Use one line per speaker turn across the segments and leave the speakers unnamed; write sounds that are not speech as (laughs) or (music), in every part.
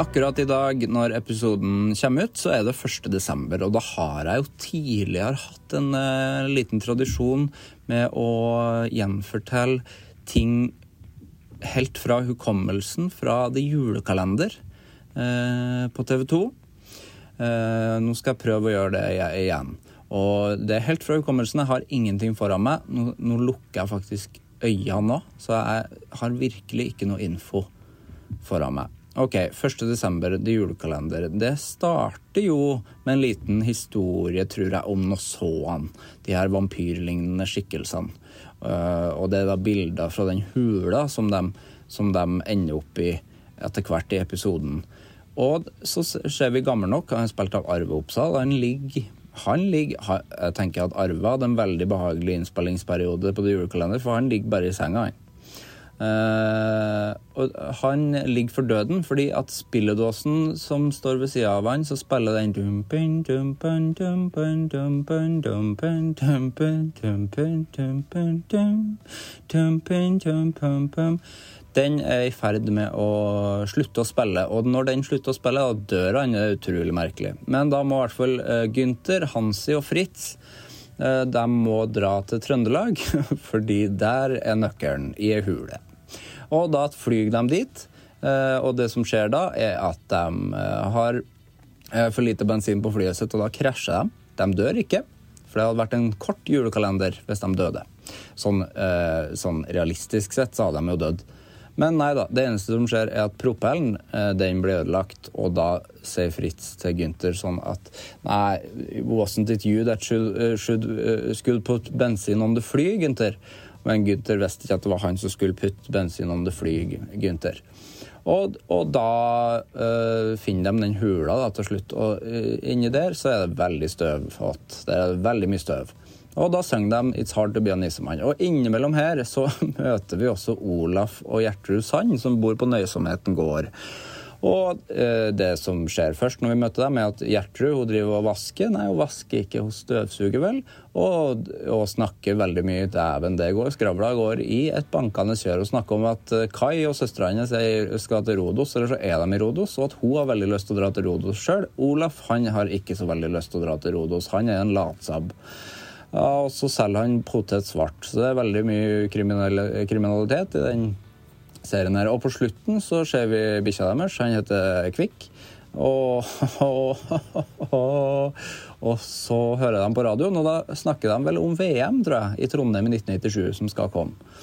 Akkurat i dag, når episoden kommer ut, så er det 1. desember, og da har jeg jo tidligere hatt en eh, liten tradisjon med å gjenfortelle ting helt fra hukommelsen fra The Julekalender eh, på TV 2. Eh, nå skal jeg prøve å gjøre det i- igjen. Og det er helt fra hukommelsen. Jeg har ingenting foran meg. Nå, nå lukker jeg faktisk øynene nå, så jeg har virkelig ikke noe info foran meg. Ok, 1. desember, det er julekalender. Det starter jo med en liten historie, tror jeg, om Nossoan. De her vampyrlignende skikkelsene. Eh, og det er da bilder fra den hula som de, som de ender opp i etter hvert i episoden. Og så ser vi gammel nok, han er spilt av Arve Oppsal. Han ligger han ligger, ha- Jeg tenker at Arve hadde en veldig behagelig innspillingsperiode på The julekalender, for han ligger bare i senga, han. Eh, og han ligger for døden, fordi at spilledåsen som står ved sida av han, så spiller den dumpin, dumpin, dumpin, dumpin, dumpin, dumpin, dumpin, dumpin, dum, dumpin, dum, pum, pum. Den er i ferd med å slutte å spille, og når den slutter å spille, da dør han. Det er utrolig merkelig. Men da må i hvert fall eh, Gunther, Hansi og Fritz Eh, De må dra til Trøndelag, (laughs) fordi der er nøkkelen i ei hule. Og da flyr de dit, eh, og det som skjer da, er at de eh, har eh, for lite bensin på flyet sitt, og da krasjer de. De dør ikke, for det hadde vært en kort julekalender hvis de døde. Sånn, eh, sånn realistisk sett så hadde de jo dødd. Men nei da, det eneste som skjer er at propellen eh, den blir ødelagt, og da sier Fritz til Gunther sånn at Nei, wasn't it you that should, eh, should, eh, skulle put bensin on the fly, Gunther? Men Gunther visste ikke at det var han som skulle putte bensin on the fly, Gunther. Og, og da eh, finner de den hula da, til slutt, og eh, inni der så er det veldig støv. At det er veldig mye støv. Og da synger de 'It's Hard To Be a Nissemann'. Og innimellom her så (laughs) møter vi også Olaf og Gjertrud Sand, som bor på Nøysomheten gård. Og eh, det som skjer først når vi møter dem, er at Gjertrud hun driver og vasker. Nei, hun vasker ikke, hun støvsuger vel. Og, og snakker veldig mye dæven det går. Skravla går i et bankende kjør. Hun snakker om at eh, Kai og søstera hennes er- skal til Rodos, eller så er de i Rodos, og at hun har veldig lyst til å dra til Rodos sjøl. Olaf han har ikke så veldig lyst til å dra til Rodos. Han er en latsabb. Ja, og så selger han potet svart. Så det er veldig mye kriminelle- kriminalitet i den serien her. Og på slutten så ser vi bikkja deres. Han heter Kvikk. Og, og, og, og så hører de på radioen, og da snakker de vel om VM, tror jeg, i Trondheim i 1997, som skal komme.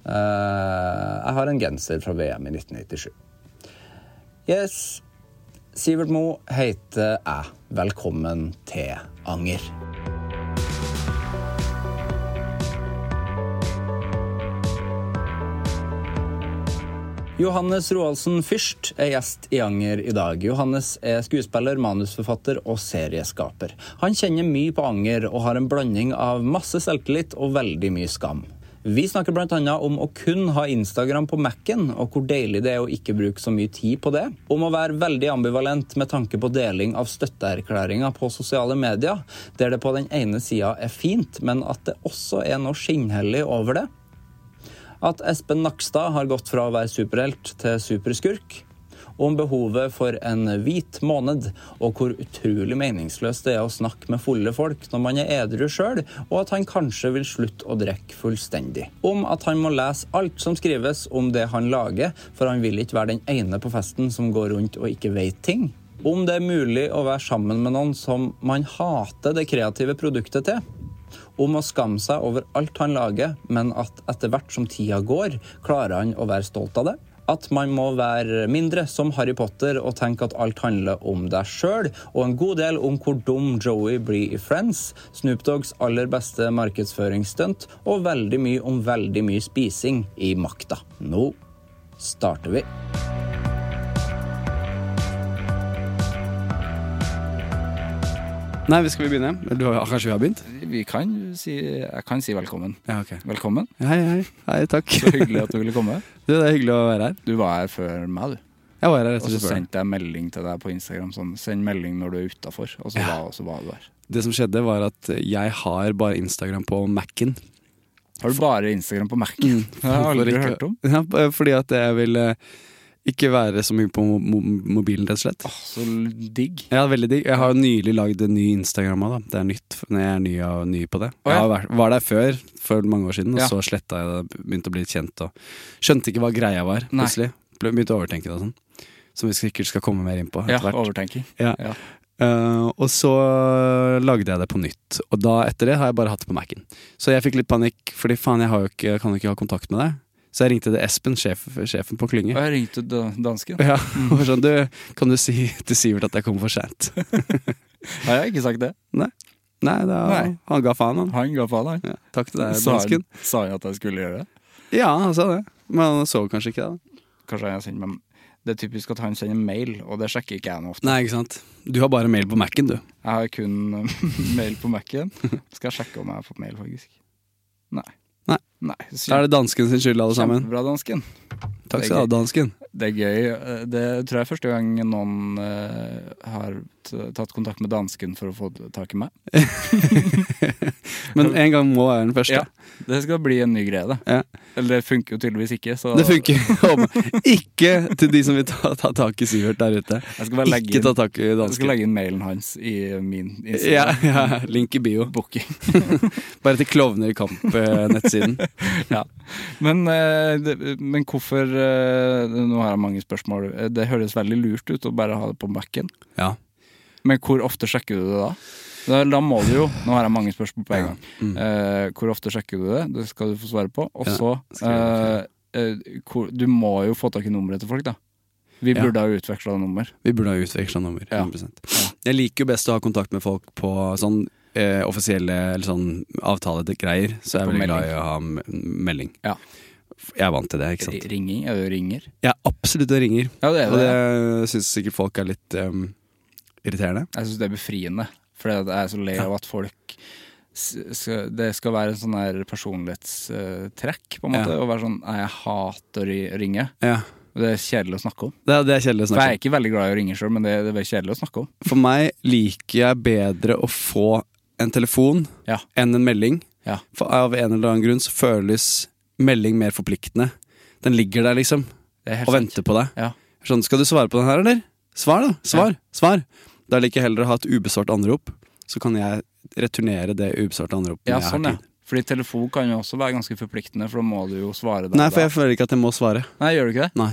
Eh, jeg har en genser fra VM i 1997. Yes. Sivert Mo heter jeg. Velkommen til Anger. Johannes Roaldsen Fyrst er gjest i Anger i dag. Johannes er skuespiller, manusforfatter og serieskaper. Han kjenner mye på anger og har en blanding av masse selvtillit og veldig mye skam. Vi snakker bl.a. om å kun ha Instagram på Mac-en, og hvor deilig det er å ikke bruke så mye tid på det. Om å være veldig ambivalent med tanke på deling av støtteerklæringer på sosiale medier, der det på den ene sida er fint, men at det også er noe skinnhellig over det. At Espen Nakstad har gått fra å være superhelt til superskurk. Om behovet for en hvit måned, og hvor utrolig meningsløst det er å snakke med fulle folk når man er edru sjøl, og at han kanskje vil slutte å drikke fullstendig. Om at han må lese alt som skrives om det han lager, for han vil ikke være den ene på festen som går rundt og ikke veit ting. Om det er mulig å være sammen med noen som man hater det kreative produktet til om å skamme seg over alt han lager, men at etter hvert som tida går, klarer han å være stolt av det. At man må være mindre som Harry Potter og tenke at alt handler om deg sjøl, og en god del om hvor dum Joey blir i Friends, Snoop Dogs aller beste markedsføringsstunt, og veldig mye om veldig mye spising i makta. Nå starter vi.
Nei, vi skal vi begynne? Eller Du har, kanskje vi har begynt?
Vi kan si, jeg kan si velkommen.
Ja, ok.
Velkommen.
Hei, hei. Hei, takk.
Så hyggelig at du ville komme.
(laughs) Du, det er hyggelig å være her.
Du var her før meg, du.
Jeg var her rett
Og
og
så
slett før.
sendte jeg melding til deg på Instagram sånn Send melding når du er utafor. Og så var, og så var du her.
Det som skjedde, var at jeg har bare Instagram på Mac-en.
Har du bare Instagram på Mac-en? Det (laughs) har
(laughs)
jeg
For
aldri
ikke-
hørt om.
Ja, b- fordi at jeg vil eh, ikke være så mye på mo- mo- mobilen, rett og slett.
Så digg.
Ja, veldig digg. Jeg har jo nylig lagd en ny Instagram òg, da. Det er nytt. f- når Jeg er ny, og ny på det.
Å, ja.
Jeg har vært, var der før, for mange år siden, og
Ja.
så sletta jeg det. Begynte å bli litt kjent og Skjønte ikke hva greia var,
Nei.
plutselig. Ble- Begynte å overtenke det og sånn. Som vi sikkert skal komme mer inn på
Ja,
etter hvert.
overtenking.
Ja.
Ja.
Eh, og så lagde jeg det på nytt. Og da etter det har jeg bare hatt det på Mac-en. Så jeg fikk litt panikk, fordi faen, jeg har jo ikke, kan jo ikke ha kontakt med deg. Så jeg ringte til Espen, sjef, sjefen på
Og
Klynge.
jeg ringte da- dansken.
Ja, (laughs) og var
Mm.
sånn, du, kan du si til Sivert at jeg kommer for
(laughs)
sent?
Nei, jeg har ikke sagt det.
Nei, da,
Nei.
han ga faen, han.
Han ga faen, han.
Ja, takk til deg,
Sa han,
dansken.
sa han at jeg skulle gjøre det?
Ja, han sa det. Men han så kanskje ikke det. da.
Kanskje han sender meg Det er typisk at han sender mail, og det sjekker ikke jeg noe ofte.
Nei, ikke sant. Du har bare mail på Mac-en, du.
Jeg har kun eh, (laughs) mail på Mac-en. Skal jeg sjekke om jeg har fått mail, faktisk. Nei.
Nei.
Nei.
Da er det dansken sin skyld, alle sammen.
Kjempebra, dansken.
Takk skal du ha, dansken.
Det er gøy. Eh, Det tror jeg er første gang noen eh, har t- tatt kontakt med dansken for å få tak i meg.
Men en gang må være den første.
Ja, det skal bli en ny greie, det.
Ja.
Eller det funker jo tydeligvis ikke, så
Det funker om- ikke til de som vil ta, ta tak i Sivert der ute.
jeg skal bare legge
Ikke ta
inn,
tak i
jeg skal
dansken.
legge inn mailen hans i min
Ja,
Instagram.
ja, link i (laughs) bio.
(laughs) Booking.
Bare til Klovner i eh, kamp-nettsiden.
Ja. Men, eh, det, men hvorfor eh, Nå har jeg mange spørsmål. Eh, Det høres veldig lurt ut å bare ha det på Mac-en.
Ja.
Men hvor ofte sjekker du det da? Da, da må du jo Nå har jeg mange spørsmål på en gang. Eh, hvor ofte sjekker du det? Det skal du få svare på. Og
Ja,
så
skriv det
eh, eh, hvor- Du må jo få tak i nummeret til folk, da. Vi
Ja.
burde ha utveksla nummer.
Vi burde ha utveksla nummer.
Ja.
100%. Jeg liker jo best å ha kontakt med folk på sånn eh, offisielle eller sånn avtalegreier. Så jeg er
På
veldig
melding.
glad i å ha m- melding.
Ja.
Jeg er vant til det, ikke sant.
Ringing? Er det ringer?
Jeg er absolutt og ringer.
Ja, det er
Og
det.
det syns sikkert folk er litt em, irriterende.
Jeg syns det er befriende. For jeg er så lei av at folk s- skal, Det skal være en sånn her personlighetstrekk, på en måte.
Ja.
Å være sånn Nei, jeg hater å ri- ringe.
Ja.
Og Det er kjedelig å snakke om.
Det, er- det er kjedelig å
For
snakke om.
jeg er ikke veldig glad i å ringe sjøl, men det, det er veldig kjedelig å snakke om.
For meg liker jeg bedre å få en telefon
Ja.
enn en melding.
Ja.
For av en eller annen grunn så føles melding mer forpliktende. Den ligger der, liksom,
Det er helt
og
sant.
venter på deg.
Ja.
Sånn, skal du svare på den her, eller? Svar, da! Svar! Svar! Da liker jeg heller å ha et ubesvart anrop. Så kan jeg returnere det ubesvarte anropet
Ja,
når jeg
sånn,
har
ja.
tid.
Fordi telefon kan jo også være ganske forpliktende, for da må du jo svare der.
Nei, for
da.
jeg føler ikke at jeg må svare.
Nei, gjør du ikke det?
Nei.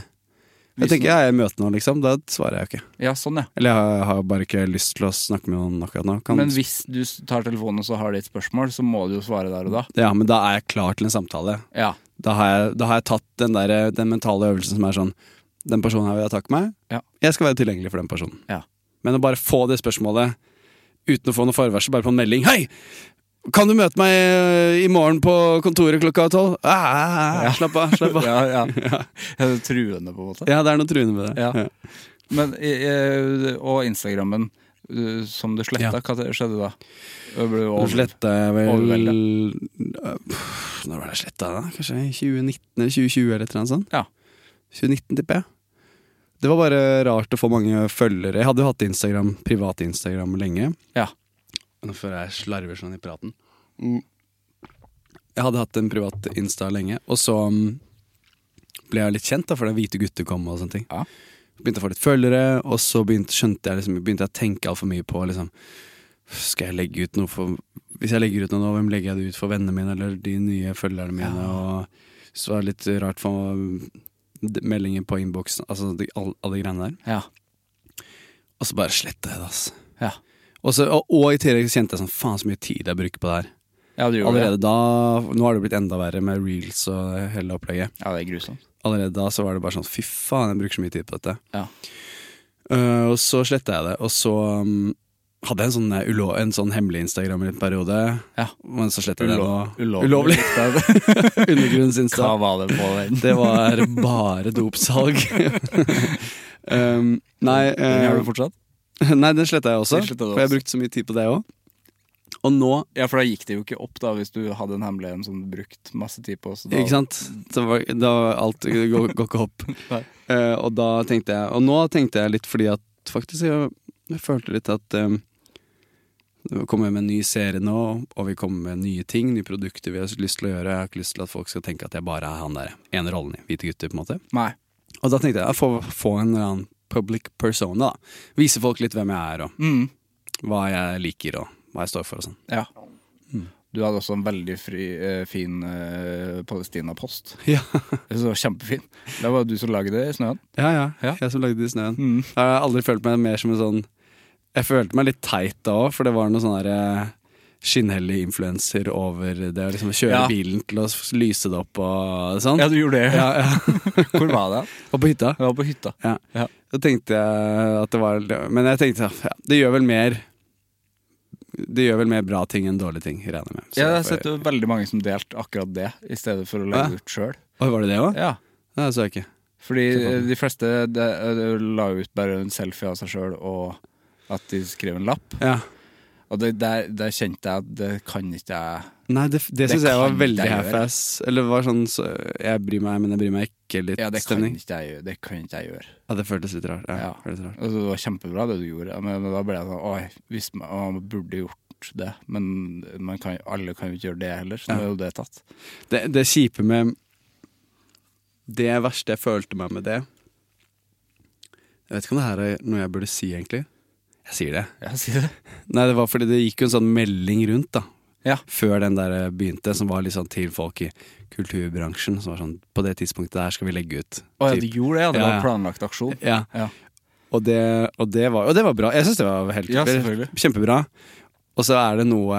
Jeg
Hvis
tenker jeg er i møte nå, liksom. Da svarer jeg jo ikke.
Ja, sånn, ja.
Eller jeg har- jeg har bare ikke lyst til å snakke med noen akkurat nå. Kan,
Men hvis du s- tar telefonen og så har de et spørsmål, så må du jo svare der og da.
ja, men da er jeg klar til en samtale.
Ja.
da har jeg, da har jeg tatt den, der, den mentale øvelsen som er sånn Den personen her vil jeg takke meg.
Ja.
Jeg skal være tilgjengelig for den personen.
Ja. (laughs)
Men å bare få det spørsmålet uten å få noe forvarsel, bare på en melding Hei! Kan du møte meg eh, i morgen på kontoret klokka tolv? Ah, ah, ah, Slapp av, slapp av.
(laughs)
(laughs)
ja, ja. Det er truende, på en måte.
ja, det er noe truende med det.
Ja. Men, eh, eh, og Instagrammen. eh, som du
Ja.
sletta. Hva det- skjedde da? Det ble
Nå
over-
sletta jeg vel
Overveldet.
Øh, pff, Når var det jeg sletta det? da? Kanskje 2019 eller 2020 eller et eller annet sånt?
Ja.
2019, tipper jeg. Det var bare rart å få mange følgere. Jeg hadde jo hatt Instagram, privat Instagram lenge.
Ja.
Nå før jeg slarver sånn i praten. Mm. Jeg hadde hatt en privat Insta lenge, og så mm, ble jeg litt kjent da, for det hvite gutter kom og sånne ting.
Ja.
Begynte å få litt følgere, og så begynte, skjønte jeg liksom, begynte jeg å tenke altfor mye på liksom, Skal jeg legge ut noe for Hvis jeg legger ut noe nå, hvem legger jeg det ut for vennene mine eller de nye følgerne mine? Og så var det litt rart for d- meldinger på innboksen, altså de, alle, alle greiene der.
Ja.
Og så bare sletta jeg det, altså.
Ja.
Og, så, og, og i tillegg så kjente jeg sånn faen så mye tid jeg bruker på det her.
ja, du gjorde
Allerede
det.
da Nå har det blitt enda verre med reels og hele opplegget.
Ja, det er grusomt.
Allerede da så var det bare sånn fy faen, jeg bruker så mye tid på dette.
Ja.
Eh, og så sletta jeg det, og så mm, hadde jeg en sånn, eh, ulo en sånn hemmelig Instagram i en periode.
Ja.
Men så sletta jeg det nå.
Ulov- ulovlig.
Ulovlig. Undergrunnsinsta.
(laughs) Hva var det på den?
(laughs) Det var bare
(laughs)
dopsalg. um, nei,
Den har
eh,
du fortsatt?
nei, den sletta jeg også,
Den sletta du
for jeg
også.
brukte så mye tid på det òg. Og nå
Ja, for da gikk det jo ikke opp, da, hvis du hadde en hemmelig en som du brukte masse tid på. Så da,
Ikke sant? Da, var, da var alt går, går ikke opp.
(laughs) Nei.
Eh, og da tenkte jeg Og nå tenkte jeg litt fordi at faktisk jeg, jeg følte litt at eh, det kommer med en ny serie nå, og vi kommer med nye ting, nye produkter vi har lyst til å gjøre. Jeg har ikke lyst til at folk skal tenke at jeg bare er han der ene rollen i Hvite gutter, på en måte.
Nei.
Og da tenkte jeg å få, få en eller annen public persona, da. Vise folk litt hvem jeg er, og
Mm.
hva jeg liker, og hva jeg står for og sånn.
Ja. Du hadde også en veldig fri, eh, fin eh, (laughs) Palestina-post.
Ja.
Jeg synes det var Kjempefin. Det var du som lagde det i snøen.
Ja, ja,
Ja.
Jeg som lagde det i snøen.
Mm.
Jeg har aldri følt meg mer som en sånn Jeg følte meg litt teit da òg, for det var noe sånn der eh, skinnhellig influenser over det å liksom kjøre
Ja.
bilen til å s- lyse det opp og sånn.
Ja, du gjorde det.
Ja, ja.
(laughs) Hvor var det?
Og på hytta.
Jeg var på hytta.
Ja.
Ja.
Så tenkte jeg at det var Men jeg tenkte ja, det gjør vel mer Det gjør vel mer bra ting enn dårlige ting, regner jeg med. Så
jeg har
får-
sett jo veldig mange som delte akkurat det, i stedet for å legge
Ja.
det ut sjøl.
Oi, var det det òg?
Ja.
Nei, det så jeg ikke.
Fordi eh, de fleste de, de la ut bare en selfie av seg sjøl, og at de skrev en lapp.
Ja.
Og det, der, der kjente jeg at det kan ikke jeg
Nei, det, det, syns jeg var
kan
veldig
jeg gjøre.
half-ass. Eller var sånn så, jeg bryr meg, men jeg bryr meg ikke litt
Ja, det kan
stemning.
ikke jeg gjøre. Det kan ikke jeg gjøre.
Ja, det føltes litt rart. Ja,
Ja.
føltes rart.
Altså, det var kjempebra det du gjorde, men, men da ble jeg sånn Oi, hvis man, å, man burde gjort det, men man kan, alle kan jo ikke gjøre det heller, så nå er jo det tatt.
Det, det kjipe med Det verste jeg følte meg med det Jeg vet ikke om det her er noe jeg burde si, egentlig. Jeg sier det.
Ja, si det.
Nei, det var fordi det gikk jo en sånn melding rundt, da.
Ja.
Før den der eh, begynte, som var litt sånn til folk i kulturbransjen. Som var sånn På det tidspunktet der skal vi legge ut.
Å ja,
typ.
du gjorde det, ja. Det
Ja,
var
ja.
planlagt aksjon.
ja.
Ja.
Og det, og det, var, og det var bra. Jeg syns det var helt
Ja, selvfølgelig.
kjempebra. Og så er det noe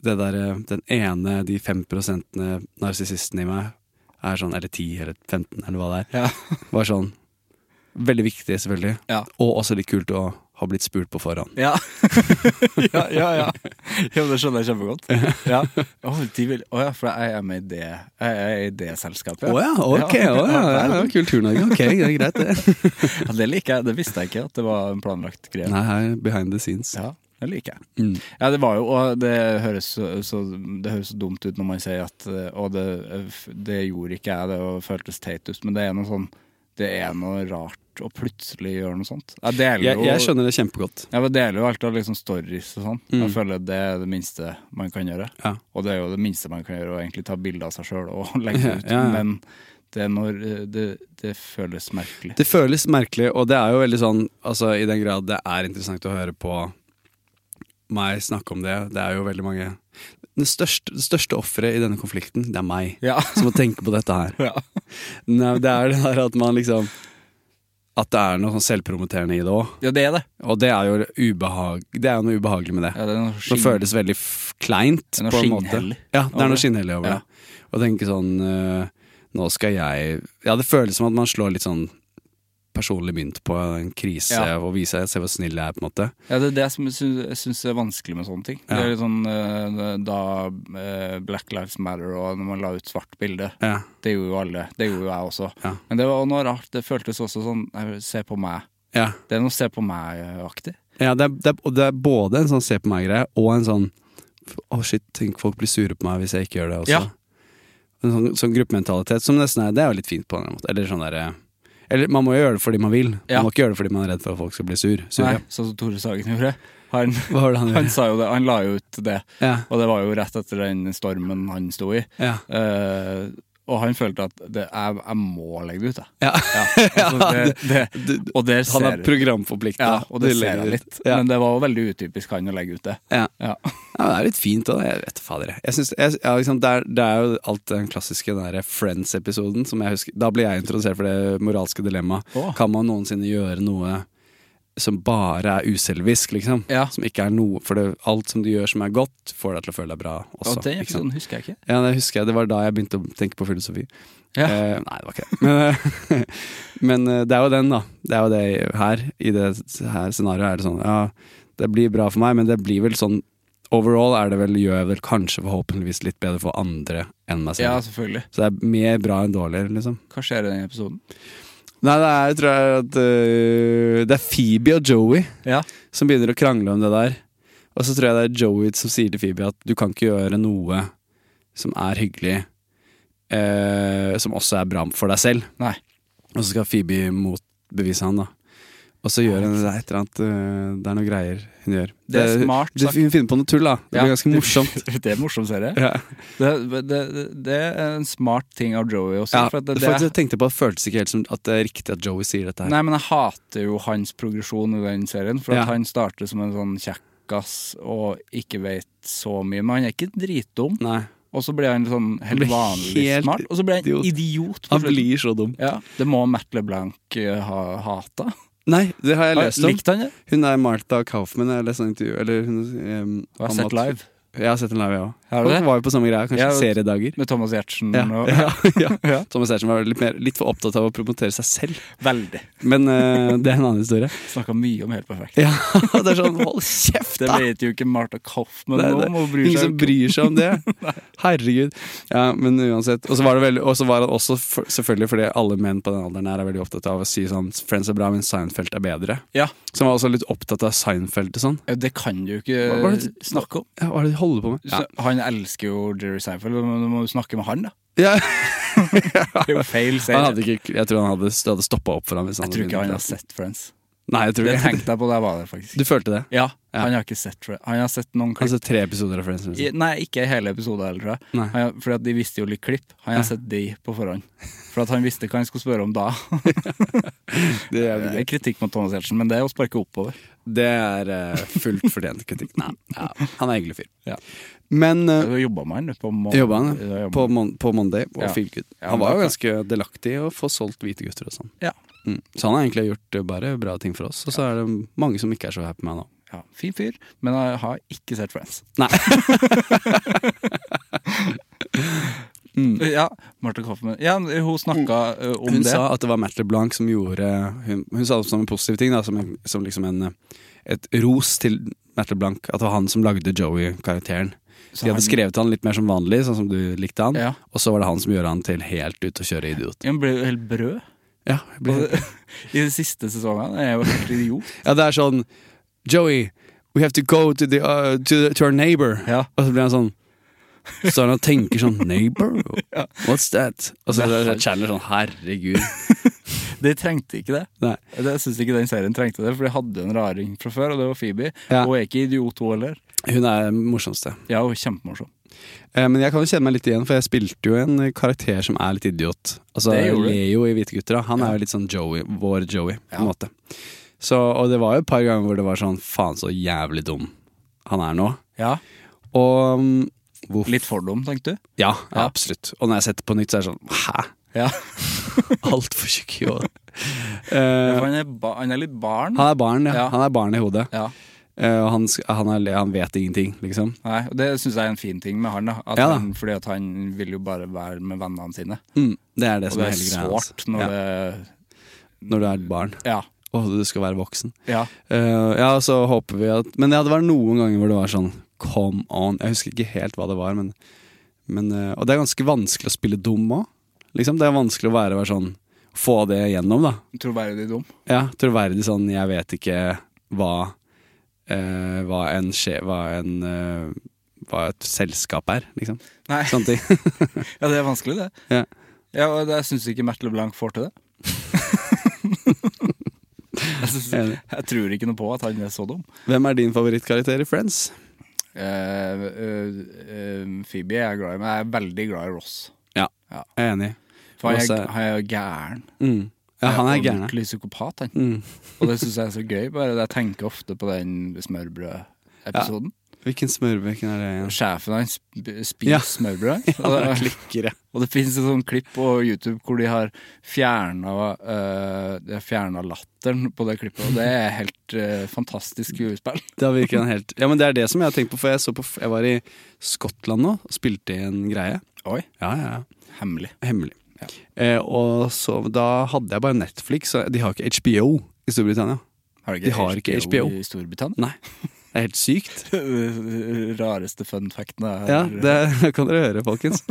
det der, Den ene, de fem prosentene narsissisten i meg, er sånn, eller ti eller 15, eller hva det er,
Ja.
(laughs) var sånn Veldig viktig, selvfølgelig.
Ja.
Og også litt kult å ha blitt spurt på forhånd.
(laughs) Ja. ja, ja, ja. Ja, men Det skjønner jeg kjempegodt. Ja. Å, de vil, å ja, for jeg er med i det, jeg er i det selskapet.
Å ja, ok!
Ja.
å ja, ja, ja, Kultur-Norge, ok, det er greit, det. (laughs)
Ja, det liker jeg. Det visste jeg ikke, at det var en planlagt greie.
Nei, her, behind the scenes. Mm.
Ja, det liker jeg. Ja, det var jo, og det høres så, så, det høres så dumt ut når man sier at eh, Og det, det gjorde ikke jeg, det og føltes teit ut, men det er noe sånn Det er noe rart å plutselig gjøre noe sånt. Jeg deler
Jeg,
jo
jeg skjønner det kjempegodt.
Ja, men Jeg deler jo alt av liksom stories og sånn. Jeg føler det er det minste man kan gjøre.
Ja.
Og det er jo det minste man kan gjøre, å egentlig ta bilde av seg sjøl
(laughs)
og (laughs) legge det ut.
Ja, ja.
Men det, er når, eh, det, det føles merkelig.
Det føles merkelig, og det er jo veldig sånn Altså I den grad det er interessant å høre på meg snakke om det, det er jo veldig mange Det største, det største offeret i denne konflikten, det er meg,
Ja.
som må tenke på dette her.
(laughs) Ja.
Nei, det er det der at man liksom At det er noe sånn selvpromoterende i det òg.
ja, det er det.
Og det er jo ubehag, det er jo noe ubehagelig med det.
Ja, det er noe
det
skinn-
føles veldig f
Det
kleint,
er noe
på en måte.
skinnhellig
Ja, det er
over
noe
det.
skinnhellig over
Ja.
det. Å tenke sånn eh, Nå skal jeg Ja, det føles som at man slår litt sånn personlig mynt på en krise
Ja.
og viser se hvor snill jeg er, på en måte.
Ja, det er det som jeg syns- jeg syns er vanskelig med sånne ting. Det er litt sånn eh, da eh, Black Lives Matter og når man la ut svart bilde.
Ja.
Det gjorde jo alle. Det gjorde jo jeg også.
Ja.
Men det var noe rart. Det føltes også sånn nei, eh, Se på meg.
Ja.
Det er noe se på meg-aktig.
Ja, det er, det, er, og det er både en sånn se på meg-greie og en sånn Å, shit, tenk folk blir sure på meg hvis jeg ikke gjør det også.
Ja.
En sånn, sånn gruppementalitet som nesten er Det er jo litt fint på en eller annen måte. Eller sånn derre Eller man må jo gjøre det fordi man vil.
Ja.
Man må ikke gjøre det fordi man er redd for at folk skal bli sur. Sure.
Nei, sånn som Tore Sagen gjorde. Han,
(laughs) Hva var det han
han
gjorde?
sa jo det, han la jo ut det,
Ja.
og det var jo rett etter den stormen han sto i.
Ja.
Eh, og han følte at det, jeg, jeg må legge det ut, jeg.
(laughs) Ja.
altså,
(laughs)
det, det,
Du-
og der
Han
ser
er programforplikta.
ja, og det
Du
ser
legger
jeg
ut.
litt.
Ja.
Men det var jo veldig utypisk han å legge ut det.
ja.
Ja.
Ja, men det er litt fint òg, jeg vet fader. Jeg. Jeg synes, jeg, ja, liksom, det, er, det er jo alt den klassiske den der Friends-episoden som jeg husker. Da ble jeg introdusert for det moralske dilemmaet.
Åh.
Kan man noensinne gjøre noe som bare er uselvisk, liksom?
Ja.
Som ikke er noe For det, alt som du gjør som er godt, får deg til å føle deg bra også.
Og den
ikke sant?
episoden husker jeg ikke.
Ja, det husker jeg. Det var da jeg begynte å tenke på filosofi.
Ja.
Eh, nei, det var ikke det. Men, eh, (laughs) men eh, det er jo den, da. Det er jo det her. I det her scenarioet er det sånn Ja, det blir bra for meg, men det blir vel sånn Overall er det vel, gjør jeg vel kanskje forhåpentligvis litt bedre for andre enn meg
Ja,
selv.
selvfølgelig.
Så det er mer bra enn dårlig, liksom.
Hva skjer i den episoden?
Nei, det er, tror jeg at eh, Det er Phoebe og Joey
Ja.
som begynner å krangle om det der. Og så tror jeg det er Joey som sier til Phoebe at du kan ikke gjøre noe som er hyggelig, eh, som også er bra for deg selv.
Nei.
Og så skal Phoebe motbevise han, da. Og så gjør hun det er et eller annet eh, Det er noe greier hun gjør.
Det er smart
det,
sagt.
hun finner på noe tull, da. Det blir ganske morsomt.
(laughs) det er en morsom serie.
Ja.
Det, det, det er en smart ting av Joey også.
Ja,
for at det, det,
faktisk, jeg tenkte på at det føltes ikke helt som at det er riktig at Joey sier dette her.
Nei, men jeg hater jo hans progresjon i den serien, for at
Ja.
han starter som en sånn kjekkass og ikke vet så mye, men han er ikke dritdum.
Nei.
Og så blir han sånn helt
blir
vanlig
helt
smart, og så blir han
idiot.
idiot. idiot på
Han
slutten.
blir så dum.
Ja, det må Matt LeBlanc eh, ha hata.
Nei, det har jeg lest om.
Likte han det?
Hun er Martha Kaufman, jeg har lest sånn intervju eller hun, em,
Jeg har
om
sett
at-
live.
Jeg har sett den live, jeg òg.
Har du det?
Folk var jo på samme greia, kanskje
Ja,
seriedager.
Med Thomas Giertsen
Ja,
og
(laughs) ja, ja.
Ja.
Thomas Hertzen var litt, mer, litt for opptatt av å promotere seg selv,
(laughs) Veldig.
men
(laughs)
eh, det er en annen historie.
Snakka mye om Helt perfekt.
(laughs) Ja, det er sånn, hold kjeft,
Det
da!
vet jo ikke Martha Kaufman
Det er det.
om, og bryr
Ingen som
seg jo ikke.
bryr seg om det.
(laughs)
Herregud. Ja, men uansett. Og så var, det veldig- og så var han også, for, selvfølgelig fordi alle menn på den alderen her er veldig opptatt av å si sånn Friends er bra, men Seinfeld er bedre.
Ja,
Så han var også litt opptatt av Seinfeld og sånn.
det kan du jo
Hva var
ikke
det-
snakke om.
Ja, hva er det de holder på med? Ja.
Så Han elsker jo Jerry Seinfeld, men du må jo snakke med han, da.
Ja.
Det er jo feil serie.
Han hadde ikke, jeg tror han hadde, det hadde stoppa opp for ham. Hvis han
Jeg tror ikke han har
begynt.
sett Friends.
Nei, jeg tror
Det
ikke
tenkte jeg på da jeg var der, faktisk.
Du følte det?
Ja,
Ja.
han har ikke sett Friends. Han har sett noen klipp.
Altså tre episoder av Friends?
I-
Liksom.
Nei, ikke hele episoden heller, tror jeg.
Nei.
Han har- Fordi at de visste jo litt klipp. Han har sett de på forhånd. For at han visste hva han skulle spørre om da.
Det er,
Det er
jævlig gøy.
kritikk mot Thomas Giertsen, men det er å sparke oppover.
det er eh, fullt fortjent kritikk. Nei, ja. Han er hyggelig fyr.
Ja.
Men
Du
uh,
har jobba med han du, på må-
jobba han
Du har
ja,
jobbet
på,
med
mon på Monday og
Ja.
Feelgood.
Ja,
Han
men
var jo
det-
ganske delaktig i å få solgt hvite gutter og sånn.
Ja.
Mm. Så han har egentlig gjort eh, bare bra ting for oss. Og så er det mange som ikke er så happy med han nå.
ja, Fin fyr, men jeg har ikke sett Friends. (laughs)
Nei.
Mm. Ja, Martha Kaufmann Ja, hun snakka ø, om
Mm. Hun
det.
sa at det var Matt LeBlanc som gjorde Hun, hun sa det som en positiv ting, da, som, en, som liksom en eh, et ros til Matt LeBlanc. At det var han som lagde Joey-karakteren.
Så
De
han-
hadde skrevet han litt mer som vanlig, sånn som du likte han.
Ja.
Og så var det han som gjorde han til helt ut å kjøre idiot.
Hun ble jo helt brød.
(laughs) Ja, jeg blir-
(laughs) I de siste sesongene er jeg jo helt idiot.
ja, det er sånn Joey, we have to go to, the, uh, to, the, to our neighbor.
Ja.
Og så blir han sånn så er han og tenker sånn
(laughs)
Neighbor? What's that? Og så er det Chandler sånn Herregud.
De trengte ikke det.
Nei.
Det, jeg syns ikke den serien trengte det, for de hadde jo en raring fra før, og det var Phoebe.
Ja.
Hun er ikke idiot, hun heller.
Hun er den morsomste.
Ja, hun er kjempemorsom.
Eh, Men jeg kan jo kjenne meg litt igjen, for jeg spilte jo en karakter som er litt idiot. Altså
Det gjorde du.
Leo i Hvite gutter. da. Han er jo litt sånn Joey, vår Joey, på en måte. Så, og det var jo et par ganger hvor det var sånn faen så jævlig dum han er nå.
Ja,
Og mm, hvorfor
Litt fordom, tenkte du?
ja, ja,
Ja.
absolutt. Og når jeg setter på nytt, så er det sånn
(laughs)
hæ?
Ja.
Altfor tjukk i hodet.
for
Eh,
han, er ba han er litt barn.
han er barn, ja.
Ja.
Han er barn i hodet.
Ja.
Eh, og han, sk- han, er, han vet ingenting, liksom.
Nei, og Det syns jeg er en fin ting med han. da, at
Ja da.
han, Fordi at han vil jo bare være med vennene sine.
Mm, det er det
Og
som
det
er
er
hele greia. hans.
sårt når
ja,
det
Når du er et barn.
Ja.
Og du skal være voksen.
ja.
Eh, ja, og så håper vi at Men ja, det var noen ganger hvor det var sånn Come on. Jeg husker ikke helt hva det var, men, men eh, Og det er ganske vanskelig å spille dum òg. Liksom, det er vanskelig å være, være sånn Få det gjennom, da.
Troverdig dum.
Ja, troverdig sånn Jeg vet ikke hva eh, hva en, skje, hva, en eh, hva et selskap er, liksom.
Nei,
Sånne ting. (laughs)
ja, det er vanskelig, det.
ja.
Ja, og Jeg syns ikke Merte LeBlanc får til det. (laughs) jeg, synes,
Enig.
jeg tror ikke noe på at han er så dum.
Hvem er din favorittkarakter i Friends?
Eh, eh, eh, Phoebe er jeg glad i, men jeg er veldig glad i Ross.
Ja,
Ja.
jeg er enig.
For han
Ross
er,
er-
han er jo gæren.
Mm. Ja, han er gæren. ja.
Ordentlig psykopat, han.
Mm.
(laughs) Og det syns jeg er så gøy. Bare Jeg tenker ofte på den smørbrødepisoden.
Hvilken smørbekken er det igjen?
Sjefen hans sp- spiser
Ja. (laughs)
smørbrød.
Ja,
Og
det
det-
klikker, ja.
Og det finnes et sånt klipp på YouTube hvor de har eh, fjerna latteren på det klippet. Og det er helt eh, fantastisk skuespill.
Da virker han helt Ja, men det er det som jeg har tenkt på, for jeg, så på, jeg var i Skottland nå og spilte i en greie.
Oi.
Ja, ja, ja.
Hemmelig.
Hemmelig.
Ja.
Eh, og så da hadde jeg bare Netflix, og de har ikke HBO i Storbritannia.
Har
De har ikke HBO.
i Storbritannia? (laughs)
Nei. Det er helt sykt.
Rareste fun facten er
(laughs) Ja, det (laughs) kan dere høre, folkens.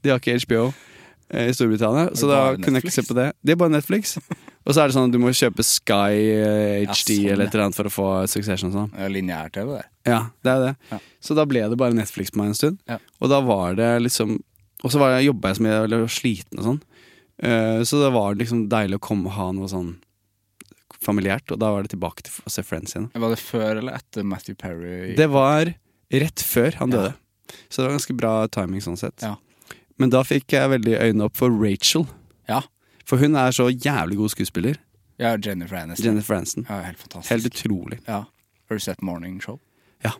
De har ikke HBO eh, i Storbritannia, så da
bare
kunne jeg ikke se
Netflix?
på det. Det er bare Netflix. Og så er det sånn at du må kjøpe Sky eh,
Ja,
HD
sånn,
eller et eller annet for å få Succession og sånn.
Ja, Lineær-TV, det.
Ja, det er det.
Ja.
Så da ble det bare Netflix på meg en stund.
Ja.
Og da var det liksom Og så var jeg- jobba jeg så mye, eller var sliten og sånn. Eh, så da var det liksom deilig å komme og ha noe sånn familiært, og da var det tilbake til å se Friends igjen.
Var det før eller etter Matthew Perry?
Det var rett før han
Ja.
døde, så det var ganske bra timing sånn sett.
Ja.
Men da fikk jeg veldig øynene opp for Rachel,
Ja.
for hun er så jævlig god skuespiller.
ja Jennifer Aniston.
Jennifer Aniston.
Ja, helt fantastisk.
Helt utrolig.
ja. Har du sett Morning Show?
Ja,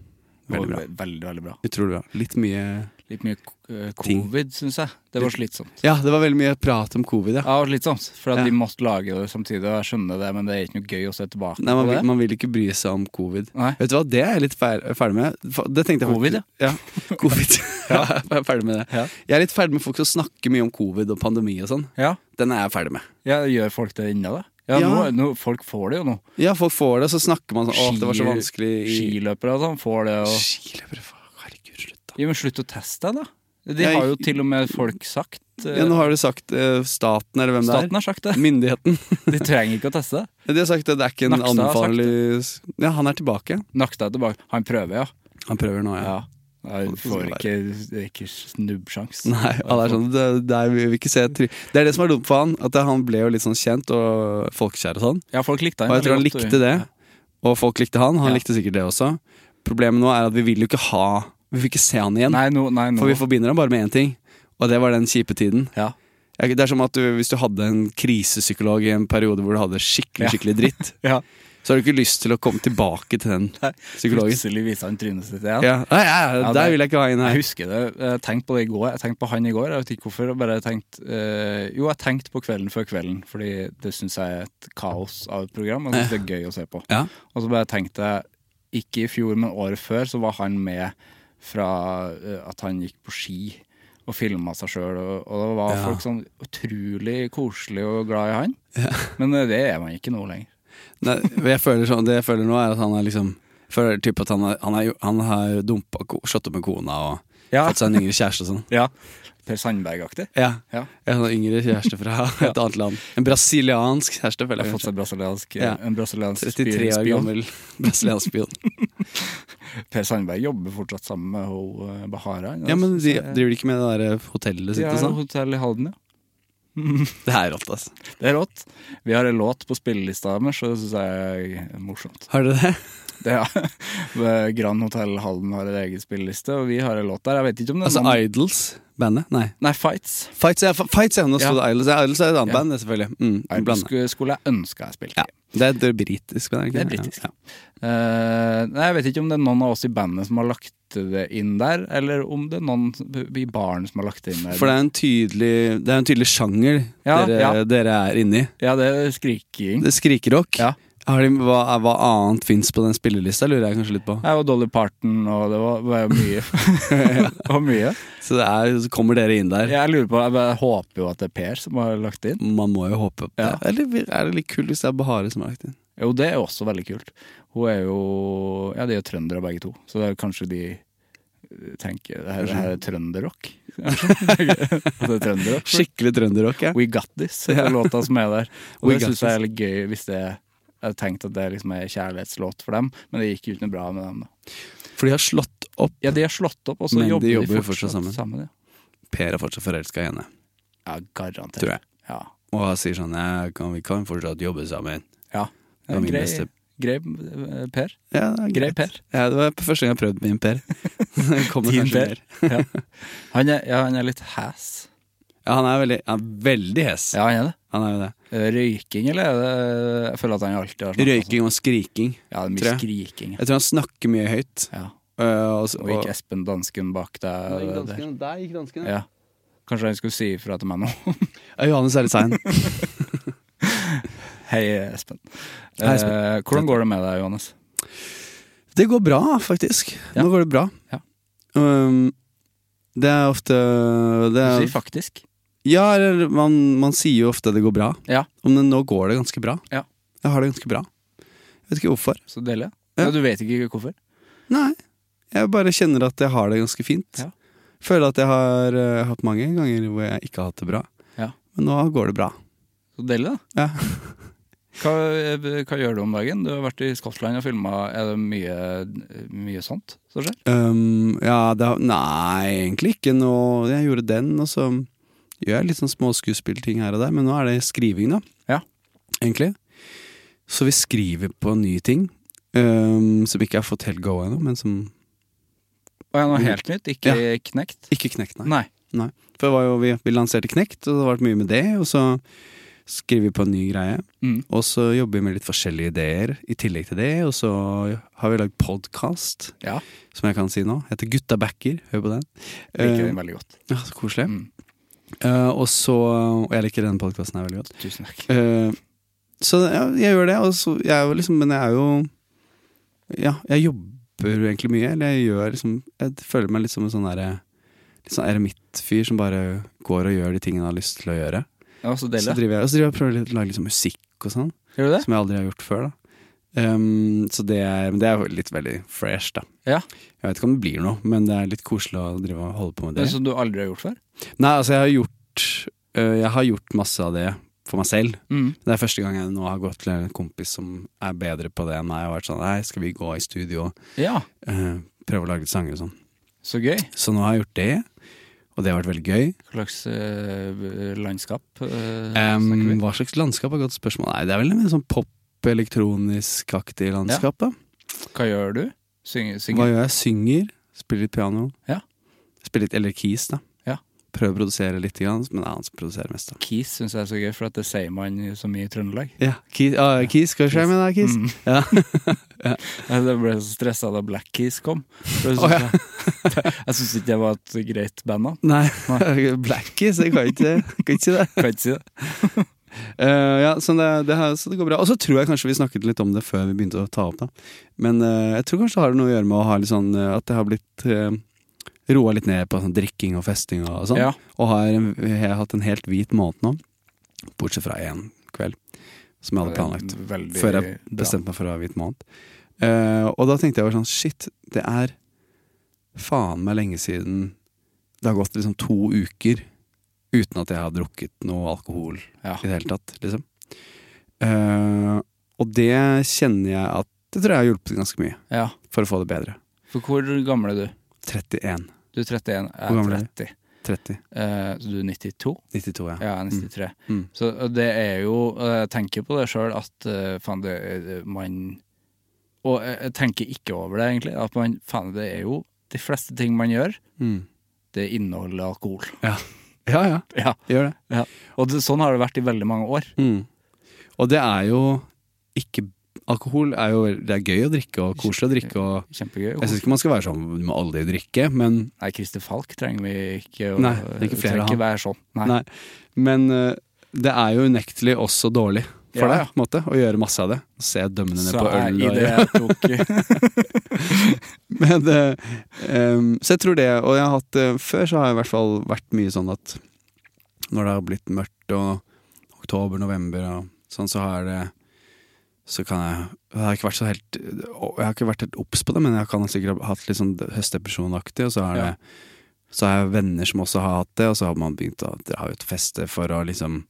veldig
Det
bra.
var ve- Veldig, veldig bra.
Utrolig bra. Litt mye
Litt mye ko- eh,
Ting.
covid, syns jeg. Det var slitsomt.
Ja, det var veldig mye prat om covid, ja.
Ja, og slitsomt, for at
Ja.
de måtte lage det samtidig. Og jeg skjønner det, men det er ikke noe gøy å se tilbake
Nei, man
på
vil,
det.
man vil ikke bry seg om covid.
Nei.
Vet du hva, det er jeg litt fer- ferdig med. Fa- Det tenkte jeg faktisk-
Covid, ja.
ja.
(laughs)
Covid. (laughs) ja, jeg er ferdig med det.
Ja.
Jeg er litt ferdig med folk som snakker mye om covid og pandemi og sånn.
Ja,
Den er jeg ferdig med.
ja gjør folk det ennå, da? Ja,
Ja.
Nå, nå, folk får det jo nå.
Ja, folk får det, og så snakker man sånn Å,
Ski-
det var så vanskelig i
Skiløpere og sånn får det. Og...
Skiløpere, faen. Herregud, slutt, da.
Ja, men slutt å teste deg, da. De
Jeg-
har jo til og med folk sagt eh,
Ja, nå har du sagt eh, staten, eller hvem
Staten
det er.
har sagt det.
Myndigheten. (laughs)
De trenger ikke å teste det.
De har sagt at det er ikke en
Nakstad har sagt
anbefalelig Ja, han er tilbake.
Nakstad er tilbake. Han prøver, ja.
Han prøver nå, ja.
ja. Han får ikke, det er ikke snubbsjans.
(laughs) Nei, alle er sånn det, det, er, vi vil ikke se try det er det som er dumt for han, at han ble jo litt sånn kjent og folkekjær og sånn.
Ja, folk likte
Og jeg tror han
veldig godt,
likte det, og folk likte han. Han
Ja.
likte sikkert det også. Problemet nå er at vi vil jo ikke ha Vi vil ikke se han igjen.
Nei, nå, nei, nå.
For vi forbinder han bare med én ting, og det var den kjipe tiden.
Ja.
Jeg- Det er som at du, hvis du hadde en krisepsykolog i en periode hvor du hadde
Ja.
skikkelig skikkelig
(laughs)
dritt,
Ja.
så har du ikke lyst til å komme tilbake til den psykologen.
Plutselig viser han trynet sitt igjen.
Ja, ja, ja,
Ja, det-
Der vil jeg ikke ha inn her.
Jeg husker det. Jeg tenkte på det i går. Jeg tenkte på han i går. Jeg vet ikke hvorfor. Jeg bare tenkte, eh, jo, jeg tenkte på Kvelden før kvelden, fordi det syns jeg er et kaos av et program. Jeg synes det er gøy å se på.
Ja.
Og så bare tenkte jeg, ikke i fjor, men året før, så var han med fra eh, at han gikk på ski. Og filma seg sjøl, og, og det var
Ja.
folk sånn utrolig koselige og glad i han. Men eh, det er man ikke nå lenger.
Nei, men jeg føler sånn, det jeg føler nå, er at han er liksom jeg føler typ at han, er, han, er, jo- han har dumpa ko- slått opp med kona og
Ja.
fått seg en yngre kjæreste og sånn.
Ja. Per Sandberg-aktig.
Ja.
Ja.
En sånn yngre kjæreste
(laughs)
fra et annet land. En brasiliansk kjæreste, føler
Har
jeg.
fått seg brasiliansk, eh,
Ja.
en brasiliansk
kanskje. 33 år
spion.
gammel brasiliansk
(laughs)
spion.
Per Sandberg jobber fortsatt sammen med ho, eh, Bahara.
Ja, men de driver de ikke med det der hotellet sitt
sitter
og
sånn.
sånn?
Hotell i Halden, ja.
Det er rått, altså.
Det er rått. Vi har en låt på spillelista deres, og det syns jeg er morsomt.
Har dere det?
Det (laughs) er, Grand Hotell Halden har en egen spilleliste, og vi har en låt der. Jeg vet ikke om det er
Altså
noen-
Idols? Bandet? Nei.
Nei, Fights.
Fights er, Fights er, nå sto
Ja.
det Idols. Ja, Idols er et annet
Ja.
band, det, selvfølgelig. Mm,
Idols
blandet.
skulle, skulle jeg ønske jeg spilte.
ja. Det er et britisk band,
Det
ikke
er britisk.
Ja.
Eh, nei, jeg vet ikke om det er noen av oss i bandet som har lagt det inn der, eller om det er noen i baren som har lagt det inn der.
For det er en tydelig, det er en tydelig sjanger
Ja,
dere,
ja.
dere er inni.
Ja, det er skriking.
Det er skrikerock.
Ja.
Har de, hva, hva annet fins på den spillelista, lurer jeg kanskje litt på.
Jeg og Dolly Parton, og det var, var mye. (laughs) det var mye.
Så, det er, så kommer dere inn der.
Jeg lurer på, jeg bare håper jo at det er Per som har lagt det inn.
Man må jo håpe på det.
Ja.
Eller er det litt kult hvis det er Bahare som har lagt inn?
Jo, det er også veldig kult. Hun er jo Ja, de er jo trøndere begge to, så det er jo kanskje de eh, tenker Det her, det her er trønderrock. (laughs) kanskje? At det er trønderrock.
Skikkelig trønderrock, ja.
We Got This heter låta som er der. Og
We
det
Got
syns jeg er litt gøy hvis det er Jeg tenkte at det liksom er kjærlighetslåt for dem, men det gikk jo ikke noe bra med dem. da
For de har slått opp.
Ja, de har slått opp, og så
Men de
jobber de
jobber jo
fortsatt,
fortsatt sammen.
sammen ja.
Per er fortsatt forelska i henne,
ja, garantert.
tror jeg.
Ja.
Og han sier sånn "Ja, kan, Vi kan fortsatt jobbe sammen.
ja.
Det var min
grei,
beste-
grei eh, Per.
Ja, det er
Grei
greit.
Per.
Ja, det var første gang jeg prøvde min
(laughs)
Per. Det kommer
Din
kanskje
Per.
mer.
Ja. Han, er, ja, han er litt hæs.
Ja, han er veldig, han er veldig hes.
Ja, han er det.
Han er jo det.
Eh, Røyking, eller er det Jeg føler at han alltid har snakket
Røyking og skriking.
sånn. Ja, det er
tror
mye
jeg.
skriking.
Jeg tror han snakker mye høyt.
Ja.
øh, og, så-
Og gikk Espen dansken bak deg? der?
Der gikk dansken,
Ja. Kanskje han skulle si ifra til meg nå. (laughs)
Ja, Johannes er litt sein.
Hei, Espen.
Hei, Espen.
Eh, hvordan går det med deg, Johannes?
Det går bra, faktisk.
Ja.
Nå går det bra.
Ja.
Um, det er ofte det
Du
er,
sier faktisk.
Ja, eller man, man sier jo ofte det går bra.
Ja.
Men nå går det ganske bra.
Ja.
Jeg har det ganske bra. Jeg vet ikke hvorfor.
Så deilig.
Ja.
Ja. Du vet ikke hvorfor?
Nei. Jeg bare kjenner at jeg har det ganske fint.
Ja.
Føler at jeg har eh, hatt mange ganger hvor jeg ikke har hatt det bra.
Ja.
Men nå går det bra.
Så deilig, da.
Ja.
(laughs) Hva, eh, hva gjør du om dagen? Du har vært i Skottland og filma. Er det mye, mye sånt som skjer?
Um, ja, det har Nei, egentlig ikke noe Jeg gjorde den, og så gjør jeg litt sånn småskuespillting her og der, men nå er det skriving, da.
Ja.
Egentlig. Så vi skriver på nye ting um, som ikke har fått helt go ennå, men som
Og er det noe helt nytt? Ikke knekt?
ikke knekt, nei.
Nei.
For det var jo, vi, vi lanserte Knekt, og det har vært mye med det, og så skriver vi på en ny greie.
Mm.
Og så jobber vi med litt forskjellige ideer i tillegg til det, og så har vi lagd podkast,
Ja.
som jeg kan si nå. Heter Gutta backer, hør på den.
Liker
Eh,
den veldig godt.
Ja, så koselig.
Mm.
Eh, og så Og jeg liker denne podkasten her veldig godt.
Tusen takk.
Eh, så ja, jeg gjør det, og så jeg er jo liksom Men jeg er jo Ja, jeg jobber jo egentlig mye, eller jeg gjør liksom Jeg føler meg litt som en sånn derre Litt sånn eremittfyr som bare går og gjør de tingene han har lyst til å gjøre.
Det var så
Så
deilig.
driver jeg og så driver jeg og prøver litt å lage litt sånn musikk og sånn,
Gjør du det?
som jeg aldri har gjort før, da. Ehm, så det er, men det er jo litt veldig fresh, da.
Ja.
Jeg vet ikke om det blir noe, men det er litt koselig å drive og holde på med
Det
det.
er Som du aldri har gjort før?
Nei, altså jeg har gjort øh, Jeg har gjort masse av det for meg selv.
Mm.
Det er første gang jeg nå har gått til en kompis som er bedre på det enn meg, og vært sånn Nei, skal vi gå i studio og
Ja,
øh, prøve å lage litt sanger og sånn.
så gøy.
Så nå har jeg gjort det, og det har vært veldig gøy.
Hva slags eh, landskap eh,
Ehm,
snakker vi?
hva slags landskap er et godt spørsmål? Nei, det er vel en sånn pop-elektronisk-aktig landskap, da.
Hva gjør du? Synger?
Hva
synger.
gjør jeg? Synger, spiller litt piano.
Ja.
Spiller litt eller keys, da.
Ja.
Prøver å produsere litt, grann, men det er han som produserer mest, da.
Kis syns jeg er så gøy, for at det sier man så mye i Trøndelag. (laughs)
Ja, keys, ah, keys skal vi se med deg, keys.
Mm.
Ja.
Jeg ble så stressa da Black Keys kom. For jeg
Å,
syns jeg syns ikke det (laughs) var et greit band. da
Nei, (laughs) Blackies, jeg kan ikke, jeg kan ikke si det.
Kan ikke si det.
Eh, ja, så det, det her, så det går bra. Og så tror jeg kanskje vi snakket litt om det før vi begynte å ta opp, da. Men eh, jeg tror kanskje det har noe å gjøre med å ha litt sånn eh, at det har blitt uh, roa litt ned på sånn drikking og festing og sånn.
Ja.
Og har en, jeg har hatt en helt hvit måned nå, bortsett fra én kveld, som jeg hadde planlagt.
Veldig
Før jeg bestemte meg for å ha hvit måned. Eh, og da tenkte jeg bare sånn Shit, det er faen meg lenge siden Det har gått liksom to uker uten at jeg har drukket noe alkohol
Ja.
i det hele tatt, liksom. Eh, og det kjenner jeg at Det tror jeg har hjulpet ganske mye
Ja.
for å få det bedre.
For hvor gammel er du?
31.
Du er 31, jeg
Hvor gammel
er
er du?
30.
30.
Eh, så du er 92?
92, ja.
Ja, jeg er 93.
Mm.
Så det er jo Jeg tenker på det sjøl at eh, faen, det er- man Og jeg jeg tenker ikke over det, egentlig. At man Faen, det er jo de fleste ting man gjør,
Mm.
det inneholder alkohol. (laughs)
Ja. ja, ja.
Ja.
Gjør det.
ja. Og det, sånn har det vært i veldig mange år.
Mm. Og det er jo ikke Alkohol er jo Det er gøy å drikke og koselig å drikke og
Kjempegøy.
Jeg syns ikke man skal være sånn du må aldri drikke, men,
Nei, Christer Falk trenger vi ikke å
Nei, det er ikke flere
trenger
av
ikke være sånn. Nei.
nei. men eh, det er jo unektelig også dårlig for
Ja, ja.
deg på en måte, å gjøre masse av det. Se dømmende ned
Så
på øl
jeg, i
og
det jeg tok (laughs)
(laughs) Men, eh, em, så jeg tror det, og jeg har hatt eh, før så har jeg i hvert fall vært mye sånn at når det har blitt mørkt og oktober, november og sånn, så har det så kan jeg Jeg har ikke vært så helt Jeg har ikke vært helt obs på det, men jeg kan ha sikkert ha hatt litt sånn høstdepresjonaktig, og så har
Ja.
det så har jeg venner som også har hatt det, og så har man begynt å dra ut og feste for å liksom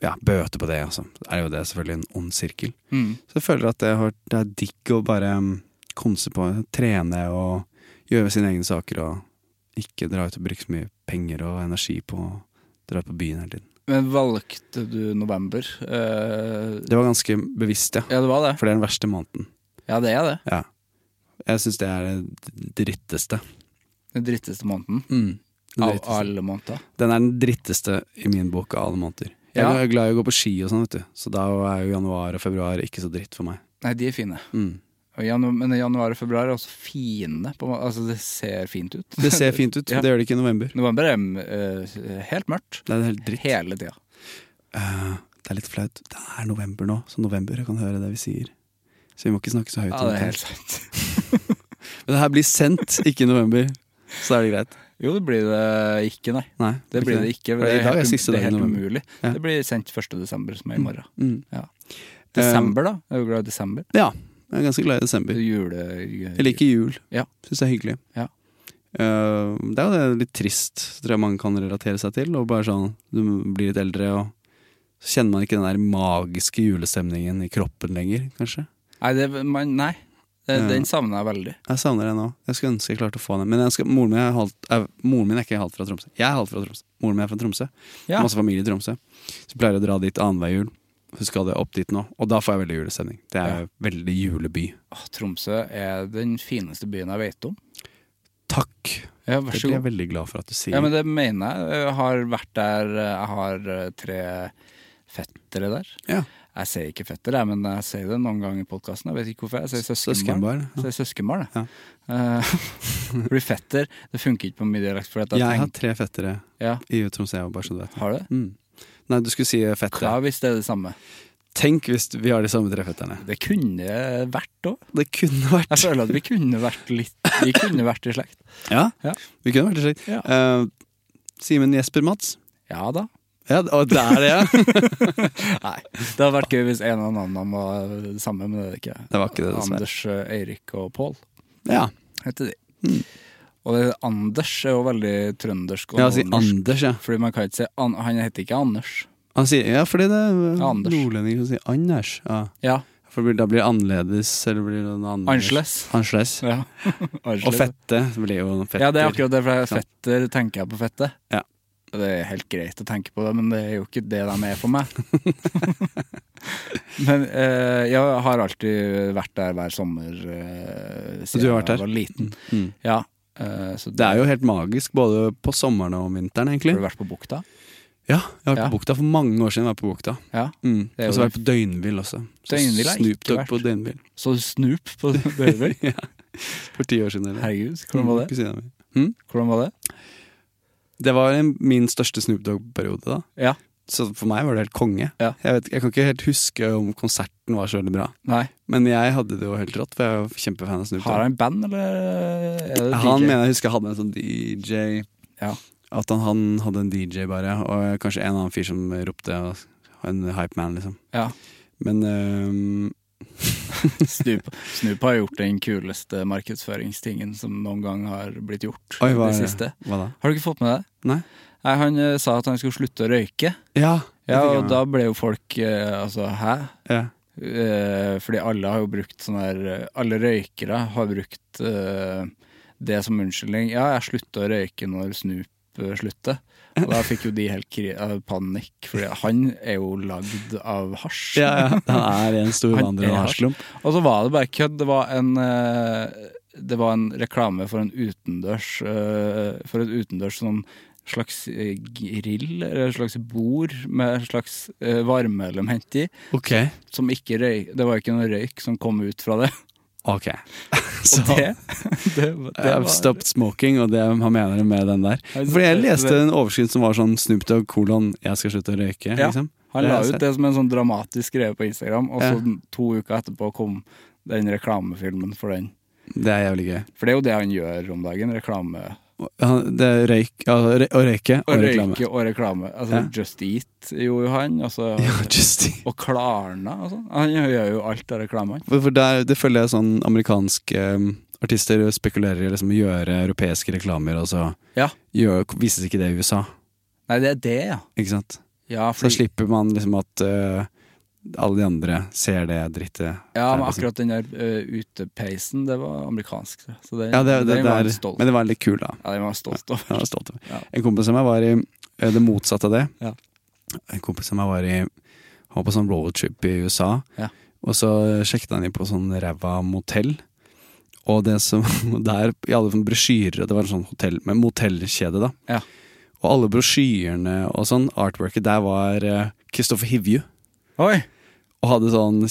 ja, bøte på det, altså. Det er jo det selvfølgelig en ond sirkel. Så jeg føler at det, har, det er digg å bare mm, konse på, trene og gjøre sine egne saker og ikke dra ut og bruke så mye penger og energi på å dra ut på byen hele tiden.
Men valgte du november? Eh,
Det var ganske bevisst, ja.
ja, det var det.
For det er den verste måneden.
Ja, det er det.
Ja. Jeg syns det er det dritteste.
Den dritteste måneden
Den,
av
dritteste.
alle måneder.
den er den dritteste i min bok av alle måneder. Jeg
Ja.
er glad i å gå på ski og sånn, vet du. Så da er jo januar og februar ikke så dritt for meg.
Nei, de er fine.
Mm.
Og janu men januar og februar er også fine. På, en måte. altså, det ser fint ut. (laughs)
Det ser fint ut,
Ja.
det gjør det ikke i november.
November er eh, helt mørkt.
Det er helt dritt.
Hele tida.
Eh, det er litt flaut. Det er november nå, så november kan høre det vi sier. Så vi må ikke snakke så høyt
Ja,
om
det er
det.
helt sant. (laughs)
Men det her blir sendt, ikke i november. Så er det greit.
Jo, det blir det ikke, nei.
Nei,
Det blir det ikke.
For
Det
I
er
dag er
helt,
siste
det
dagen
er
i
helt
november.
umulig.
Ja.
Det blir sendt 1. desember, som er i morgen.
Mm.
Ja. Desember, da? Jeg er jo glad i desember.
Ja, jeg er ganske glad i
Det
desember.
er Jule...
Jeg liker jul.
Ja.
Syns det er hyggelig.
Ja.
Eh, det er jo det litt trist, tror jeg mange kan relatere seg til. Og bare sånn, Du blir litt eldre, og så kjenner man ikke den der magiske julestemningen i kroppen lenger, kanskje.
Nei, det, man, nei. Det,
Ja.
den savner jeg veldig.
Jeg savner det nå. Jeg skulle ønske jeg klarte å få den. Men jeg ønsker, moren, min er halvt, eh, moren min er ikke halvt fra Tromsø. Jeg er halvt fra Tromsø. Moren min er fra Tromsø.
Ja.
Masse familie i Tromsø. Så jeg pleier å dra dit annenhver jul. Så skal jeg opp dit nå, og da får jeg veldig julestemning. Det er veldig juleby.
Åh, Tromsø er den fineste byen jeg vet om.
Takk!
Ja,
Det
vær så
blir jeg
god.
veldig glad for at du sier.
Ja, men det mener jeg. Jeg har vært der Jeg har eh, tre fettere der.
Ja.
Jeg sier ikke fetter, jeg, men jeg sier det noen ganger i podkasten. Jeg vet ikke hvorfor. Jeg sier søskenbarn.
Søskenbarn.
Jeg
Ja.
sier søskenbarn, jeg.
Ja.
Eh, (laughs) Blir fetter. Det funker ikke på min dialekt. For at jeg,
Jeg har
tenker,
tre fettere
ja,
i Tromsø, jeg, bare så du vet.
har du det?
Mm. Nei, du skulle si
Ja,
fettere.
hvis det er det samme.
Tenk hvis vi har de samme tre fetterne.
Det kunne vært òg.
Det kunne vært
Jeg føler at vi kunne vært litt Vi kunne vært i slekt.
Ja,
Ja.
vi kunne vært det slik.
Ja.
Eh, Simen Jesper Mats.
Ja da.
Ja, og det er det, ja!
Nei. Det hadde vært gøy hvis en av navnene var det samme, men det er det ikke.
Det var ikke det, dessverre.
Anders, eh, Eirik og Pål
Ja,
heter de.
Mm.
Og det, Anders er jo veldig trøndersk. Og
ja si
nordnorsk,
Anders, ja.
Fordi man kan ikke si an Han heter ikke Anders.
Han sier, ja, fordi det er
Anders.
nordlendinger som sier Anders. Ja.
Ja,
For det blir- da blir det annerledes, eller blir det noe annerledes.
Angeles.
Angeles. (laughs)
Ja.
Og fette blir jo noen fetter.
Ja, det er akkurat det, for jeg er
Ikke sant?
fetter tenker jeg på fette.
Ja.
Det er helt greit å tenke på det, men det er jo ikke det de er
(laughs)
for meg. men eh, jeg har alltid vært der hver sommer eh,
du har vært der?
jeg var liten.
Mm.
Ja, eh, så
Det er jo helt magisk, både på sommeren og om vinteren,
Har du
egentlig.
vært på bukta?
Ja, jeg har vært
Ja.
på bukta for mange år siden. Jeg var på bukta.
Ja.
Mm.
Det er
Og så
jo
har jeg vært på døgnvill også. Så
Døgnvill har jeg
Snoop
ikke
Dogg på døgnvill.
Så du
(laughs)
snup på Døver?
For ti år siden, eller?
Herregud, hvordan var det?
Kusina mi. Mm.
Hvordan var det?
Det var en- min største Snoop Dogg-periode, da.
Ja.
Så for meg var det helt konge.
Ja.
Jeg, vet, jeg kan ikke helt huske om konserten var så veldig bra.
Nei.
Men jeg hadde det jo helt rått, for jeg er jo kjempefan av Snoop
Har
Dogg.
han band, eller er det
Han,
DJ?
mener jeg husker hadde en sånn DJ
Ja.
At han, han hadde en DJ bare, og kanskje en annen fyr som ropte og, en hype man, liksom.
Ja.
Men eh, øhm,
Snup, Snup har gjort den kuleste markedsføringstingen som noen gang har blitt gjort.
Oi, hva,
det
er
siste.
hva da?
Har du ikke fått med det?
Nei?
Nei, Han eh, sa at han skulle slutte å røyke.
Ja, det
Ja,
fikk jeg
og
med.
da ble jo folk eh, altså hæ?
ja.
Eh, fordi alle har jo brukt sånn her eh, Alle røykere har brukt eh, det som unnskyldning. Ja, jeg slutta å røyke når Snoop eh, slutter. Og da fikk jo de helt kri eh, panikk, fordi han er jo lagd av hasj.
ja, ja. Han er en stor
Han
vandrende
er
hasjklump.
Og så var det bare kødd. Det var en eh, Det var en reklame for en utendørs eh, For et utendørs sånn slags eh, grill, eller et slags bord med et slags eh, varmeelement i,
Ok.
som ikke røy Det var ikke noe røyk som kom ut fra det.
Ok.
Og
(laughs) Så
det,
(laughs)
det, det var
I've stopped smoking, og det han mener det med den der.
Altså,
Fordi jeg
det-
leste en overskrift som var sånn Snoop Dogg kolon 'Jeg skal slutte å røyke'.
Ja.
liksom.
Han
Det
la
har jeg
ut det som en sånn dramatisk greie på Instagram, og så
Ja.
den- to uker etterpå kom den reklamefilmen for den.
Det er jævlig gøy.
For det er jo det han gjør om dagen. Reklame.
Han- Det er røyk, ja, røy, å røyke og,
Og
reklame.
røyke og reklame. Altså
Ja.
Just Eat gjorde jo han. Altså,
(laughs) Ja, just det.
Og Klarna og sånn. Han gjør jo alt av reklamene.
For for der, det føler jeg sånn amerikanske um, artister spekulerer i liksom, å gjøre europeiske reklamer, og så
Ja.
gjør, vises ikke det i USA.
Nei, det er det, ja.
Ikke sant?
Ja,
Så
fordi,
slipper man liksom at eh, alle de andre ser det drittet.
ja,
der,
men
liksom.
akkurat den der eh, utepeisen, det var amerikansk. Så den,
Ja, det, det,
den
det
var
er,
jeg stolt
men det var litt kul, da.
Ja, den var jeg stolt over.
Jeg var stolt over.
Ja.
En kompis av meg var i eh, det motsatte av det.
Ja.
En kompis av meg var i Han var på sånn roadtrip i USA,
Ja.
og så sjekket han inn på sånn ræva motell. Og det som (laughs) der, i alle sånne brosjyrer, og det var en sånn hotell, men motellkjede, da.
Ja.
Og alle brosjyrene og sånn, artworket, der var eh, Kristoffer Hivju.
Oi!
Og hadde sånn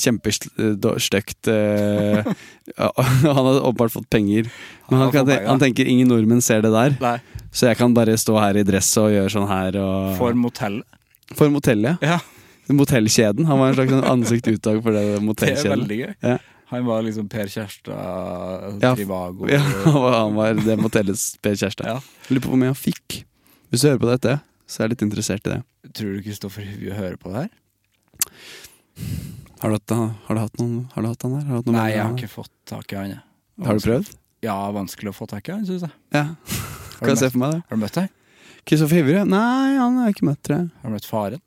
kjempestygt eh, (laughs) ja, Han hadde åpenbart fått penger. Men han,
har fått
kan,
penger.
han tenker ingen nordmenn ser det der.
Nei,
Så jeg kan bare stå her i dress og gjøre sånn her. Og...
for motellet.
for motellet, ja.
Ja,
Motellkjeden. Han var en slags sånn ansikt utad for det
(laughs) det er
motellkjeden.
veldig gøy.
Ja.
Han var liksom Per Kjærstad,
Ja, f-
Trivago
Ja, (laughs) han var- han var det motellets Per Kjærstad.
Ja.
Lurer på hvor mye han fikk. Hvis du hører på dette, så er jeg litt interessert i det.
(laughs) Tror du Kristoffer Hivju hører på det her?
Har du hatt, har du hatt, noen, har du hatt han her? Har du, hatt noen
Nei,
venner
jeg har
han her?
ikke fått tak i han. jeg.
har du prøvd?
Ja, vanskelig å få tak i han, syns jeg.
Ja,
Har
kan
du,
jeg se
møtt,
for meg det.
har du møtt han?
Kristoffer Hivju? Nei, han har jeg ikke møtt, tror jeg.
Har du møtt faren?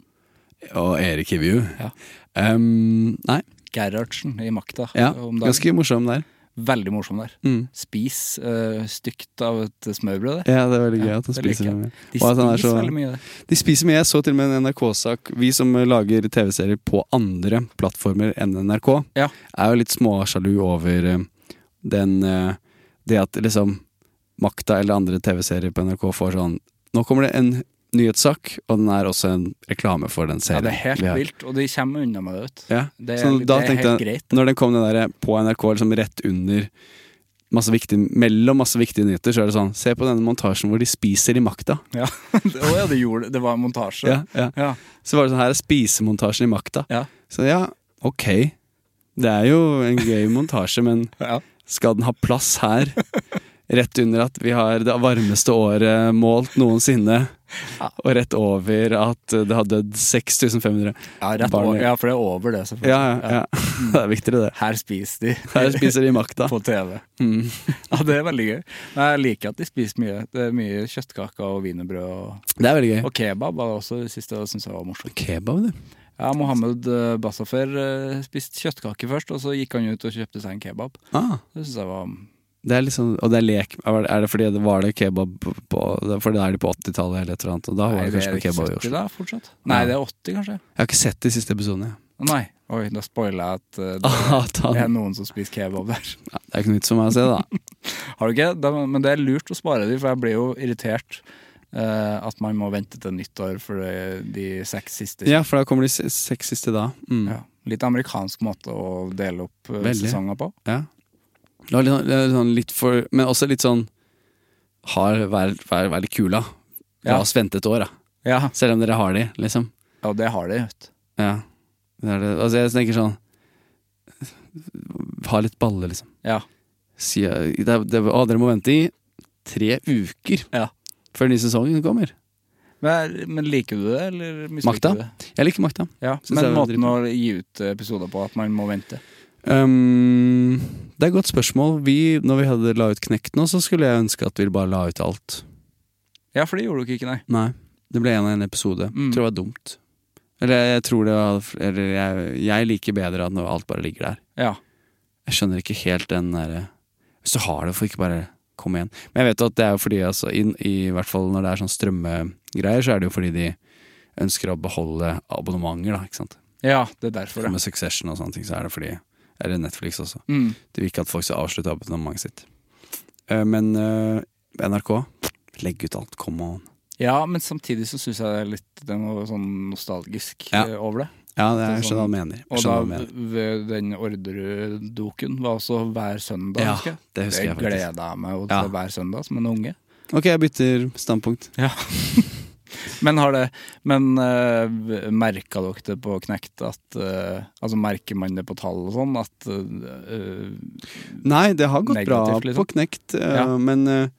Og Erik Hivju?
Ja.
Ehm, nei.
Gerhardsen i Makta.
Ja,
om dagen.
ganske morsom der.
Veldig morsom der.
Mm.
Spis eh, stygt av et smørbrød. der.
Ja, det er veldig gøy
Ja,
at han
det liker
spiser
jeg.
mye.
De
Og at han er
spiser
så-
veldig mye der.
De spiser mye. Jeg så til og med en NRK-sak. Vi som eh, lager TV-serier på andre plattformer enn NRK,
Ja.
er jo litt småsjalu over eh, den eh, Det at liksom makta eller andre TV-serier på NRK får sånn Nå kommer det en nyhetssak, og den er også en reklame for den
Ja,
serien.
det er helt
vi har.
vilt, og de kommer unna med det. Vet. du.
Ja.
Det er,
Så da
det er
tenkte
helt
jeg,
greit.
når den kom den der på NRK liksom rett under masse viktige, mellom masse viktige nyheter, så er det sånn Se på denne montasjen hvor de spiser i makta.
Ja.
(laughs)
Å ja, det gjorde det. Det var en montasje.
Ja, ja.
Ja.
Så var det sånn her er spisemontasjen i makta.
Ja.
Så ja, ok. Det er jo en gøy montasje, men
Ja.
skal den ha plass her? Rett under at vi har det varmeste året målt noensinne. Og rett over at det har dødd 6500.
Ja, rett
Barn-
over, ja, for det er over det,
Ja,
selvfølgelig.
ja, ja. (laughs) Det er viktigere, det.
Her spiser de
Her spiser de makta.
(laughs) på TV.
Mm.
Ja, det er veldig gøy. Men jeg liker at de spiser mye. Det er mye kjøttkaker og wienerbrød. Og,
Det er veldig gøy.
og kebab var også det siste jeg syntes var morsomt.
Kebab, du.
Ja, Mohammed eh, Bassafer eh, spiste kjøttkake først, og så gikk han ut og kjøpte seg en kebab.
Ah,
Det syns jeg var
det er liksom, og det er lek Er det- er det fordi det var det kebab på det er Fordi det er de på 80-tallet eller et eller annet, og da var
Nei,
det kanskje
er
på
ikke
kebab i
70
Oslo.
da, fortsatt? Nei,
Ja.
det er 80, kanskje.
Jeg har ikke sett de siste episodene. jeg.
Nei. Oi, da spoiler jeg at eh, det-
(laughs) Ah, ta (laughs)
det er
den.
noen som spiser kebab der.
Ja, det er ikke noe nytt for meg å se, da.
Har du ikke? Da, men det er lurt å spare de, for jeg blir jo irritert eh, at man må vente til nyttår for de, de seks siste.
Ja, for da kommer de se- seks siste da. Mm.
Ja. Litt amerikansk måte å dele opp eh,
Veldig.
sesonger på.
Ja. Det var litt, sånn- det var sånn litt for Men også litt sånn Har vær, vær, vær litt kula. La
Ja.
oss vente et år, da.
Ja,
Selv om dere har de, liksom.
og det har de, vet du.
Ja. Det er det. Altså, jeg tenker sånn Ha litt balle, liksom.
Ja.
Si, eh, det, er- det, å, dere må vente i tre uker
Ja.
før den nye sesongen kommer.
Men, men liker du det, eller
Makta?
misliker du det?
Jeg liker makta.
Ja,
Synes jeg
men
var
måten å
dritbra.
gi ut eh, episoder på, at man må vente.
Um, det er et godt spørsmål. Vi, når vi hadde la ut Knekt nå, så skulle jeg ønske at vi bare la ut alt.
Ja, for det gjorde dere ikke, nei.
Nei, det ble en av en episode.
Mm.
Tror det var dumt. Eller jeg tror det var Eller jeg, jeg liker bedre at når alt bare ligger der.
Ja.
Jeg skjønner ikke helt den derre Hvis du har det, får ikke bare komme igjen. Men jeg vet at det er jo fordi altså, i, I hvert fall når det er sånn strømmegreier, så er det jo fordi de ønsker å beholde abonnementer, da. Ikke sant.
ja, det er derfor, ja.
Med Succession og sånne ting, så er det fordi Eller Netflix også.
Mm.
De vil ikke at folk skal avslutte abonnementet sitt. Eh, Men eh, NRK, legg ut alt, come on.
ja, men samtidig så syns jeg det er litt det er noe sånn nostalgisk
Ja.
eh, over det.
Ja, det er,
Det er
jeg skjønner hva du mener. Jeg
Og da
skjønner hva du mener.
ved den Orderud-doken var også hver søndag,
Ja,
husker jeg.
det husker jeg faktisk.
gleda jeg meg jo
Ja.
til hver søndag som en unge.
Ok, jeg bytter standpunkt.
(laughs) Men har det Men uh, merka dere det på Knekt at eh, Altså merker man det på tall og sånn at eh,
Nei, det har gått bra
Negativt, liksom.
på knekt, eh,
Ja.
men eh,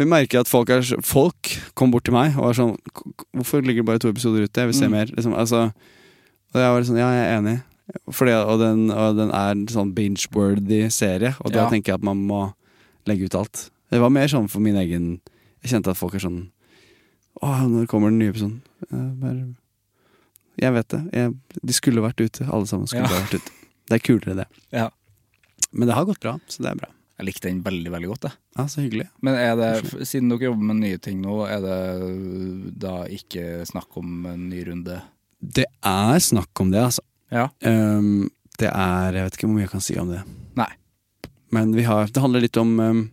vi merker at folk, er, så- folk kom bort til meg og var sånn "K- k- Hvorfor ligger det bare to episoder ute? Jeg vil se
Mm.
mer. Liksom, altså, og jeg var sånn, ja, jeg er enig. Fordi, og, den, og den er en sånn binge-worthy serie, og da
Ja.
tenker jeg at man må legge ut alt. Det var mer sånn for min egen Jeg kjente at folk er sånn Å, når kommer den nye episoden? Eh, bare Jeg vet det. Jeg, de skulle vært ute. Alle sammen skulle
Ja.
bare vært ute. Det er kulere, det.
Ja.
Men det har gått bra, så det er bra.
Jeg likte den veldig, veldig godt. Jeg.
Ja, Så hyggelig.
Men er det, f- siden dere jobber med nye ting nå, er det da ikke snakk om en ny runde?
Det er snakk om det, altså.
Ja.
Ehm, det er Jeg vet ikke hvor mye jeg kan si om det.
Nei.
Men vi har, det handler litt om ehm,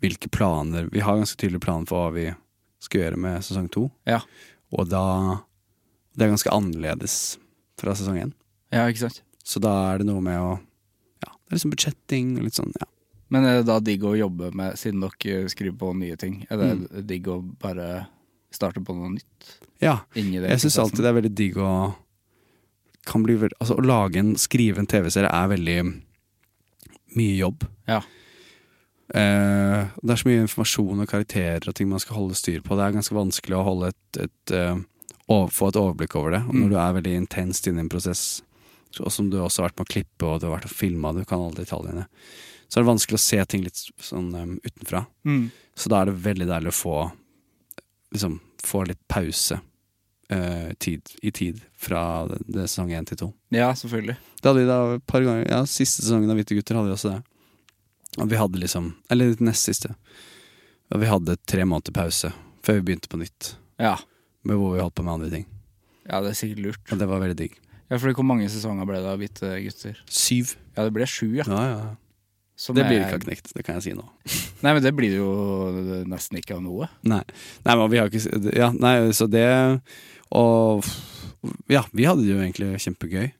hvilke planer Vi har ganske tydelige planer for hva vi skal gjøre med sesong to.
Ja.
Og da Det er ganske annerledes fra sesong én.
Ja, ikke sant?
Så da er det noe med å Ja, det er liksom budsjetting og litt sånn, ja.
Men er det da digg å jobbe med, siden dere skriver på nye ting, er det digg å bare starte på noe nytt
ja.
inni det?
Jeg syns alltid det er veldig digg å kan bli veld, altså, Å lage en, skrive en TV-serie er veldig mye jobb.
Ja.
Eh, det er så mye informasjon og karakterer og ting man skal holde styr på. Det er ganske vanskelig å holde et, et, eh, over- få et overblikk over det. Og når du er veldig intenst inne i en prosess, så- og som du også har vært med å klippe og du har vært og filma, du kan alle detaljene, så er det vanskelig å se ting litt sånn eh, utenfra.
Mm.
Så da er det veldig deilig å få liksom, få litt pause eh, tid, i tid fra det, det sesong én til to.
Ja, selvfølgelig.
Det hadde vi da et par ganger. Ja, siste sesongen av Hvite gutter hadde vi også det. Og vi hadde liksom Eller nest siste. Og vi hadde tre måneder pause før vi begynte på nytt.
Ja.
Med hvor vi holdt på med andre ting.
ja, det er sikkert lurt.
Og det var veldig digg.
Ja, fordi Hvor mange sesonger ble det av Hvite gutter?
Syv.
Ja, det ble sju, ja.
Ja, ja. ja.
Som
Det
er-
blir ikke knekt, det kan jeg si nå.
Nei, men det blir det jo nesten ikke av noe.
Nei, nei men vi har ikke s- Ja, nei, så det Og ja, vi hadde det jo egentlig kjempegøy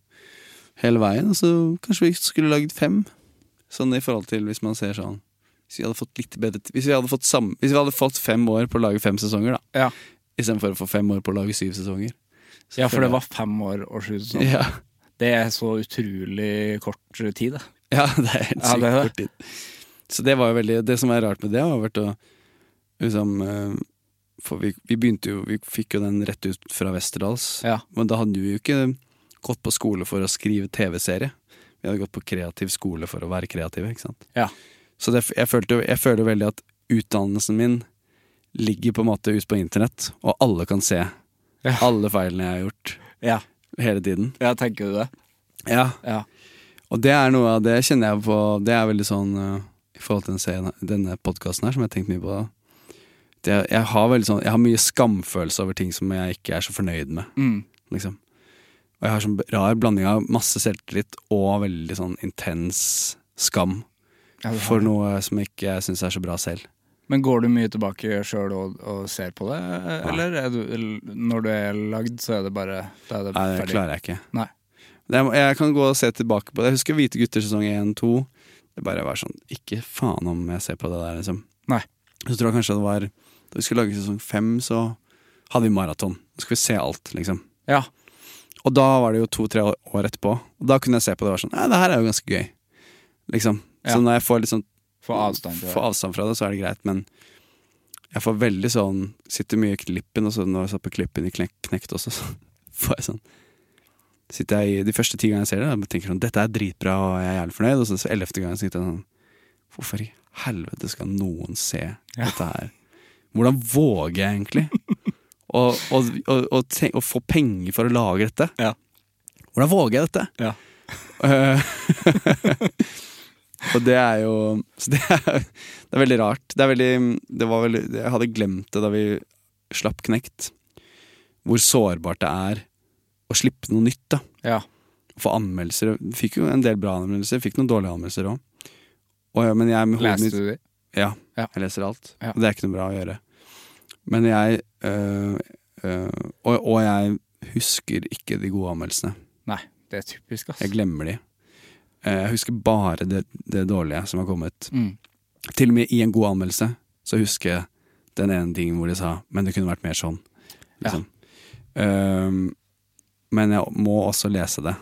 hele veien. og Så kanskje vi skulle laget fem, sånn i forhold til hvis man ser sånn Hvis vi hadde fått litt bedre t- Hvis vi hadde fått, sam, hvis vi hadde fått fem år på å lage fem sesonger, da.
Ja.
Istedenfor å få fem år på å lage syv sesonger. Så
Ja, for det
føler
var fem år og sju
jeg- (laughs)
sesonger.
ja,
Det er så utrolig kort tid, det.
(laughs) ja, det er helt
Ja,
sykt
det er
kort tid. Så det var jo veldig Det som er rart med det, har vært å liksom eh, For vi, vi begynte jo Vi fikk jo den rett ut fra Westerdals.
Ja.
Men da hadde vi jo ikke gått på skole for å skrive TV-serie. Vi hadde gått på kreativ skole for å være kreative. ikke sant?
Ja.
Så det, jeg, følte, jeg føler veldig at utdannelsen min ligger på en måte ute på internett, og alle kan se
Ja.
alle feilene jeg har gjort
Ja,
hele tiden.
ja tenker du det?
Ja.
Ja.
Og det er noe av det kjenner jeg på Det er veldig sånn eh, i forhold til den serien, denne podkasten her, som jeg har tenkt mye på. Det, jeg, har veldig sånn, jeg har mye skamfølelse over ting som jeg ikke er så fornøyd med
Mm.
liksom. Og jeg har sånn rar blanding av masse selvtillit og veldig sånn intens skam
Ja, du har
for
det.
noe som ikke jeg syns er så bra selv.
Men går du mye tilbake sjøl og, og ser på det, eller er du, eller når du er lagd, så er det bare da er det
Nei, det
ferdig?
klarer jeg ikke.
Nei.
Jeg, må- jeg kan gå og se tilbake på det. Jeg husker Hvite gutter sesong 1, 2. Det bare var sånn Ikke faen om jeg ser på det der, liksom.
Nei.
Så tror jeg kanskje det var Da vi skulle lage sesong 5, så hadde vi maraton. Da skulle vi se alt, liksom.
Ja.
Og da var det jo to-tre år etterpå. Og da kunne jeg se på det og være sånn Ja, det her er jo ganske gøy. Liksom.
Ja.
Så når jeg får litt sånn
Få avstand til
Få
det.
avstand fra det, så er det greit, men jeg får veldig sånn Sitter mye i klippen, og så når jeg satt på klippen i Knek- Knekt også, så (laughs) får jeg sånn Sitter jeg i De første ti gangene jeg ser det, da tenker jeg sånn Dette er dritbra, og jeg er jævlig fornøyd, og så så ellevte gangen sitter jeg sånn Hvorfor i helvete skal noen se dette her? Hvordan våger jeg egentlig å, å, å, å, ten- å få penger for å lage dette?
Ja.
Hvordan våger jeg dette?
Ja.
Eh, og det er jo (laughs) så det, er, det er veldig rart. Det, er veldig, det var veldig Jeg hadde glemt det da vi slapp Knekt. Hvor sårbart det er å slippe noe nytt. da
Ja.
Få anmeldelser. Vi Fikk jo en del bra anmeldelser, fikk noen dårlige anmeldelser òg. Ja, men jeg med hodet
Leste
mitt
du det?
ja,
Ja.
jeg leser alt.
Ja.
Og det er ikke noe bra å gjøre. Men jeg øh, øh, og, og jeg husker ikke de gode anmeldelsene.
Nei, det er typisk, ass.
Jeg glemmer de. Eh, Jeg husker bare det, det dårlige som har kommet.
Mm.
Til og med i en god anmeldelse så husker jeg den ene tingen hvor de sa 'men det kunne vært mer sånn'. Liksom. Ehm, men jeg må også lese det.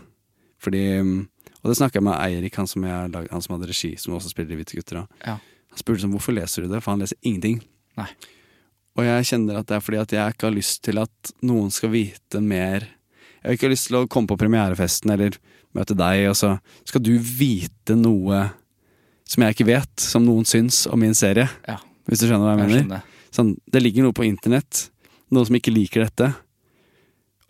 Fordi um, Og det snakka jeg med Eirik, han som, jeg, har lag- han som hadde regi, som også spiller i Hvite gutter. da.
Ja.
Han spurte sånn, hvorfor leser du det, for han leser ingenting.
Nei.
Og jeg kjenner at det er fordi at jeg ikke har lyst til at noen skal vite mer. Jeg har ikke lyst til å komme på premierefesten eller møte deg, og så skal du vite noe som jeg ikke vet, som noen syns om min serie.
Ja.
Hvis du skjønner hva jeg,
Jeg
mener.
skjønner.
Sånn, det ligger noe på internett, noen som ikke liker dette.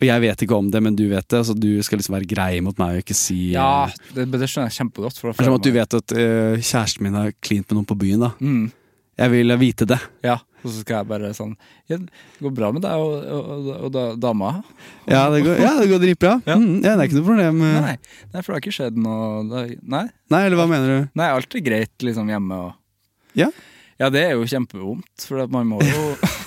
Og jeg vet ikke om det, men du vet det, så du skal liksom være grei mot meg og ikke si
Ja,
eh,
det, det skjønner jeg kjempegodt. For
Det
da
er
føler
som at du
jeg meg-
vet at eh, kjæresten min har klint med noen på byen, da.
Mm.
Jeg vil vite det.
Ja, og så skal jeg bare sånn ja, Det går bra med deg og, og, og, da, dama?
Ja, det går, ja, det går dritbra.
Ja.
Mm, ja, det er ikke noe problem. eh.
Nei, nei, for det har ikke skjedd noe det, har- nei,
Nei, eller hva mener du?
nei, alt er greit liksom hjemme og
Ja.
Ja, det er jo kjempevondt, for at man må
(laughs)
jo (laughs)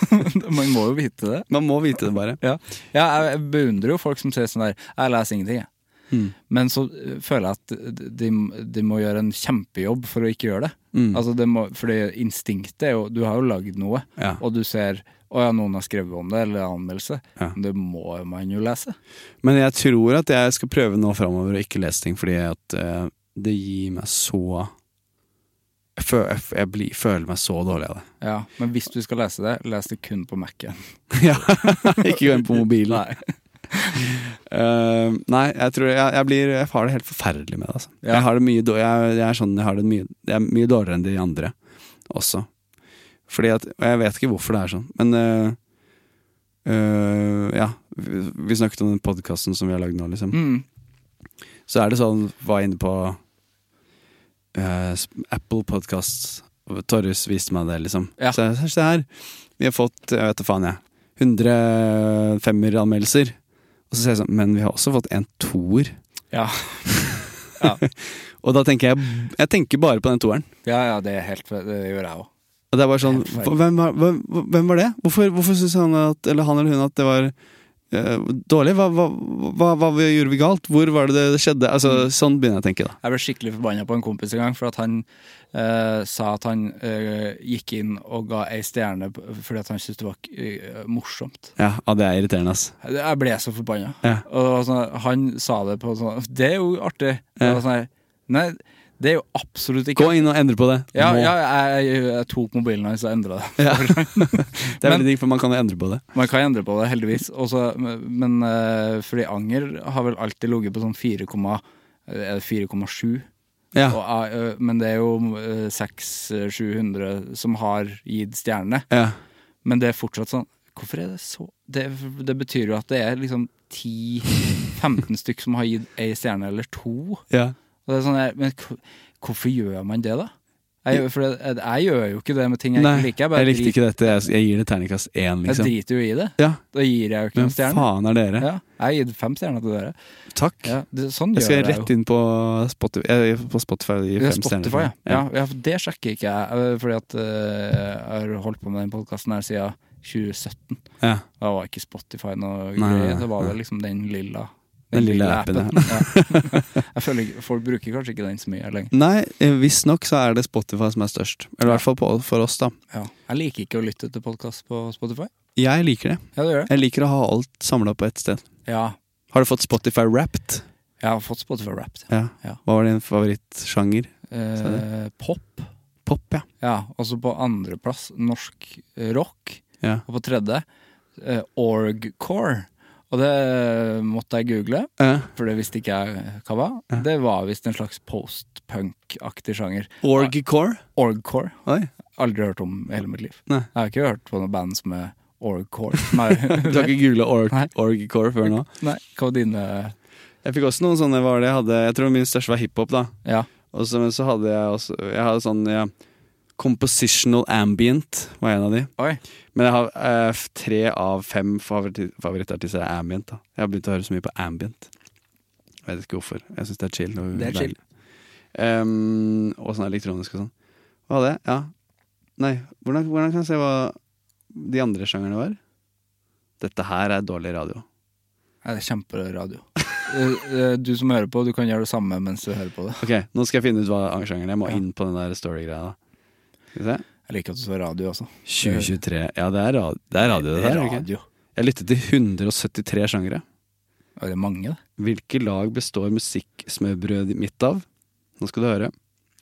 Man må jo vite det.
Man må vite det, bare.
Ja, ja jeg, jeg beundrer jo folk som sier sånn der Jeg leser ingenting, jeg.
Mm.
Men så eh, føler jeg at de, de må gjøre en kjempejobb for å ikke gjøre det.
Mm.
Altså, det må, fordi instinktet er jo Du har jo lagd noe,
Ja.
og du ser å ja, noen har skrevet om det, eller anmeldelse.
Ja.
Men Det må man jo lese.
Men jeg tror at jeg skal prøve nå framover å ikke lese ting, fordi at eh, det gir meg så Jeg, føl, jeg, jeg blir, føler meg så dårlig av det. (laughs)
Ja, Men hvis du skal lese det, les det kun på Mac-en.
ja. ikke gå inn på mobilen. (laughs) Nei. nei, jeg tror jeg, jeg, blir, jeg har det helt forferdelig med det. Altså.
Ja.
Jeg har det mye, dår- jeg, jeg er sånn, jeg har det mye, jeg er mye dårligere enn de andre også. Fordi at, og jeg vet ikke hvorfor det er sånn, men eh, eh, Ja, vi, vi snakket om den podkasten som vi har lagd nå, liksom.
Mm.
Så er det sånn, var inne på eh, sp- Apple Podcasts og Torjus viste meg det, liksom.
Ja.
Så jeg, se her, vi har fått, jeg vet da faen jeg, 100 femmeranmeldelser. Og så ser jeg sånn, men vi har også fått en toer.
Ja.
Og da tenker jeg, jeg tenker bare på den toeren.
ja, ja, det er helt Det gjør jeg òg.
Og det er bare sånn,
Helt feil.
hva- hvem var, hvem, hvem var det? Hvorfor, hvorfor synes han at, eller han eller hun at det var eh, dårlig? Hva, hva, hva, hva gjorde vi galt? Hvor var det det skjedde? Altså, sånn begynner jeg å tenke da.
Jeg ble skikkelig forbanna på en kompis en gang for at han eh, sa at han eh, gikk inn og ga ei stjerne på- fordi at han syntes det var eh, morsomt.
Ja, ja, det er irriterende, ass.
Jeg ble så forbanna.
Ja.
Og det var sånn, han sa det på sånn Det er jo artig. Det
Ja.
var sånn, her, Nei, det er jo absolutt
Gå
ikke
inn og endre på det.
ja,
Nå.
ja, jeg, jeg, jeg tok mobilen hans og endra det.
Ja. Det er
Men-
veldig digg, for man kan jo endre på det.
(laughs) Man kan endre på det, heldigvis. Også, men eh, fordi anger har vel alltid ligget på sånn 4, eh, 4,7.
Ja.
(laughs) Og, eh, Men det er jo eh, 600-700 som har gitt stjernene.
Ja.
Men det er fortsatt sånn Hvorfor er det så Det, det betyr jo at det er liksom 10-15 (laughs) stykk som har gitt ei stjerne eller to.
Ja.
Og det er sånn der, men hvor- hvorfor gjør man det, da? Jeg, gjør- for jeg, jeg gjør jo ikke det med ting jeg
Nei,
ikke liker. Jeg, bare
jeg likte
drit-
ikke dette. Jeg, jeg gir det terningkast én, liksom.
jeg driter jo i det.
Ja,
Da gir jeg jo ikke
Hvem
noen stjerne.
faen er dere?
Ja, jeg har gitt fem stjerner til dere.
Takk.
Ja, det, sånn
Jeg skal
gjør jeg jo.
rett inn på Spotify. Jeg, på Spotify og gi
Ja,
fem stjerner.
Spotify, ja. Ja. ja. for Det sjekker ikke jeg, eh, fordi at eh, jeg har holdt på med den podkasten her siden 2017.
Ja.
Da var ikke Spotify noe
Nei, nei,
greier,
nei,
det var
nei.
vel liksom den lilla
Den lilla appen,
ja. Jeg føler ikke- Folk bruker kanskje ikke den så mye lenger.
Nei, eh, visstnok så er det Spotify som er størst. Eller i hvert fall på, for oss, da.
Ja. Jeg liker ikke å lytte til podkast på Spotify.
Jeg liker det.
Ja, det gjør jeg.
Jeg liker å ha alt samla på ett sted.
Ja,
Har du fått Spotify Wrapped?
jeg har fått Spotify Wrapped.
Ja.
Ja.
Hva var din favorittsjanger?
Eh, pop.
Pop, ja.
Ja, og så på andreplass norsk rock.
Ja.
Og på tredje eh, orgcore. Og det måtte jeg google,
Eh,
for det visste ikke jeg hva var.
Ja.
Det var visst en slags postpunk-aktig sjanger.
Orgcore?
Orgcore.
Oi.
Aldri hørt om i hele mitt liv.
Nei.
Jeg har ikke hørt på noe band som er
(laughs)
orgcore. (laughs) Nei,
Du har ikke googla org,
Nei.
orgcore før nå?
nei, hva var eh, dine
Jeg fikk også noen sånne hva var det jeg hadde Jeg tror min største var hiphop, da.
Ja.
Og så, men så hadde jeg også Jeg hadde sånn ja, Compositional Ambient var en av de.
Oi.
Men jeg har eh, f- tre av fem favoritt, favorittartister er ambient. da Jeg har begynt å høre så mye på ambient. Jeg vet ikke hvorfor. Jeg syns det er chill. Og
Det er chill.
deilig. Ehm, og sånn elektronisk og sånn. Hva hadde jeg? Ja. Nei, hvordan, hvordan kan jeg se hva de andre sjangerne var? Dette her er dårlig radio.
Nei, det er Kjemperadio. Eh, eh, Du som hører på, du kan gjøre det samme mens du hører på det.
Ok, nå skal jeg finne ut hva sjangeren er. Jeg må
Ja.
inn på den der story-greia. da. Skal vi se.
Jeg liker at du sa radio også. Eh,
2023. Ja, det er, ra- det er radio, det der. er det ikke?
radio.
Jeg lyttet til 173 sjangere.
Er det mange, det?
Hvilke lag består musikksmørbrødet mitt av? Nå skal du høre.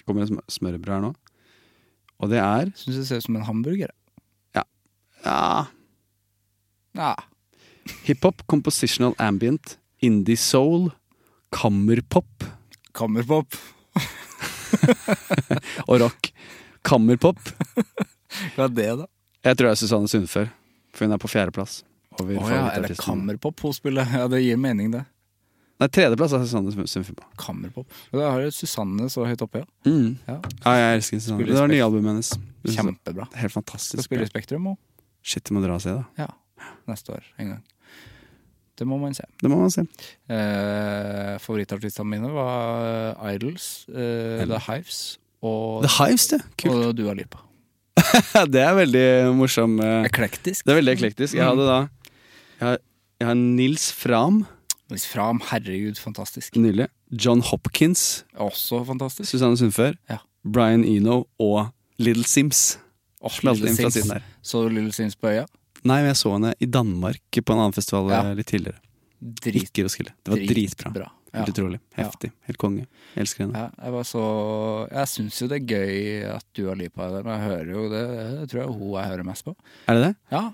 Kommer det sm- smørbrød her nå? Og det er
Syns det ser ut som en hamburger. jeg.
ja,
Ja.
hiphop, compositional ambient, indie soul, kammerpop
Kammerpop. (laughs)
og rock. Kammerpop.
Hva er det, da?
Jeg tror det er Susanne Sundfør, for hun er på fjerdeplass. over
Å ja, eller
favorittartisten.
Kammerpop-spillet. Ja, det gir mening, det.
Nei, tredjeplass er Susanne Sym- Symfima.
Kammerpop. Og Da har du Susanne så høyt oppe, ja.
Mm.
ja.
Ja, jeg elsker Susanne.
Spiller
Det var
spekt-
nye albumet hennes. Det synes jeg-
Kjempebra.
det er Helt
Skal
fantastisk.
spille i Spektrum òg.
Shit, det må dra og se, da.
Ja. Neste år en gang. Det må man se.
Det må man se.
Eh, favorittartistene mine var Idols, eh, The Hives og,
The Hives, det. Kult.
og Dua Lipa.
(laughs) det er veldig morsom eh,
Eklektisk.
Det er veldig eklektisk. Jeg
Mm.
hadde da Jeg har, jeg har Nils Fram,
Nils Fram, herregud, fantastisk.
nydelig. John Hopkins,
Også fantastisk.
Susanne Sundfør,
Ja.
Brian Eno og Little Sims.
Åh,
Slå
Little
inn fra
Sims.
siden der.
Så du Little Sims på øya?
Nei, men jeg så henne i Danmark på en annen festival
Ja.
eh, litt tidligere.
Drit.
Ikke Roskilde. Det var
dritbra.
dritbra.
Ja.
Helt utrolig.
Ja.
Heftig. Helt konge. Jeg elsker henne.
Ja, jeg var så Jeg syns jo det er gøy at du har lipa det, men jeg hører jo det Det tror jeg er hun jeg hører mest på.
Er det det?
Ja,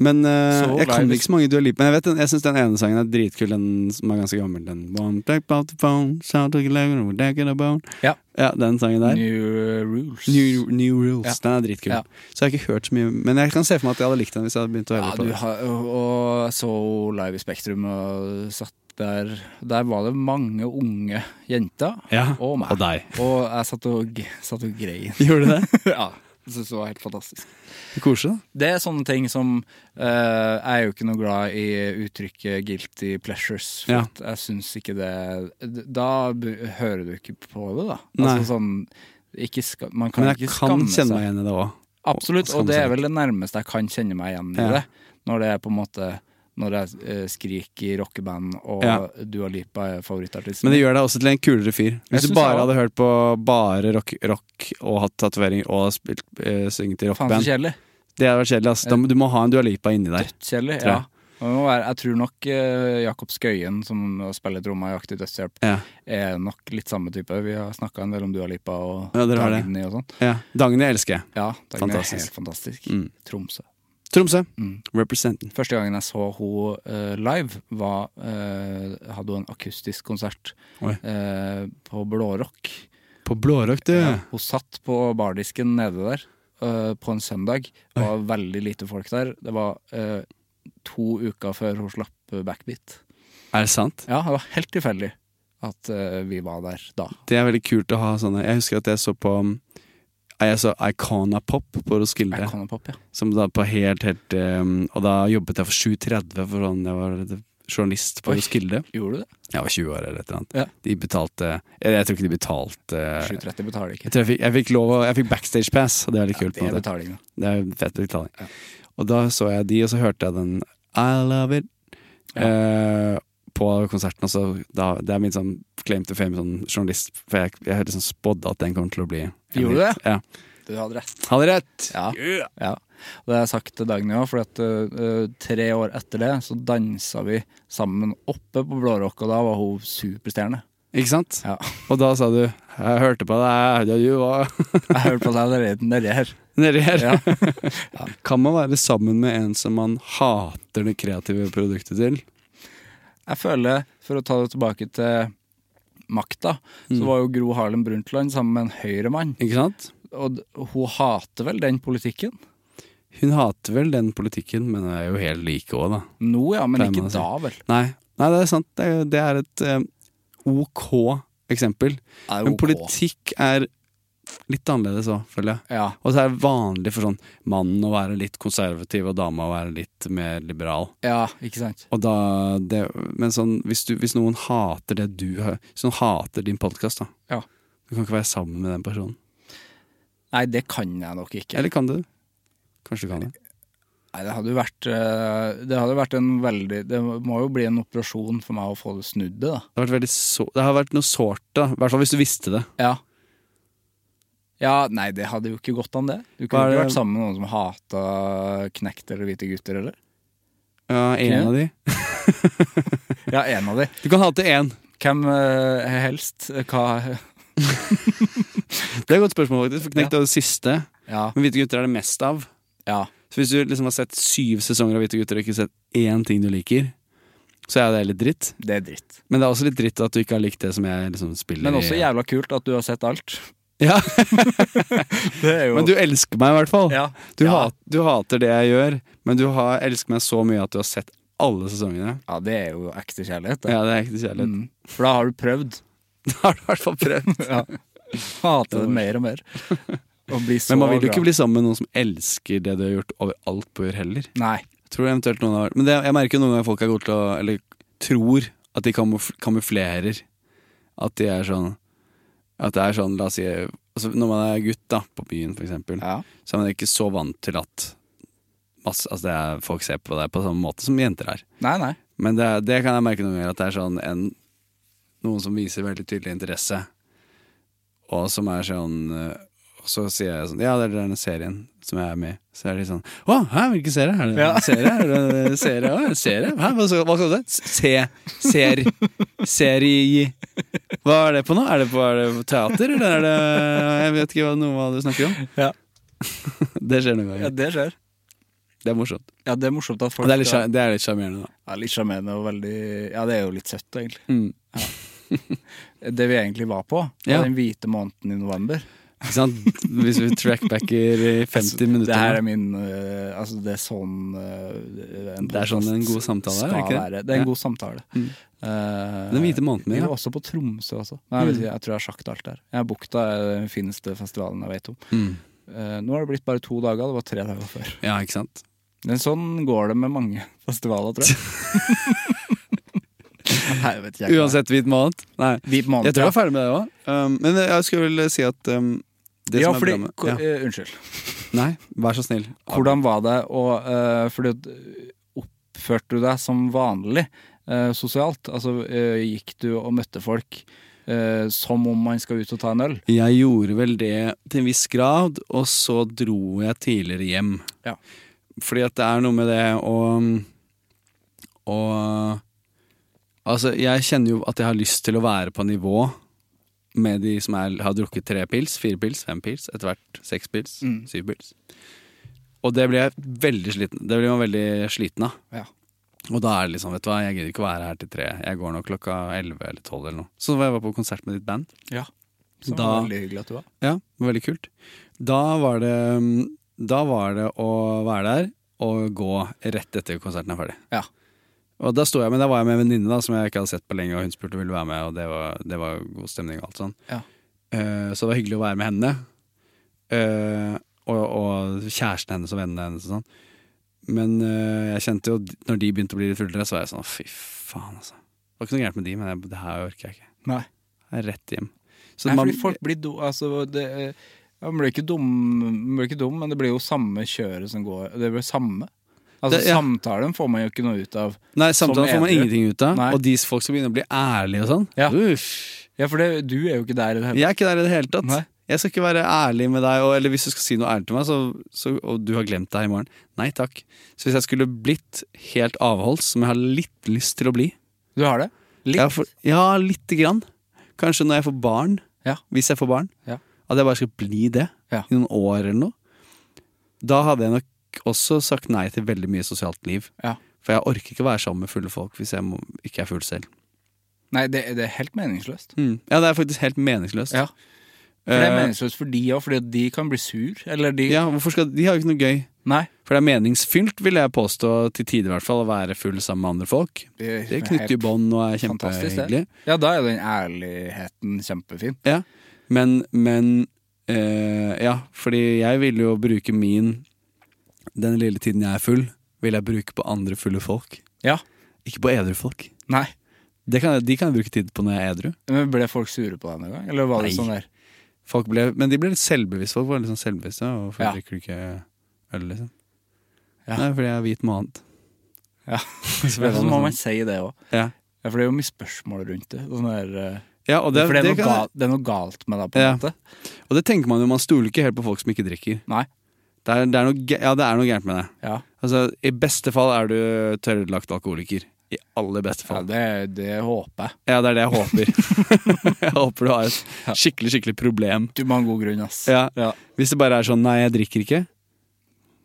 Men eh,
Så
jeg kan
glad i-
ikke så mange Dua Lipa. Men jeg vet den- jeg syns den ene sangen er dritkul, den som er ganske gammel. Den One take about the phone, shout out the loud, we're taking a bone.
Ja.
ja, den sangen der. New,
New Rules.
new, Rules.
Ja.
Den er dritkul.
Ja.
Så jeg har ikke hørt så mye Men jeg kan se for meg at jeg hadde likt den hvis jeg hadde begynt å
ja,
høre på
du
det.
har, og jeg så henne live i Spektrum og satt der Der var det mange unge jenter
Ja,
og meg.
og deg. (laughs)
Og jeg satt og, satt og grein.
Gjorde du det?
(laughs) ja. Jeg synes det var helt fantastisk.
Koselig, da.
Det er sånne ting som eh, Jeg er jo ikke noe glad i uttrykket 'guilty pleasures'. For
Ja.
at jeg syns ikke det Da b hører du ikke på det, da.
Nei.
Altså sånn ikke ska, Man kan
Men jeg
ikke
kan
skamme seg.
kjenne meg igjen i det òg.
Absolutt,
skamme
og det er
seg.
vel det nærmeste jeg kan kjenne meg igjen i
Sånn Ja.
det. Når det er på en måte Når jeg eh, skriker i rockeband, og
Ja.
Dua Lipa er favorittartisten
Men det gjør deg også til en kulere fyr. Hvis
synes
du bare
jeg også.
hadde hørt på bare rock, rock og hatt tatovering og spilt, eh, synget i
Faen så
rockband
kjedelig.
Det hadde vært kjedelig. ass. Da må- Du må ha en Dua Lipa inni der.
Dødskjedelig,
Tror jeg.
ja. Det må være, jeg tror nok eh, Jakob Skøyen, som spiller tromma i Aktiv dødshjelp,
Ja.
er nok litt samme type. Vi har snakka en del om Dua Lipa og
Ja, dere har det.
Dagny og sånn.
ja. Dagny elsker jeg.
Ja, Dagny er
Fantastisk.
helt fantastisk.
Mm.
Tromsø.
Tromsø.
Mm.
Representing.
Første gangen jeg så hun eh, live, var, eh, hadde hun en akustisk konsert
Oi.
eh, på Blårock.
På Blårock, du.
Ja, Hun satt på bardisken nede der eh, på en søndag. Det var veldig lite folk der. Det var eh, to uker før hun slapp eh, backbeat.
Er det sant?
Ja, det var helt tilfeldig at eh, vi var der da.
Det er veldig kult å ha sånne Jeg husker at jeg så på um, jeg så Icona Pop på Roskilde.
Iconopop, ja.
Som da på helt, helt um, Og da jobbet jeg for 7.30 for sånn jeg var journalist på
Oi.
Roskilde.
Gjorde du det?
Jeg var 20 år eller et eller annet.
Ja.
De betalte Eller jeg tror ikke de betalte
730 betaler (laughs) ikke.
Jeg tror jeg fikk, jeg fikk lov å- Jeg fikk backstage pass, og det er litt kult. på
Det
en
er
måte.
betalinga.
Det er en fett betaling. Og da så jeg de, og så hørte jeg den I love it eh, på konserten. Og så da, det er min sånn claim to fame sånn journalist, for jeg, jeg liksom spådde at den kommer til å bli en
Gjorde du
hit.
det?
Ja.
Du hadde rett.
Hadde rett!
Ja. ja. Og det har jeg sagt til Dagny òg, for at, eh, tre år etter det så dansa vi sammen oppe på Blårock, og da var hun superstjerne.
Ikke sant?
Ja.
Og da sa du 'Jeg hørte på deg, ja, du var (laughs)
Jeg hørte på deg nedi- nedi her.
nedi her'.
Ja.
Kan man være sammen med en som man hater det kreative produktet til?
Jeg føler, for å ta det tilbake til makta,
Mm.
så var jo Gro Harlem Brundtland sammen med en høyremann,
Ikke sant?
og d- hun hater vel den politikken?
Hun hater vel den politikken, men er jo helt like òg, da.
Nå ja, men
Pleier man
ikke
å si.
da vel.
Nei, nei det er sant. Det er, det er et eh, ok eksempel.
Er
Men
ok.
politikk er litt annerledes òg, føler jeg.
Ja.
Og så er det vanlig for sånn mannen å være litt konservativ og dama å være litt mer liberal.
Ja, ikke sant?
Og da det, Men sånn, hvis, du, hvis noen hater det du hører Hvis noen hater din podkast, da
Ja.
Du kan ikke være sammen med den personen.
Nei, det kan jeg nok ikke.
Eller kan du? Kanskje du kan det.
Nei, det hadde jo vært eh, Det hadde vært en veldig Det må jo bli en operasjon for meg å få det snudd, det, da.
Det har vært, veldig så, det har vært noe sårt, da. I hvert fall hvis du visste det.
Ja. Ja, nei, det hadde jo ikke gått an, det. Du
Hva
kunne
er
ikke
det-
vært sammen med noen som hata knekt eller hvite gutter, eller?
Ja, en
Ok.
av de.
Ja, en av de.
Du kan hate én.
Hvem eh, helst? Hva
Det er et godt spørsmål, faktisk. For knekt er det siste.
Ja.
Men hvite gutter er det mest av.
ja.
Så hvis du liksom har sett syv sesonger av Hvite gutter og ikke sett én ting du liker, så er det litt dritt.
Det er dritt.
Men det er også litt dritt at du ikke har likt det som jeg liksom spiller
Men også
i.
jævla kult at du har sett alt.
Ja,
(laughs)
(laughs)
Det er jo
Men du elsker meg i hvert fall.
Ja.
Du,
Ja.
Hat, du hater det jeg gjør, men du har, elsker meg så mye at du har sett alle sesongene.
Ja, det er jo ekte kjærlighet. det.
Ja, det er ekte kjærlighet.
Mm. For da har du (laughs) prøvd.
Da har du i hvert fall prøvd.
(laughs) Ja. Hater det mer og mer. (laughs) Og blir så
Men man vil jo
glad.
ikke bli sammen med noen som elsker det du har gjort overalt på jord heller.
Nei.
Jeg tror eventuelt noen har Men det, jeg merker jo noen ganger folk er gode til å Eller tror at de kamuf kamuflerer. At de er sånn At det er sånn, la oss si altså Når man er gutt da, på byen for eksempel,
Ja.
så er man ikke så vant til at masse, altså det er, folk ser på deg på samme måte som jenter er.
Nei, nei.
Men det, er- det kan jeg merke noen ganger, at det er sånn en, noen som viser veldig tydelig interesse, og som er sånn eh, og Så sier jeg sånn Ja, det er den serien som jeg er med i. Så er de sånn Å, hæ, hvilken serie? Er det
Ja.
en serie? Er det en serie? Å, en serie? Hæ, hva skal hva skal det Se, ser, serie Hva er det på nå? Er det på, er det på teater, eller er det Jeg vet ikke hva, noe hva du snakker om.
Ja.
Det skjer noen
Ja,
ganger.
det skjer.
Det er morsomt.
Ja, det er morsomt at folk
Og det er litt sjar- det er litt sjarmerende, da.
Ja, litt sjarmerende og veldig Ja, det er jo litt søtt, egentlig.
Mm.
Ja. (laughs) Det vi egentlig var på, var
Ja.
den hvite måneden i november.
Ikke sant? Hvis vi trackbacker i 50 minutter
Altså, Det her er min øh, Altså, det er sånn øh, en
Det er sånn en god samtale er,
skal
er ikke det?
være. Det er en
Ja. Mm.
god samtale. Eh,
Den hvite måneden,
Vi
ja. Mm.
var også på Tromsø også. Nei, jeg, vet, ikke, jeg tror jeg har sagt alt der. Jeg Bukta er den fineste festivalen jeg vet om.
Mm.
Eh, nå har det blitt bare to dager, det var tre dager før.
Ja, ikke sant?
Men sånn går det med mange (laughs) festivaler,
(laughs)
tror jeg. Nei, jeg vet ikke. jeg kan-
Uansett hvit måned. Nei.
Hvit måned,
Jeg tror
ja.
jeg er ferdig med det òg. Um, men jeg skulle vel si at um, det
ja,
som er
fordi,
bra med ja.
eh, Unnskyld.
Nei, vær så snill.
Hvordan var det å eh, Fordi at, eh, oppførte du deg som vanlig eh, sosialt? Altså eh, gikk du og møtte folk eh, som om man skal ut og ta en øl?
Jeg gjorde vel det til en viss grad, og så dro jeg tidligere hjem.
Ja.
Fordi at det er noe med det å å Altså, jeg kjenner jo at jeg har lyst til å være på nivå med de som er, har drukket tre pils, fire pils, fem pils, etter hvert seks pils,
Mm.
syv pils. Og det blir jeg veldig sliten Det blir man veldig sliten av.
Ja.
Og da er det liksom, vet du hva, jeg gidder ikke å være her til tre. Jeg går nå klokka elleve eller tolv eller noe. Så var jeg på konsert med ditt band.
ja.
Så
Så
det var Da-
veldig hyggelig at du var.
Ja, det var veldig kult. Da var det, mm, da var det å være der og gå rett etter konserten er ferdig.
Ja.
Og da sto jeg, men da var jeg med en venninne da, som jeg ikke hadde sett på lenge, og hun spurte om hun ville være med, og det var, det var god stemning og alt sånn.
Ja.
Eh, så det var hyggelig å være med henne, eh, og, og kjæresten hennes og vennene hennes og sånn. Men eh, jeg kjente jo, når de begynte å bli litt fullere, så var jeg sånn, fy faen altså. Det var ikke noe gærent med de, men jeg, det her orker jeg ikke.
Nei.
Jeg er rett hjem. Så
Nei,
man-
fordi folk blir do... Altså, det eh, ja, Man blir ikke dum, man blir ikke dum, men det blir jo samme kjøret som går Det blir samme. Altså,
Det- ja.
Samtalen får man jo ikke noe ut av.
Nei, samtalen får
Som
man
edru.
ingenting ut av.
Nei.
Og de folk som begynner å bli ærlige og sånn.
Ja.
Uff.
Ja, for det, du er jo ikke der i det hele
Jeg er ikke der i det hele tatt.
Nei.
Jeg skal ikke være ærlig med deg, og, eller hvis du skal si noe ærlig til meg, så, så, og du har glemt det her i morgen. Nei takk. Så hvis jeg skulle blitt helt avholds, som jeg har litt lyst til å bli
Du har det? Litt?
Ja, for, ja lite grann. Kanskje når jeg får barn.
Ja.
Hvis jeg får barn.
Ja.
At jeg bare skal bli det
Ja.
i noen år eller noe. Da hadde jeg nok også sagt nei til veldig mye sosialt liv.
Ja.
For jeg orker ikke å være sammen med fulle folk hvis jeg må, ikke er full selv.
Nei, det, det er helt meningsløst.
Mm. Ja, det er faktisk helt meningsløst.
Ja. For det er meningsløst for de òg, fordi at de kan bli sur. Eller de
Eh, ja, hvorfor skal De har jo ikke noe gøy.
Nei.
For det er meningsfylt, vil jeg påstå, til tider i hvert fall, å være full sammen med andre folk.
Det er
Det knytter jo
helt
bånd og er
fantastisk, det.
kjempehyggelig.
Ja, da er jo den ærligheten kjempefin.
Ja. Men, men eh, Ja, fordi jeg vil jo bruke min Den lille tiden jeg er full, vil jeg bruke på andre fulle folk.
Ja.
Ikke på edru folk.
Nei.
Det kan, jeg- de kan jeg bruke tid på når jeg er edru.
Men Ble folk sure på deg noen gang? Eller var det
Nei.
sånn der?
Folk ble, men de ble litt selvbevisste. Folk var litt sånn selvbevisste. «Å, Hvorfor
Ja.
drikker du ikke øl, liksom?
Ja.
Nei, fordi jeg er hvit måned.
Ja.
Så ble
Ja,
(laughs) det
Så
noe
må
sånn.
man si det òg.
ja.
Ja, for det er jo mye spørsmål rundt det. Sånn der, eh,
ja, og det,
for det er,
det
noe
kan,
galt, det er noe galt med deg, på en
Ja.
måte.
og det tenker man jo, man stoler ikke helt på folk som ikke drikker.
Nei.
Det er, det er, noe, ge- ja, det er noe gærent med det.
Ja.
Altså, I beste fall er du tørrlagt alkoholiker. I aller beste
ja
fall.
det, det håper jeg.
Ja, det er det jeg håper.
(laughs)
jeg håper du har et skikkelig, skikkelig problem.
Du må ha en god grunn, ass.
Ja.
Ja.
Hvis det bare er sånn 'nei, jeg drikker ikke',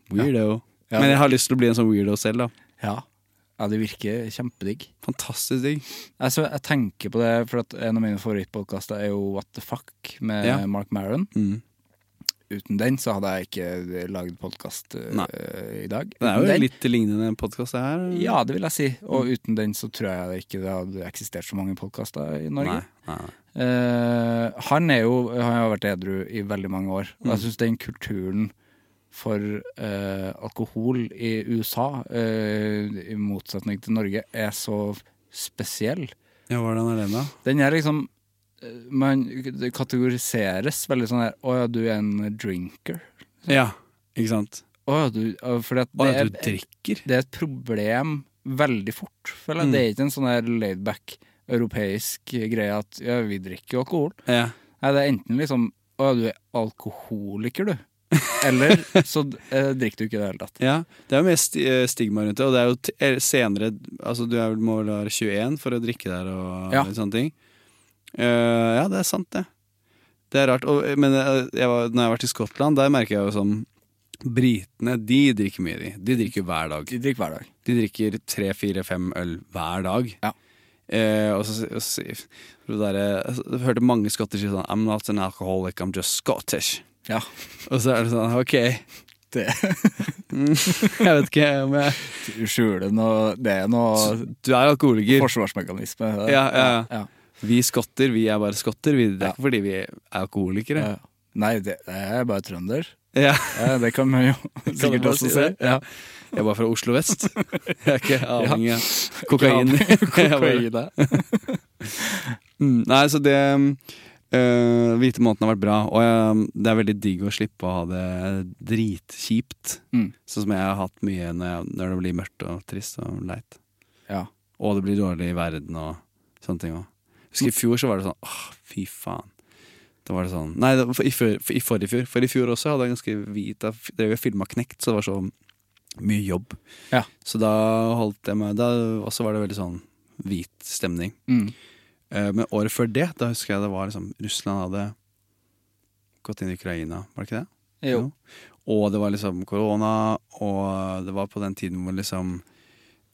weirdo.
Ja.
Men jeg har lyst til å bli en sånn weirdo selv, da.
Ja. Ja, det virker kjempedigg.
Fantastisk digg.
Altså, jeg tenker på det, for at en av mine favorittpodkaster er jo What the Fuck med
Ja.
Mark Maron.
Mm.
Uten den så hadde jeg ikke eh, lagd podkast
Nei.
i dag.
Det er
Uten
jo
den,
litt Mm. lignende podkast, det her.
Ja, det vil jeg si. Og uten den så tror jeg det ikke det hadde eksistert så mange podkaster i Norge.
Nei, nei, nei.
Eh, han er jo Han har vært edru i veldig mange år, og
Mm.
jeg syns den kulturen for eh, alkohol i USA, eh, i motsetning til Norge, er så spesiell.
Ja, hvordan er det, da?
Den er liksom eh, Man det kategoriseres veldig sånn her Å ja, du er en drinker.
Ja, ikke sant?
Å ja, du ja, Fordi at
Å,
det,
at du
er,
drikker?
det er et problem veldig fort, føler jeg.
Mm.
Det er ikke en sånn her laidback europeisk greie at ja, vi drikker jo alkohol.
Ja.
Nei, det er enten liksom Å, du er alkoholiker, du. Eller så eh, drikker du ikke i det hele tatt.
ja. Det er jo mer sti- eh, stigma rundt det, og det er jo t eh, senere Altså, du er vel, må vel være 21 for å drikke der og
Ja.
litt sånne ting. Eh, ja, det er sant, det. Det er rart. Og, eh, men eh, jeg var, når jeg har vært i Skottland, der merker jeg jo sånn Britene, de drikker mye, de. De drikker jo hver dag.
De drikker hver dag.
De drikker tre, fire, fem øl hver dag.
Ja.
Eh, og så, og så, det der, eh, altså, jeg hørte mange skotter si sånn I'm not an alcoholic, I'm just Scottish.
Ja.
Og så er det sånn, ok, Mm.
Det
(laughs) jeg vet ikke om jeg
du skjuler noe Det er noe
Du er alkoholiker.
forsvarsmekanisme. det der.
Ja, ja, ja.
ja.
Vi skotter, vi er bare skotter. Vi, det er
Ja.
ikke fordi vi er alkoholikere.
Ja. Nei, det, jeg er bare trønder.
Ja.
Ja, det kan man jo
man
sikkert
bare
også
si
si.
det?
Ja.
Jeg er bare fra Oslo vest. Jeg er ikke avhengig av kokain. (laughs) Jeg er bare-
Kokain,
(laughs) Mm, Nei, så det øh, Hvite måneden har vært bra, og jeg, mm, det er veldig digg å slippe å ha det dritkjipt.
Mm.
Sånn som jeg har hatt mye når, jeg, når det blir mørkt og trist og leit.
ja.
Og det blir dårlig i verden og sånne ting òg. Husker i fjor så var det sånn åh, fy faen. Da var det sånn Nei, det var for, i, for, for, i forrige fjor. For i fjor også hadde jeg ganske hvit Da f- drev jeg og filma Knekt, så det var så mye jobb.
Ja.
Så da holdt jeg meg Da også var det veldig sånn hvit stemning.
Mm.
Eh, Men året før det, da husker jeg det var liksom Russland hadde gått inn i Ukraina, var det ikke det?
Jo.
Og det var liksom korona, og det var på den tiden hvor liksom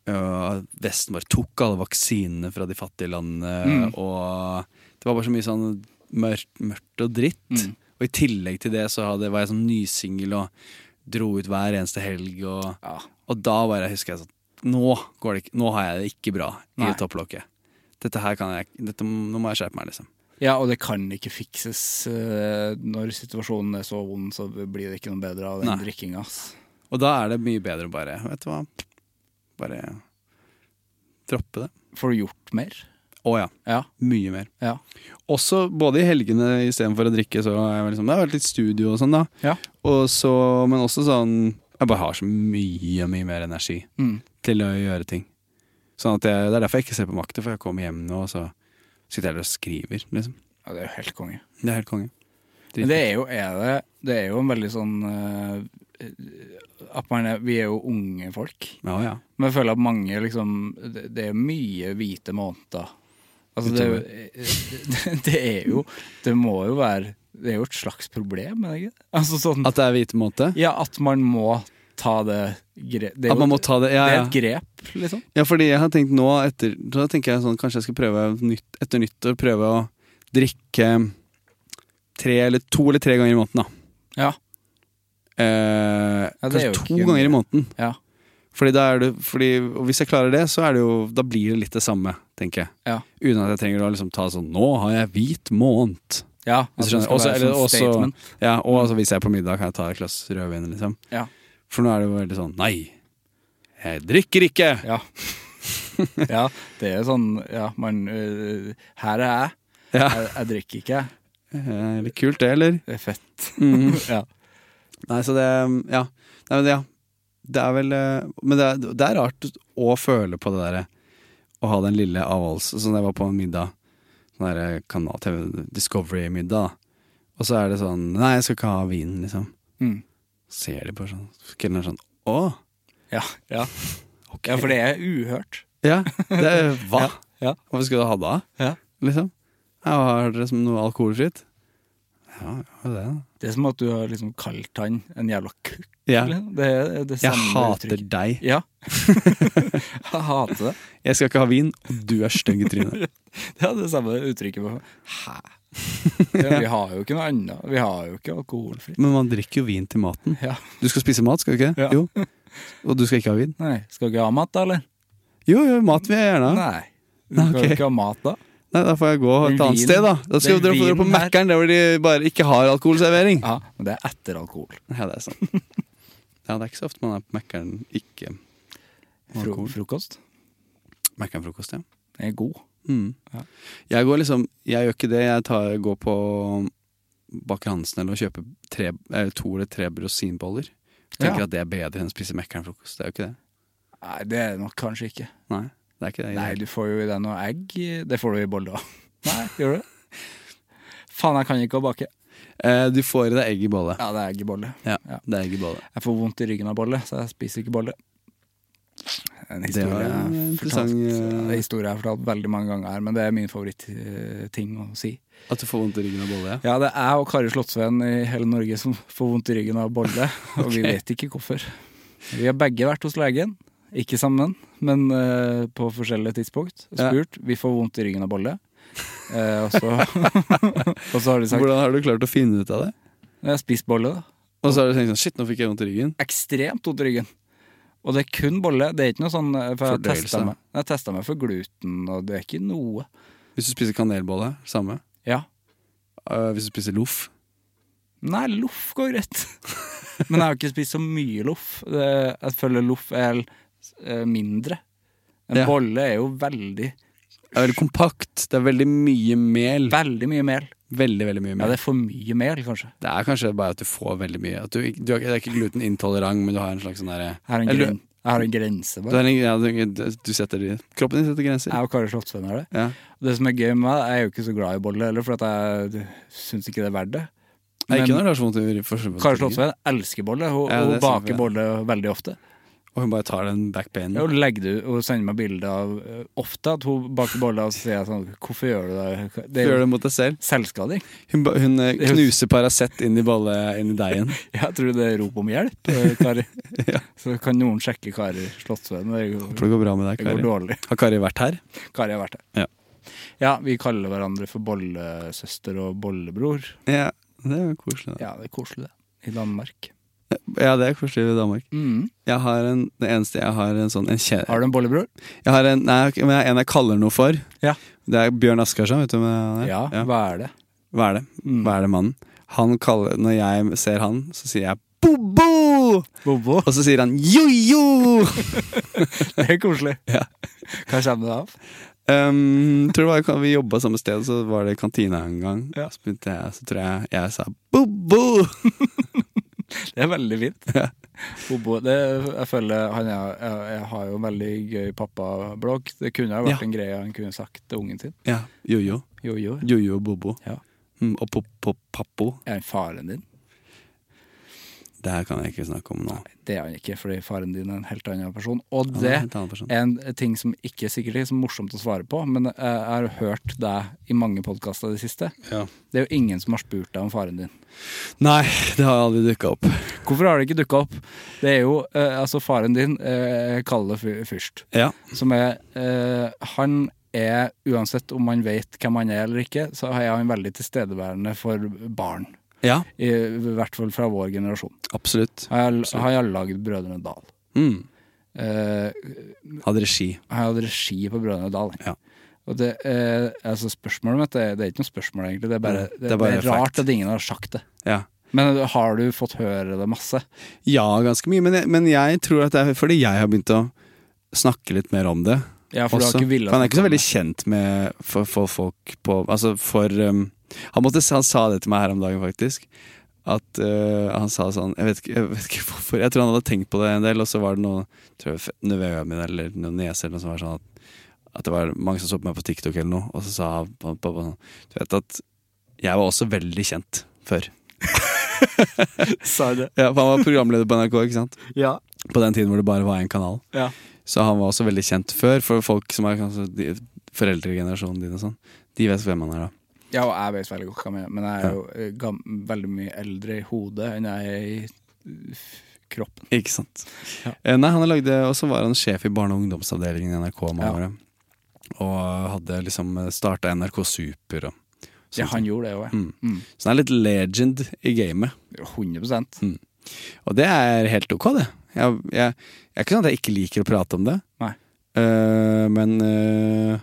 øh, Vesten bare tok alle vaksinene fra de fattige landene,
Mm.
og det var bare så mye sånn mørkt, mørkt og dritt.
Mm.
Og i tillegg til det så hadde, var jeg sånn nysingel og dro ut hver eneste helg, og,
Ja.
og da bare husker jeg sånn nå, går det ikke, nå har jeg det ikke bra
Nei.
i topplokket. Dette her kan jeg dette, Nå må jeg skjerpe meg, liksom.
ja, og det kan ikke fikses eh, når situasjonen er så vond, så blir det ikke noe bedre av den
Nei.
drikkinga. ass.
Og da er det mye bedre å bare Vet du hva, bare droppe det.
Får du gjort mer?
Å ja.
Ja.
Mye mer.
Ja.
Også både i helgene istedenfor å drikke, så er jeg liksom, det har vært litt studio og sånn, da.
Ja.
Og så, men også sånn Jeg bare har så mye, mye mer energi
Mm.
til å gjøre ting. Sånn at jeg, Det er derfor jeg ikke ser på makta, for jeg kommer hjem nå, og så sitter jeg der og skriver, liksom.
ja det er jo helt konge.
Det er helt konge.
Men det er jo, er det, det er jo en veldig sånn eh, at man er, Vi er jo unge folk.
Ja, ja.
Men jeg føler at mange liksom Det, det er mye hvite måneder. Altså, det, er jo- det (laughs) er jo Det må jo være Det er jo et slags problem, er det ikke? Altså sånn
At det er hvite måte?
Ja, at man må ta det grep det er
At man
jo-
må ta det Ja,
Det er
ja.
et grep, liksom.
Ja, fordi jeg har tenkt nå etter Da tenker jeg sånn, kanskje jeg skal prøve nytt, etter nyttår Prøve å drikke tre eller, to eller tre ganger i måneden da
Ja.
eh,
Ja, det
Kanskje
er jo
to
ikke-
ganger i måneden
Ja.
fordi da er det, fordi, og hvis jeg klarer det, så er det jo, da blir det litt det samme, tenker jeg.
Ja.
Uten at jeg trenger å liksom ta sånn, nå har jeg hvit måned.
ja
Hvis du
at det
skjønner.
skal
Også,
være
eller,
sånn
også,
statement. Mm.
ja, og altså, hvis jeg er på middag, kan jeg ta et glass rødvin, liksom.
Ja.
For nå er det jo veldig sånn, nei, jeg drikker ikke!
Ja.
(laughs)
ja, det er sånn Ja, man øh, Her er jeg.
Ja.
jeg. Jeg drikker ikke.
Eh, Litt kult det, eller?
Det er fett.
Mhm.
(laughs) ja.
Nei, så det Ja. Nei, men det, ja. det er vel eh, Men det er, det er rart å føle på det derre å ha den lille avholds... Sånn jeg var på en middag, sånn derre kanal TV Discovery-middag, og så er det sånn Nei, jeg skal ikke ha vin, liksom.
Mm.
Ser de på sånn Kvelden er sånn Å!
Ja, ja. ja, for det er uhørt.
Ja, det
(laughs)
er Hva?
Ja, ja.
Hvorfor skulle du ha det?
Ja.
Liksom. Ja, har dere som noe alkoholfritt? Ja, ja det er det.
Det er som at du har liksom kalt han en jævla kukk.
Ja.
liksom. Det er det
Jeg
samme
hater
uttrykk.
deg. (laughs)
Ja. jeg hater det.
Jeg skal ikke ha vin, og du er stygg i trynet.
Det er det samme uttrykket. på Hæ? Ja, vi har jo ikke noe annet. Vi har jo ikke alkoholfritt.
Men man drikker jo vin til maten.
Ja.
Du skal spise mat, skal du ikke?
Ja.
Jo. Og du skal ikke ha vin?
Nei, skal du ikke ha mat da, eller?
Jo, jo, mat vil jeg gjerne ha.
Nei. Du
Nei,
skal
ok.
ikke ha mat da.
Nei, da får jeg gå
Den
et annet
vinen-
sted, da. Da skal
den
dere få dra på
vinen her-
Mækkern, der hvor de bare ikke har alkoholservering.
Ja, men det er etter alkohol.
Ja, det er sant. Ja, det er ikke så ofte man er på Mækkern ikke
Fro
Alkohol.
frokost.
Mækkern-frokost, ja.
Den er god.
Mm.
Ja.
Jeg går liksom Jeg gjør ikke det. Jeg tar, går på Baker Hansen eller og kjøper tre, eh, to eller tre rosinboller. Tenker
Ja.
at det er bedre enn å spise Mækkern-frokost. Det er jo ikke det.
Nei, det er det nok kanskje ikke.
Nei, det er ikke det. i det
Nei,
hele
du får jo i deg noe egg. Det får du i bolle òg. (laughs) Nei, gjør du det? Faen, jeg kan ikke å bake.
tatt. eh, du får i deg egg i bolle.
Ja, det er egg i bolle.
Ja,
Ja.
det er egg i bolle.
Jeg får vondt i ryggen av bolle, så jeg spiser ikke bolle. En
Det var
historie,
en
jeg
interessant,
fortalt,
eh,
en historie jeg har fortalt veldig mange ganger her, men det er min favorittting eh, å si.
At du får vondt i ryggen av bolle, ja.
Ja, det er jeg og Kari Slottsveen i hele Norge som får vondt i ryggen av
(laughs)
bolle, og vi
Ok.
vet ikke hvorfor. Vi har begge vært hos legen, ikke sammen, men eh, på forskjellige tidspunkt.
Ja.
Spurt, vi får vondt i ryggen av bolle. Eh, og, så, (laughs)
(laughs)
og så har de sagt,
Hvordan har du klart å finne ut av det?
jeg har spist bolle da.
Og så har du tenkt sånn Shit, nå fikk jeg vondt i ryggen.
ekstremt vondt i ryggen. Og det er kun bolle. Det er ikke noe sånn eh, For jeg
Fordøyelse.
testa meg. jeg testet meg for gluten, og det er ikke noe.
Hvis du spiser kanelbolle, samme.
Ja.
Eh, hvis du spiser loff
Nei, loff går greit. (laughs) Men jeg har ikke spist så mye loff. Det- Jeg føler loff er eh, mindre. En
Ja.
bolle er jo veldig,
Det er veldig kompakt. Det er veldig mye mel.
veldig mye mel.
Veldig, veldig mye
Ja,
mel.
det er for mye mel, kanskje.
Det er kanskje bare at du får veldig mye. At du, ikke- du, har ikke- det er ikke glutenintolerant, men du har en slags sånn derre
Jeg har en,
Eller-
gren, jeg har en grense,
du, har
bare.
en- ja, du, du setter de- Kroppen din setter grenser.
Jeg og Kari Slottsveen har det.
Ja.
Det som er gøy med meg, jeg er jo ikke så glad i bolle heller, for at jeg syns ikke det er verdt det.
Nei, ikke
Men-
når du har så vondt i ryggen. for eksempel.
Kari Slottsveen elsker bolle. Hun,
Ja, det
hun
er sant,
baker
ja. Mm.
bolle veldig ofte.
Og hun bare tar den back painen.
Ja, Og legger du og sender meg bilder av eh, ofte at hun baker boller, og så sier jeg sånn Hvorfor gjør du det? Det er
Gjør
jo
det mot deg selv. (laughs)
selvskading.
Hun, ba- hun eh,
Det er jo-
knuser Paracet inn i bolle inn i deigen.
(laughs) Jeg tror det er rop om hjelp, (laughs) eh, Kari.
Ja.
Så kan noen sjekke Kari Slottsveen. Det,
Håper det
går-
går bra med deg,
det går
Kari.
dårlig.
Har Kari vært her?
Kari har vært der.
Ja.
Ja, vi kaller hverandre for bollesøster og bollebror.
Ja, det er jo koselig. da.
Ja, det er koselig, det. I Danmark.
Ja, det er koselig i Danmark.
Mm.
Jeg har en, det eneste jeg har en sånn en kje,
Har du en bollebror?
Jeg har en, nei, ok, men jeg har en jeg kaller noe for.
Ja.
Det er Bjørn Askarsen, vet du hvem han er?
Ja,
Ja.
hva er det?
Hva er det?
Mm.
Hva er det mannen? Han kaller, når jeg ser han, så sier jeg Bobo!
Bobo.
Og så sier han jojo!
(laughs)
(laughs)
Det er koselig.
Ja.
Hva kommer det av?
um, tror det var, vi jobba samme sted, så var det i kantina en gang.
Ja.
Så, begynte jeg, så tror jeg jeg sa Bobo! (laughs)
Det er veldig fint.
Ja.
Bobo, det, jeg føler han er, jeg, jeg har jo en veldig gøy pappablogg. Det kunne ha vært
Ja.
en greie han kunne sagt til ungen sin.
Ja, jojo.
Jo, jo.
Jojo og Bobo.
Ja.
Mm, og pop-pop-pappo.
Er han faren din?
Det her kan jeg ikke snakke om nå.
Det er han ikke, fordi faren din er en helt annen person. Og
Han er
det
en helt annen person.
er en ting som ikke sikkert er så morsomt å svare på, men jeg har hørt deg i mange podkaster i det siste.
Ja.
Det er jo ingen som har spurt deg om faren din.
Nei, det har aldri dukka opp.
Hvorfor har det ikke dukka opp? Det er jo eh, altså faren din, eh, kall det fyr- fyrst.
Ja.
som er eh, Han er, uansett om man vet hvem han er eller ikke, så er han veldig tilstedeværende for barn.
ja,
I, i hvert fall fra vår generasjon.
absolutt.
Han har- han har lagd Brødrene Dal.
Mm.
Eh,
Hadde regi.
han hadde regi på Brødrene Dal.
Ja.
Og det, eh, altså spørsmålet mitt er, det er ikke noe spørsmål, egentlig. Det er bare,
Mm,
det,
det er bare
det er rart
fact.
at ingen har sagt det.
Ja.
Men har du fått høre det masse?
Ja, ganske mye, men jeg, men jeg tror at det er fordi jeg har begynt å snakke litt mer om det.
Ja, for du har
også.
ikke villet
For han er ikke så
snakke om
veldig
det.
kjent med for, for folk på Altså for um, han, måtte, han sa det til meg her om dagen, faktisk. At øh, han sa sånn jeg vet, ikke, jeg vet ikke hvorfor. Jeg tror han hadde tenkt på det en del, og så var det noen tror jeg, nevøer mine eller noen nieser eller noe som var sånn at, at det var mange som så på meg på TikTok eller noe, og så sa han på- på- på sånn Du vet at jeg var også veldig kjent før.
(laughs) Sa jeg det?
Ja, for han var programleder på NRK, ikke sant?
Ja.
På den tiden hvor det bare var én kanal.
ja.
Så han var også veldig kjent før for folk som er kanskje de, foreldregenerasjonen din og sånn. De vet hvem han er, da. (laughs)
Ja, og jeg vet veldig godt hva jeg mener, men jeg er jo eh, gam veldig mye eldre i hodet enn jeg er i eh, kroppen.
Ikke sant. Eh, Nei, han lagde, og så var han sjef i barne- og ungdomsavdelingen i NRK mange
Ja.
år. Og hadde liksom starta NRK Super og
Ja, han gjorde det òg,
Sånn Mm. Så han er litt legend i gamet.
jeg. 100
Mm. Og det er helt ok, det. Jeg, jeg, jeg er ikke sånn at jeg ikke liker å prate om det.
Nei.
Eh, men eh,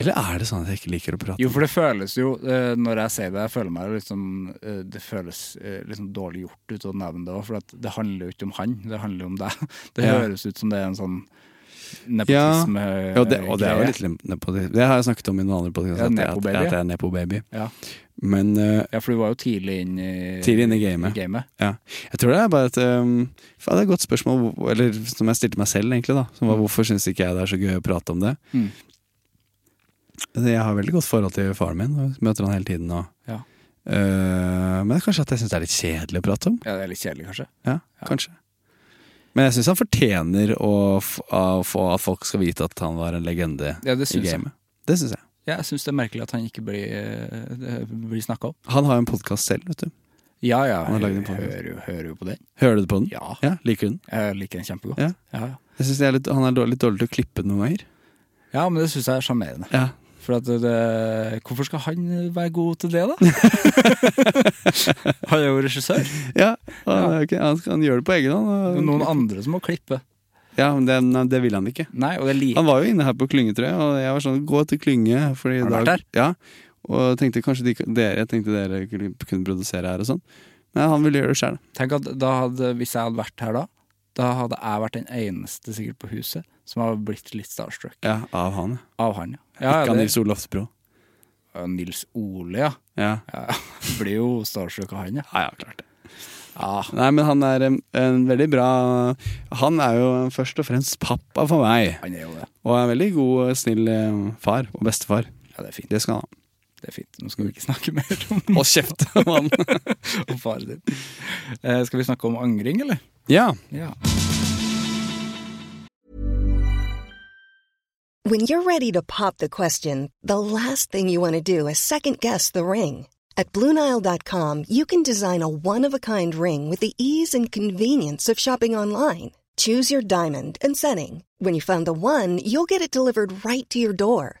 Eller er det sånn at jeg ikke liker å prate om
Jo,
det?
for det føles jo, eh, når jeg sier det, jeg føler meg litt som, eh, det føles eh, litt sånn dårlig gjort ut å nevne det òg, for at det handler jo ikke om han, det handler jo om deg. (laughs) Det
Ja.
høres ut som det er en sånn
Ja.
nepotisme
Jo, det, og det er jo
greie.
litt nepotisme. Det har jeg snakket om i noen andre podkast,
Eh, Ja,
at, jeg-
nepo-baby,
at jeg er nepo-baby.
Ja.
Men eh,
ja, for du var jo tidlig inn i,
tidlig inn i gamet.
i gamet.
Ja. Jeg tror det er bare et um, faen, Det er et godt spørsmål, hvor- eller som jeg stilte meg selv, egentlig. da Som var Hvorfor syns ikke jeg det er så gøy å prate om det? Altså,
Mm.
Jeg har veldig godt forhold til faren min, og møter han hele tiden. Og,
Ja.
Eh, men det er kanskje at jeg syns det er litt kjedelig å prate om.
ja, det er litt kjedelig, kanskje.
Ja, kanskje Men jeg syns han fortjener å f å få at folk skal vite at han var en legende
Ja, det
i
syns jeg.
gamet. Det syns jeg.
Ja, jeg syns det er merkelig at han ikke blir, eh, det blir snakka om.
Han har jo en podkast selv, vet du.
Ja ja,
Han har laget
hører,
en podcast.
hører, jo, hører jo på den.
Hører du på den?
Ja.
Liker du den?
Jeg liker den kjempegodt.
Ja.
Ja, ja.
Jeg synes det er litt, Han er dårlig, litt dårlig til å klippe noen ganger.
ja, men det syns jeg er sjarmerende.
Ja,
For at det, hvorfor skal han være god til det, da? (laughs) han er jo regissør.
Ja, han, er ikke- han, skal- han gjør det på egen hånd. og-
Det er noen andre som må klippe.
Ja, men det, nei, det vil han ikke.
Nei, og det liker
Han var jo inne her på Klynge, tror jeg, og jeg var sånn Gå til Klynge. Fordi
Har han
da-
vært
Ja, og tenkte kanskje de, dere, jeg tenkte dere kunne kunne produsere her og sånn. Men han ville gjøre det sjøl.
Tenk at da hadde, Hvis jeg hadde vært her da, da hadde jeg vært den eneste sikkert på huset som hadde blitt litt starstruck
Ja, av han.
av han.
Ja,
Ja,
ikke
ja,
av
det,
Nils Olav Spro.
ja, Nils Ole, ja.
Ja.
ja. (laughs) Blir jo starstruck av han, ja.
ja, ja, klart det. Ah.
ja.
Nei, men han er em, en veldig bra Han er jo først og fremst pappa for meg,
Han er jo det.
og er en veldig god, eh, snill em, far og bestefar.
Ja, det er fint.
Det skal han ha.
Det er fint. Nå skal vi ikke snakke mer om, (laughs)
Hold kjeft om han!
om faren din. Eh, skal vi snakke om angring, eller?
Ja.
Ja.
When you're ready to pop the question, the last thing you want to do is second guess the ring. At Bluenile.com, you can design a one of a kind ring with the ease and convenience of shopping online. Choose your diamond and setting. When you find the one, you'll get it delivered right to your door.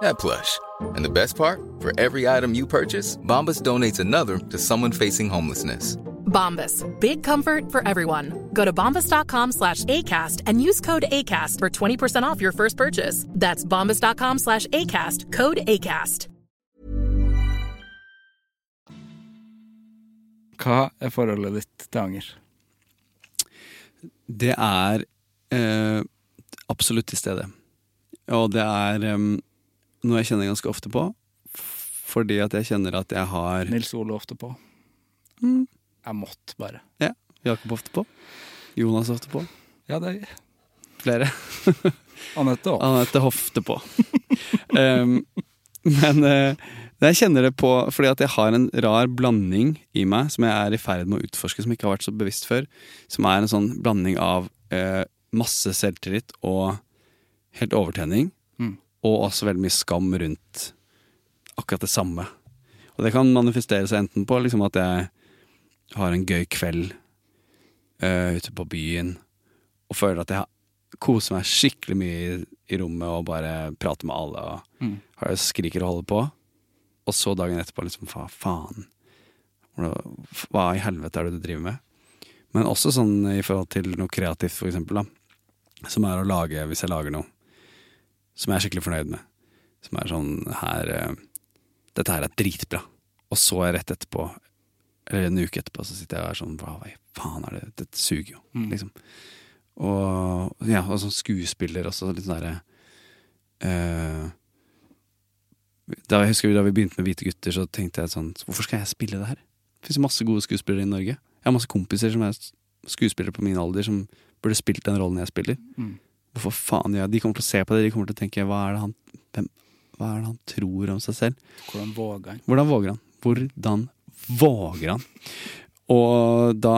that plush. And the best part? For every item you purchase, Bombas donates another to someone facing homelessness.
Bombas. Big comfort for everyone. Go to bombas.com slash ACAST and use code ACAST for 20% off your first purchase. That's bombas.com slash ACAST, code ACAST.
Hva er forholdet ditt til anger?
Det er eh, absolutt til stede. Og det er em, noe jeg kjenner ganske ofte på. f- Fordi at jeg kjenner at jeg har
Nils Ole ofte på. Mm. Jeg måtte bare.
ja, Jakob ofte på. Jonas ofte på.
Ja, det er
Flere.
Anette òg.
Anette Hofte på. (laughs) Em, men eh, jeg kjenner det på fordi at jeg har en rar blanding i meg som jeg er i ferd med å utforske, som jeg ikke har vært så bevisst før. Som er en sånn blanding av eh, masse selvtillit og helt overtenning. Og også veldig mye skam rundt akkurat det samme. Og det kan manifestere seg enten på liksom at jeg har en gøy kveld eh, ute på byen og føler at jeg koser meg skikkelig mye i, i rommet og bare prater med alle og har- skriker og holder på. Og så dagen etterpå liksom fa, faen, hvordan- hva i helvete er det du driver med? Men også sånn i forhold til noe kreativt, for eksempel, da. Som er å lage, hvis jeg lager noe som jeg er skikkelig fornøyd med. Som er sånn her eh, Dette her er dritbra. Og så rett etterpå, eller en uke etterpå, så sitter jeg og er sånn Hva faen er det? Dette suger jo, liksom. Og, ja, og sånn skuespiller også, litt sånn derre eh, da jeg husker da vi begynte med Hvite gutter, så tenkte jeg sånn Hvorfor skal jeg spille det her? Det fins masse gode skuespillere i Norge. Jeg har masse kompiser som er s- skuespillere på min alder, som burde spilt den rollen jeg spiller. Hvorfor faen gjør jeg De kommer til å se på det, de kommer til å tenke hva er det han, hvem, hva er det han tror om seg selv?
Hvordan våger han?
Hvordan våger han? Hvordan våger han? Og da,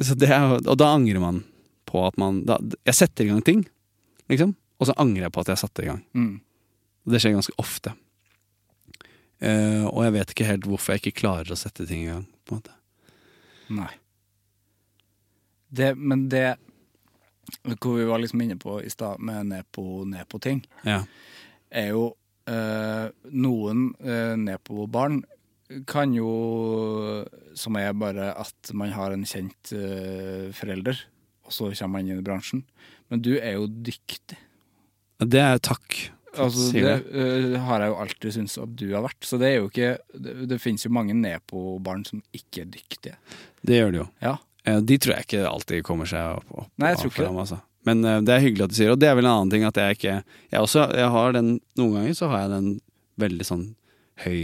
så det er, og da angrer man på at man da, Jeg setter i gang ting, liksom, og så angrer jeg på at jeg satte i gang.
Mm.
Og det skjer ganske ofte. Eh, og jeg vet ikke helt hvorfor jeg ikke klarer å sette ting i gang. På en måte.
Nei. Det, men det Hvor vi var liksom inne på i stad, med nepo-nepo-ting,
Ja.
er jo eh, Noen eh, nepo-barn kan jo Som er bare at man har en kjent eh, forelder, og så kommer man inn i bransjen. Men du er jo dyktig.
Det er takk. for at du
Altså,
sier
det eh, har jeg jo alltid syntes at du har vært. Så det er jo ikke Det, det finnes jo mange nepo-barn som ikke er dyktige.
Det gjør det jo.
Ja.
Eh, De tror jeg ikke alltid kommer seg opp, opp
Nei, jeg tror
av
ikke det.
fram, altså. Men eh, det er hyggelig at du sier det. Og det er vel en annen ting at jeg ikke jeg også, jeg har den, Noen ganger så har jeg den veldig sånn høy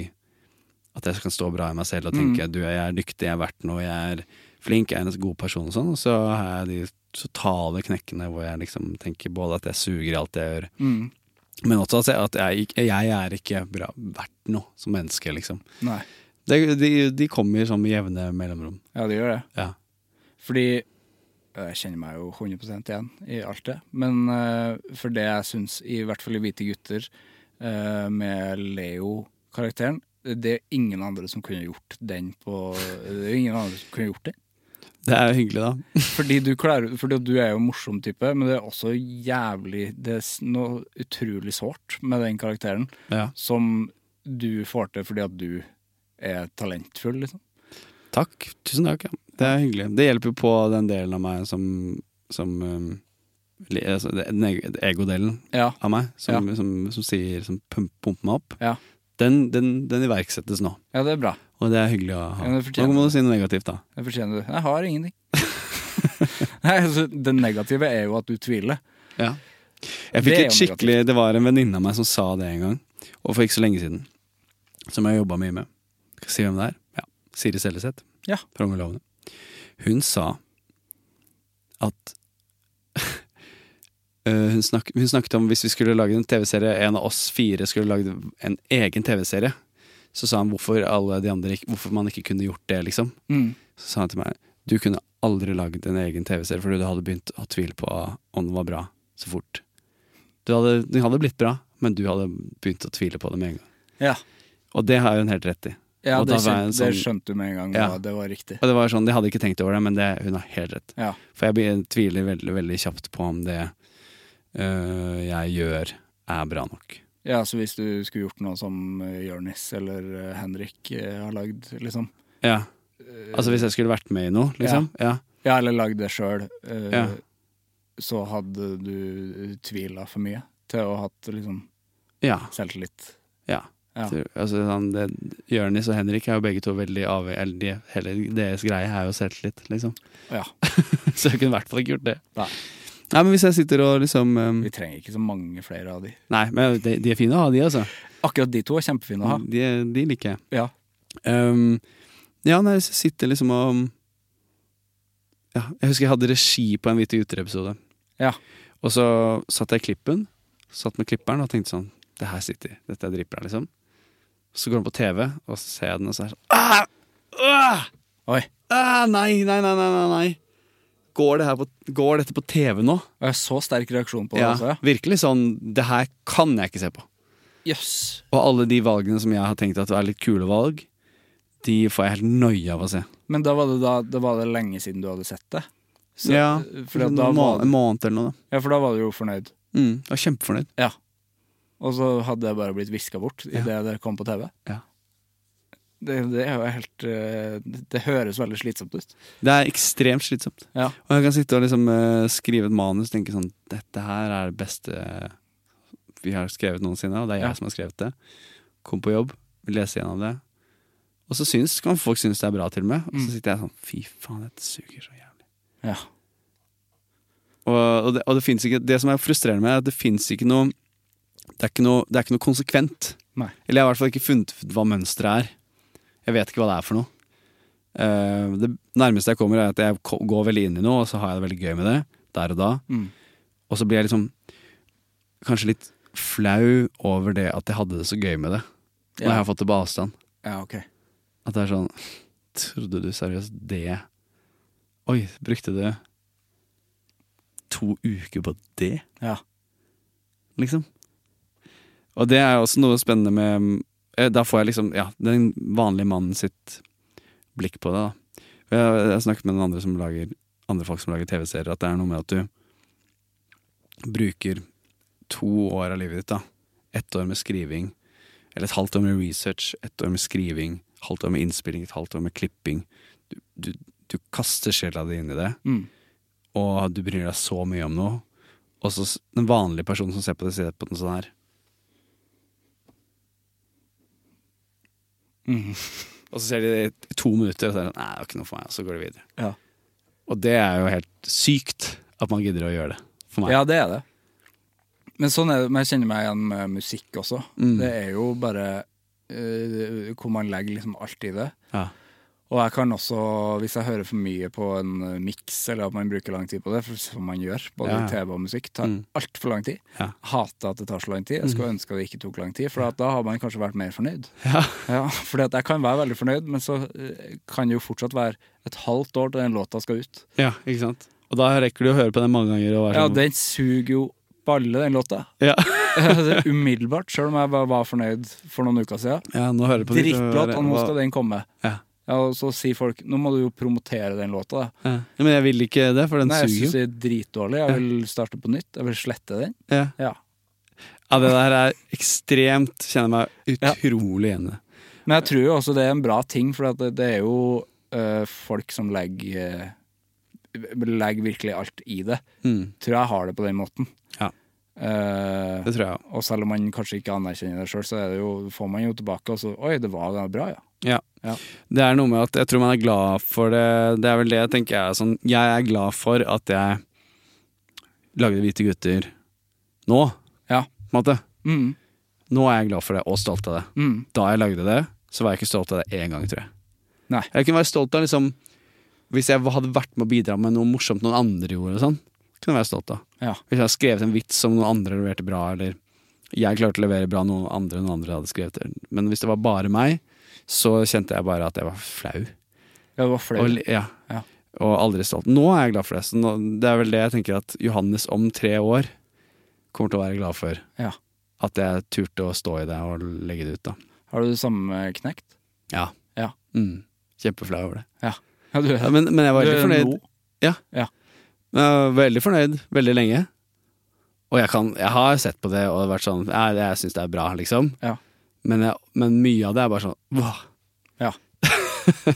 At jeg kan stå bra i meg selv og
Mm.
tenke du, jeg er dyktig, jeg er verdt noe, jeg er flink, jeg er en god person og sånn. Og så har jeg de totale knekkene hvor jeg liksom tenker både at jeg suger i alt jeg gjør,
Mm.
men også at jeg, at jeg, ikke- jeg er ikke bra, verdt noe som menneske, liksom.
Nei.
Det, de, de kommer sånn med jevne mellomrom.
Ja, det gjør det.
Ja.
Fordi jeg kjenner meg jo 100 igjen i alt det. Men eh, for det jeg syns, i hvert fall i Hvite gutter, eh, med Leo-karakteren Det er ingen andre som kunne gjort den på Det er ingen andre som kunne gjort den.
Det er jo hyggelig, da.
Fordi du, klarer, fordi du er jo en morsom type, men det er også jævlig Det er s- noe utrolig sårt med den karakteren
Ja.
som du får til fordi at du er talentfull, liksom.
Takk. Tusen takk. Ja. Det er hyggelig. Det hjelper jo på den delen av meg som, som um, li- altså, Den eg- egodelen
Ja.
av meg som, som, som sier Som pump- pumper meg opp.
Ja.
Den, den, den iverksettes nå.
ja, det er bra.
Og det er hyggelig å ha.
Ja, det fortjener
nå må du si noe negativt, da.
Det fortjener du. Jeg har ingenting. (laughs) Nei, altså, det negative er jo at du tviler.
Jeg
Det
fikk
er
et
jo negativt.
skikkelig Det var en venninne av meg som sa det en gang, og for ikke så lenge siden. Som jeg jobba mye med. Skal jeg si hvem det er? Ja. Siri Selleseth.
Ja.
Fra Unge lovende. Hun sa at (laughs) øh, hun, snak, hun snakket om hvis vi skulle lage en TV-serie, en av oss fire skulle lagd en egen TV-serie, så sa han hvorfor, alle de andre, ikke- hvorfor man ikke kunne gjort det, liksom. Så sa han til meg Du kunne aldri lagd en egen TV-serie Fordi du hadde begynt å tvile på om den var bra Så fort du hadde, Den hadde blitt bra, men du hadde begynt å tvile på det med en gang
Ja,
Og det har hun helt rett i
ja
og,
det,
da var jeg en
skjønte, det
sånn-
skjønte du med en gang.
Ja.
hva Det var riktig.
og det var sånn, jeg hadde ikke tenkt over det, men det, hun har helt rett
Ja.
For jeg be- tviler veldig, veldig kjapt på om det øh, jeg gjør er bra nok
ja, Så hvis du skulle gjort noe som eh, Jonis eller eh, Henrik eh, har lagd, liksom.
Ja, altså hvis jeg skulle vært med i noe liksom Ja,
Øh. Ja, eller lagd det sjøl, eh,
Ja.
så hadde du tvila for mye til å ha hatt liksom
ja,
selvtillit.
ja,
Ja.
Tror- Altså, sånn, det, Jørnis og Henrik er jo begge to veldig avhengig Eller de, hele deres greie er jo selvtillit, liksom. (laughs)
ja.
Så jeg kunne i hvert fall ikke gjort det.
Nei.
Nei, men hvis jeg sitter og liksom um,
Vi trenger ikke så mange flere av de.
Nei, men de, de er fine å ha, de, altså.
Akkurat de to er kjempefine å ha.
De, de liker jeg.
Ja.
Um, ja, nei, hvis jeg sitter liksom og um, ja, Jeg husker jeg hadde regi på en Hvite gutter-episode.
Ja.
Og så satt jeg i klippen, satt med klipperen og tenkte sånn Det her sitter, dette er dritbra, liksom. Så går den på TV, og så ser jeg den, og så er det sånn ah! Ah!
Oi.
Ah, nei, nei, nei, nei, nei, nei. Går, det her på, går dette på TV nå?
Og jeg har så sterk reaksjon på det også. altså, ja.
Virkelig sånn Det her kan jeg ikke se på.
Jøss.
Og alle de valgene som jeg har tenkt at er litt kule valg, de får jeg helt nøye av å se.
Men da var det, da, da var det lenge siden du hadde sett det. Så,
ja,
for at da
en, må
var,
en måned eller noe, da.
ja, for da var du jo fornøyd.
Mm, jeg var kjempefornøyd.
Ja. Og så hadde jeg bare blitt viska bort
Ja.
idet det kom på TV.
Ja.
Det, det er jo helt eh, Det det høres veldig slitsomt ut.
Det er ekstremt slitsomt.
Ja.
Og jeg kan sitte og liksom eh, skrive et manus og tenke sånn Dette her er det beste vi har skrevet noensinne, og det er jeg
Ja.
som har skrevet det. Kom på jobb, lese gjennom det. Og så syns, kan folk synes det er bra, til og med. Og
Mm.
så sitter jeg sånn Fy faen, dette suger så jævlig.
Ja.
Og, og, det, og det, finnes ikke, det som er frustrerende med det, er at det fins ikke noe det, er ikke noe det er ikke noe konsekvent.
Nei.
Eller jeg har i hvert fall ikke funnet ut hva mønsteret er. Jeg vet ikke hva det er for noe. Eh, det nærmeste jeg kommer, er at jeg ko- går veldig inn i noe, og så har jeg det veldig gøy med det der og da.
Mm.
Og så blir jeg liksom kanskje litt flau over det at jeg hadde det så gøy med det. Når
Ja.
jeg har fått det på avstand.
Ja, ok.
At det er sånn Trodde du seriøst det? Oi, brukte du to uker på det?
Ja.
Liksom. Og det er også noe spennende med eh, Da får jeg liksom ja, den vanlige mannen sitt blikk på det. da. Jeg jeg har snakket med noen andre, som lager, andre folk som lager TV-serier, at det er noe med at du bruker to år av livet ditt. da. Ett år med skriving, eller et halvt år med research, ett år med skriving, halvt år med innspilling, et halvt år med klipping. Du, du, du kaster sjela di inn i det,
Mm.
og du bryr deg så mye om noe. Og så s- den vanlige personen som ser på det, ser på den sånn her.
Mm.
(laughs) Og så ser de det i to minutter, og så er det sånn, nei, det var ikke noe for meg, og så går de videre.
Ja.
Og det er jo helt sykt at man gidder å gjøre det, for meg.
Ja, det er det. Men sånn er det, men jeg kjenner meg igjen med musikk også.
Mm.
Det er jo bare eh, hvor man legger liksom alt i det.
Ja.
Og jeg kan også, hvis jeg hører for mye på en eh, miks, eller at man bruker lang tid på det, for som man gjør, både
Ja, ja.
TV og musikk, tar altfor lang tid.
Ja. Mm.
Hater at det tar så lang tid. Jeg skulle ønske det ikke tok lang tid, for at da har man kanskje vært mer fornøyd.
(laughs) Ja.
Ja, fordi at jeg kan være veldig fornøyd, men så eh, kan det jo fortsatt være et halvt år til den låta skal ut.
Ja, ikke sant? Og da rekker du å høre på den mange ganger og være
Ja,
sånn.
den suger jo balle, den låta. (laughs)
Ja.
Det er Umiddelbart, sjøl om jeg bare var fornøyd for noen uker siden.
ja, nå hører du på
Drittlåt, og nå skal
det.
den komme.
Ja.
Ja, og så sier folk nå må du jo promotere den låta. Da.
Ja. Ja, Men jeg vil ikke det, for den
Nei, jeg
suger
syns
jo.
det er dritdårlig. Jeg vil starte på nytt. Jeg vil slette den.
Ja.
Ja.
ja, det der er ekstremt Kjenner meg
Ja.
utrolig igjen i det.
Men jeg tror jo også det er en bra ting, for at det, det er jo øh, folk som legger øh, Legger virkelig alt i det.
Mm.
Tror jeg har det på den måten.
Ja.
Eh,
Det tror jeg òg.
og selv om man kanskje ikke anerkjenner det sjøl, så er det jo, får man jo tilbake og så Oi, det var det var bra, ja.
Ja.
Ja.
Det er noe med at jeg tror man er glad for det. Det er vel det jeg tenker jeg er sånn Jeg er glad for at jeg lagde Hvite gutter nå,
Ja.
på en måte.
Mm,
Nå er jeg glad for det, og stolt av det.
mm.
Da jeg lagde det, så var jeg ikke stolt av det én gang, tror jeg.
Nei.
Jeg kunne være stolt av liksom Hvis jeg hadde vært med å bidra med noe morsomt noen andre gjorde, og sånn, kunne jeg være stolt av.
Ja.
Hvis jeg hadde skrevet en vits som noen andre leverte bra, eller jeg klarte å levere bra noen andre enn noen andre hadde skrevet det. Men hvis det var bare meg, så kjente jeg bare at jeg var flau.
Ja, det var flaut.
Og, li- ja.
Ja.
og aldri stolt. Nå er jeg glad for det. Så nå, det er vel det jeg tenker at Johannes om tre år kommer til å være glad for.
Ja.
At jeg turte å stå i det og legge det ut, da.
Har du det samme knekt?
Ja.
Ja.
Mm. Kjempeflau over det.
Ja. ja du,
Ja, men, men jeg var
Du
veldig
er
fornøyd.
nå?
Ja.
Ja.
Men Jeg var veldig fornøyd veldig lenge. Og jeg, kan, jeg har sett på det og vært sånn Jeg, jeg syns det er bra, liksom.
Ja.
Men, jeg, men mye av det er bare sånn Wow.
Ja.
(laughs)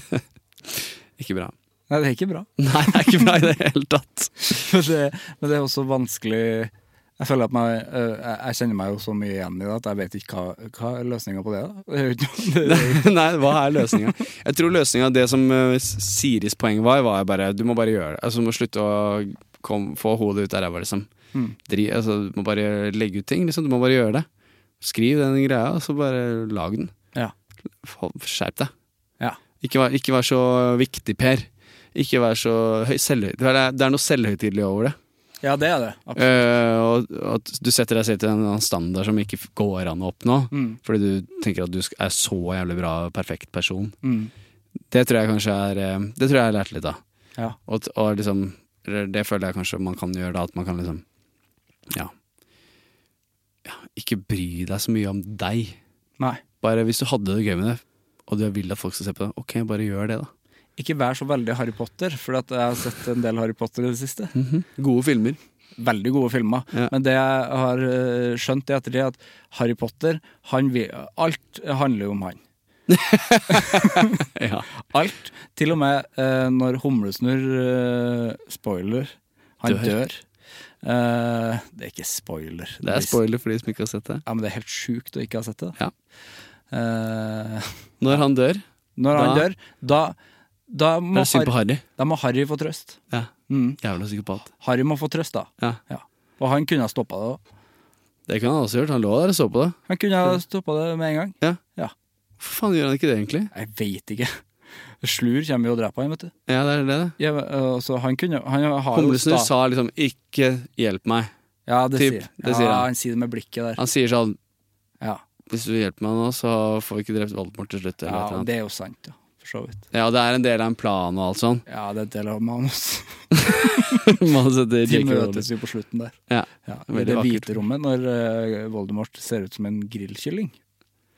ikke bra.
Nei, det er ikke bra.
Nei, det er ikke bra i det hele tatt.
(laughs) Men det, men det er også vanskelig Jeg føler at meg, øh, jeg jeg kjenner meg jo så mye igjen i det at jeg vet ikke hva, hva er løsninga på det. da. Det er jo
(laughs)
ikke- det-
Nei, hva er løsninga? Jeg tror løsninga, det som eh, Siris poeng var, var bare du må bare gjøre det. Altså, du må slutte å kom, få hodet ut av ræva, liksom.
Mm.
Dri, altså, du må bare legge ut ting, liksom. Du må bare gjøre det. Skriv den greia, og så bare lag den.
Ja.
Få- Skjerp deg.
Ja.
Ikke vær, ikke vær så viktig, Per. Ikke vær så høy, selvhøy... Det er, det er noe selvhøytidelig over det.
ja, det er det. Absolutt.
Eh, og at du setter deg selv til en annen standard som ikke går an å oppnå.
Mm.
Fordi du tenker at du sk- er så jævlig bra, perfekt person.
Mm.
Det tror jeg kanskje er eh, Det tror jeg jeg har lært litt av.
Ja.
Og, t- og liksom eller Det føler jeg kanskje man kan gjøre da, at man kan liksom Ja. ja ikke bry deg så mye om deg.
Nei.
Bare hvis du hadde det gøy med det, og du vil at folk skal se på det, ok, bare gjør det, da.
Ikke vær så veldig Harry Potter, for at jeg har sett en del Harry Potter i det siste.
Gode filmer.
veldig gode filmer.
Ja.
Men det jeg har eh, skjønt i ettertid, er at Harry Potter han, vil- Alt handler jo om han.
(laughs) Ja.
Alt. Til og med eh, når Humlesnurr eh, Spoiler. Han
Dør.
dør. Eh, det er ikke spoiler.
Det er spoiler for de som ikke har sett det.
Ja, men det er helt sjukt å ikke ha sett det.
Ja.
Eh,
Når han dør,
når han
Da-
dør, da, da,
det
må
er synd
Harry,
på Harry.
da må Harry få trøst.
Ja.
Mm.
Jævla psykopat.
Harry må få trøst, da.
Ja.
Ja. Og han kunne ha stoppa det òg.
Det kunne han også gjort, han lå der og så på det.
Han kunne ha stoppa det med en gang.
Ja.
Ja.
Hvorfor faen gjør han ikke det, egentlig?
Jeg veit ikke. Slur kommer jo og dreper han, vet du.
Ja, det er det, det.
Ja, men, øh, så han kunne Han har jo
Humlesnurr
sta-
sa liksom 'ikke hjelp meg'.
Ja, det
typ,
sier,
det sier
ja,
han.
han sier det med blikket der.
Han sier sånn
Ja,
'hvis du hjelper meg nå, så får vi ikke drept Voldemort til slutt'. Eller
ja
et eller annet.
det er jo sant, ja. For så vidt.
Ja, og det er en del av en plan og alt sånn. (laughs)
Ja, det er en del av manus.
Manuset til
(laughs) De
J.K. Rowling.
møtes jo på slutten der.
Ja.
Ja, I
Veldig
det
vakkert.
hvite rommet, når øh, Voldemort ser ut som en grillkylling,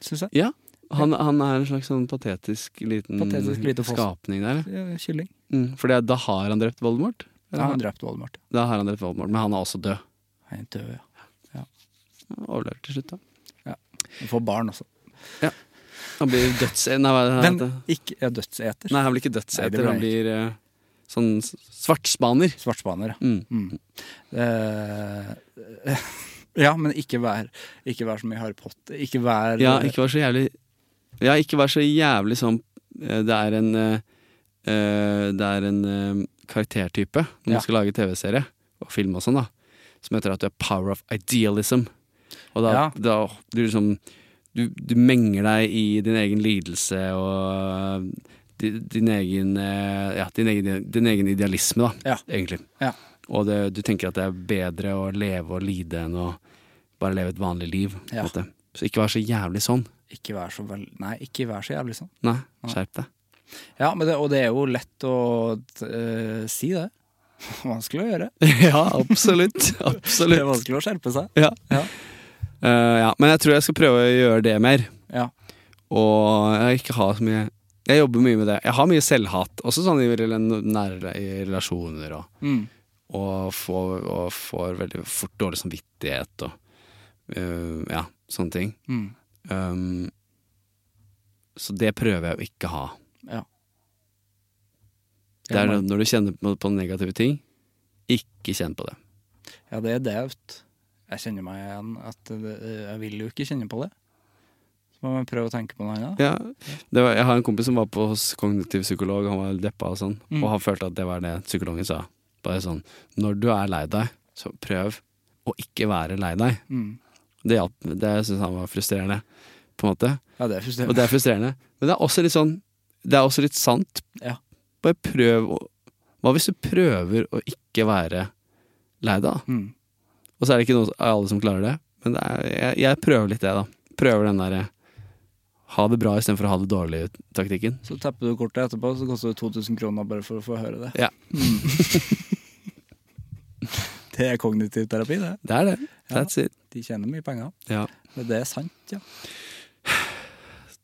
syns jeg.
ja. Han, han er en slags sånn patetisk liten
Patetisk lite foss.
skapning der.
Ja, Kylling.
Mm. Fordi da har han drept Voldemort.
Ja, han drepte Voldemort.
Da har han drept Voldemort, men han er også død.
Han er død, ja.
Han Overlever til slutt, da.
Han får barn også.
Han blir døds... Nei, hva er det han
Men
heter?
ikke er dødseter.
Nei, han blir ikke
Nei, det
dødseter,
blir
han
han
blir eh, sånn s- svartspaner.
Svartspaner, ja.
Mm.
Mm. Eh, (laughs) ja, men ikke vær, ikke vær så mye Harry Potter. Ikke vær
Ja, ikke vær så jævlig Ja, ikke vær så jævlig sånn eh, Det er en eh, eh, Det er en eh, karaktertype når man
Ja.
skal lage TV-serie og film og sånn, da, som heter at du er power of idealism. Og da,
Ja.
da du liksom du, du menger deg i din egen lidelse og din, din egen eh, Ja, din egen, din egen idealisme, da,
Ja.
egentlig.
Ja.
Og det, du tenker at det er bedre å leve og lide enn å bare leve et vanlig liv. på en
Ja.
måte. Så ikke vær så jævlig sånn.
Ikke vær så vel, Nei, ikke vær så jævlig sånn.
Nei, skjerp deg.
Ja, men det, og det er jo lett å eh, si det. (laughs) Vanskelig å gjøre.
(laughs) ja, absolutt.
Det
(laughs)
er
Absolutt.
vanskelig å skjerpe seg.
Ja.
Ja.
Eh, ja. Men jeg tror jeg skal prøve å gjøre det mer.
Ja.
Og jeg ikke har så mye Jeg jobber mye med det. Jeg har mye selvhat, også sånn i rel- nære i relasjoner. Og,
Mm.
og, får, og får veldig fort dårlig samvittighet og eh, ja, sånne ting.
Mm.
Um, så det prøver jeg å ikke ha.
Ja.
Det er når du kjenner på, på negative ting, ikke kjenn på det.
Ja, det er daut. Jeg kjenner meg igjen at det, jeg vil jo ikke kjenne på det. Så må man prøve å tenke på noe annet.
Ja, det var, jeg har en kompis som var på hos kognitiv psykolog, han var deppa og sånn, og han følte at det var det psykologen sa. Bare sånn Når du er lei deg, så prøv å ikke være lei deg.
Mm.
Det hjalp, det syns han var frustrerende, på en måte.
Ja, det
(laughs)
er
Og
frustrerende.
det er frustrerende. Men det er også litt sånn Det er også litt sant.
Ja.
Bare prøv å Hva hvis du prøver å ikke være lei deg, da?
Mm.
Og så er det ikke noe, alle som klarer det, men det er, jeg, jeg prøver litt det, da. Prøver den derre ha det bra istedenfor å ha det dårlig-taktikken.
Så tapper du kortet etterpå, så koster det 2000 kroner bare for å få høre det.
Ja.
Det er kognitiv terapi, det.
Det er det. That's it.
De tjener mye penger.
Ja.
Men det er sant, ja.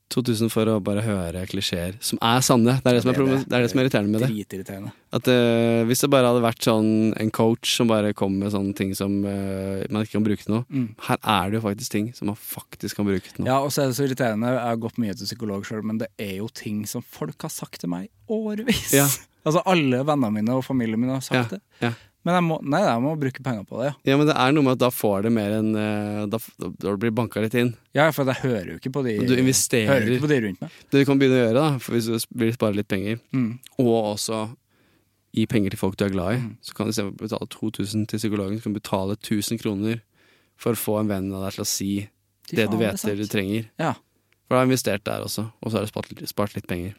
2000 for å bare høre klisjeer som er sanne. Det er det som er, problem, det er, det som er irriterende med det.
Dritirriterende.
At eh, Hvis det bare hadde vært sånn en coach som bare kom med sånne ting som eh, man ikke kan bruke til noe Her er det jo faktisk ting som man faktisk kan bruke til noe.
Mm. Ja, og så er det så irriterende. Jeg har gått mye til psykolog sjøl, men det er jo ting som folk har sagt til meg i årevis.
Ja.
(laughs) Altså alle vennene mine og familien min har
Ja,
sagt det.
ja.
Men jeg må, nei, jeg må bruke penger på det, ja.
ja, men det er noe med at da får det mer enn eh, Da, da, da blir det banka litt inn.
Ja, for jeg hører jo ikke på de
Du investerer.
Hører jo ikke på de rundt meg.
Det du kan begynne å gjøre, da, for hvis du s- vil spare litt penger,
Mm.
og også gi penger til folk du er glad i, så kan du istedenfor å betale 2000 til psykologen, så kan du betale 1000 kroner for å få en venn av deg til å si
Fy
det
faen,
du
det er
vet du
sant.
trenger.
Ja.
For da har du investert der også, og så har du spart, litt- spart litt penger.